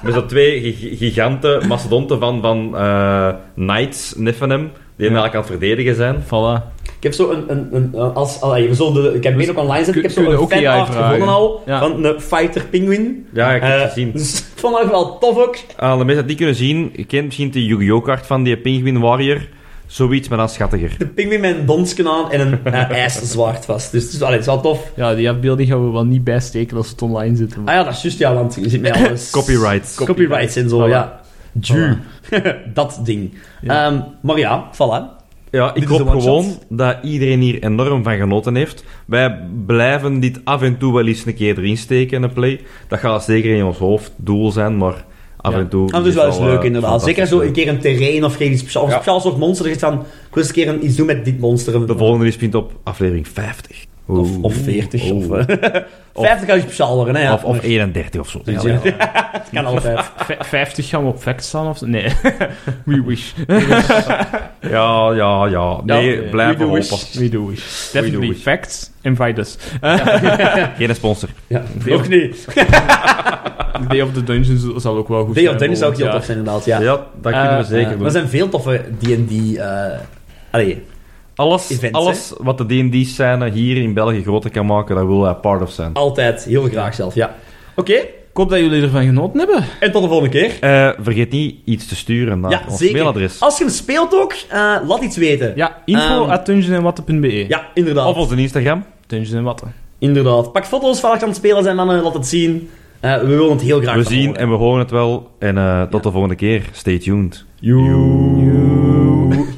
Speaker 1: Er zijn twee gi- giganten, mastodonten van, van eh, Knights, Niffinham, die hem eigenlijk aan het verdedigen zijn.
Speaker 4: Voilà.
Speaker 2: Ik heb zo een... een, een een- als, allee, we zullen de, ik heb
Speaker 4: Dus
Speaker 2: meer ook online zetten. Ik heb
Speaker 4: kun- kun
Speaker 2: zo
Speaker 4: je
Speaker 2: een
Speaker 4: ook AI
Speaker 2: fanart
Speaker 4: vragen?
Speaker 2: gevonden al,
Speaker 4: Ja.
Speaker 2: van een fighter penguin.
Speaker 1: Ja, ik heb het
Speaker 2: Eh,
Speaker 1: gezien.
Speaker 2: Dus <laughs> ik vond dat wel tof ook.
Speaker 1: Aan de mensen die niet kunnen zien, je kent misschien de Yu-Gi-Oh! kaart van die Penguin Warrior. Zoiets, maar dan schattiger.
Speaker 2: De pingwin met een donsken aan en een eh, ijzerzwaard vast. Dus, dus allee, het is wel tof.
Speaker 4: Ja, die afbeelding gaan we wel niet bijsteken als het online zit.
Speaker 2: Ah ja, dat is juist, ja, want je zit met alles...
Speaker 1: Copyrights.
Speaker 2: Copyrights en zo, ja. Ju. <laughs> dat ding.
Speaker 4: Ja.
Speaker 2: Ehm, maar ja, voilà.
Speaker 1: Ja, ik
Speaker 2: Dit is
Speaker 1: hoop
Speaker 2: de one-shot.
Speaker 1: gewoon dat iedereen hier enorm van genoten heeft. Wij blijven dit af en toe wel eens een keer erin steken in een play. Dat gaat zeker in ons hoofd doel zijn, maar af
Speaker 4: Ja.
Speaker 1: en toe...
Speaker 2: Dat is wel eens
Speaker 1: al, eh,
Speaker 2: leuk, inderdaad. Zeker
Speaker 1: fantastisch
Speaker 2: zo
Speaker 1: leuk.
Speaker 2: een keer een terrein of geen speciaal, of een
Speaker 1: Ja.
Speaker 2: speciaal soort monster. Dat je zegt van, ik wil eens een keer een- iets doen met dit monster.
Speaker 1: De volgende is misschien op aflevering 50.
Speaker 2: Of, of 40.
Speaker 1: Oeh.
Speaker 2: Of, eh, <laughs> 50 kan je speciaal worden, hè. Ja.
Speaker 1: Of, of 31 of zo.
Speaker 2: Dus
Speaker 1: Ja,
Speaker 2: ja, het kan altijd.
Speaker 1: <laughs>
Speaker 4: V- 50 gaan we op fact staan of zo? Nee. <laughs> We wish.
Speaker 1: ja, ja. ja. Nee,
Speaker 4: Ja.
Speaker 1: blijf
Speaker 4: We do
Speaker 1: hopen.
Speaker 4: wish. We do wish.
Speaker 1: do
Speaker 4: Definitely.
Speaker 1: wish.
Speaker 4: <laughs> Facts, invite us.
Speaker 1: Geen sponsor.
Speaker 2: Ja, ook niet.
Speaker 4: Day of the Dungeons zal ook wel goed
Speaker 2: Day
Speaker 4: zijn.
Speaker 2: of Dennis zou ook heel tof zijn,
Speaker 4: volgend
Speaker 2: inderdaad. Ja.
Speaker 1: Ja, dat kunnen
Speaker 4: Eh,
Speaker 1: we zeker
Speaker 4: eh,
Speaker 1: doen.
Speaker 2: Er zijn veel toffe D&D... eh, allee,
Speaker 1: Alles,
Speaker 2: events,
Speaker 1: alles wat de D&D-scène hier in België groter kan maken, daar willen wij part of zijn.
Speaker 2: altijd. Heel graag zelf, ja. Oké,
Speaker 4: jaar. Ik hoop dat jullie ervan genoten hebben.
Speaker 2: en tot de volgende keer.
Speaker 1: Eh, vergeet niet iets te sturen naar
Speaker 2: Ja,
Speaker 1: Ah, ons
Speaker 2: zeker.
Speaker 1: mailadres.
Speaker 2: Als je hem speelt ook, eh, laat iets weten.
Speaker 4: Ja, info
Speaker 2: Ehm.
Speaker 4: at dungeonandwatten.be.
Speaker 2: Ja, inderdaad.
Speaker 1: Of onze Instagram.
Speaker 2: Ah,
Speaker 4: Dungeons and Watten.
Speaker 2: Inderdaad. Pak foto's van als je aan het spelen zijn, mannen. Laat het zien. Eh, we willen het heel graag
Speaker 1: We
Speaker 2: van
Speaker 1: zien
Speaker 2: horen.
Speaker 1: en we horen het wel. En eh, tot de volgende keer. Stay tuned.
Speaker 2: Joe.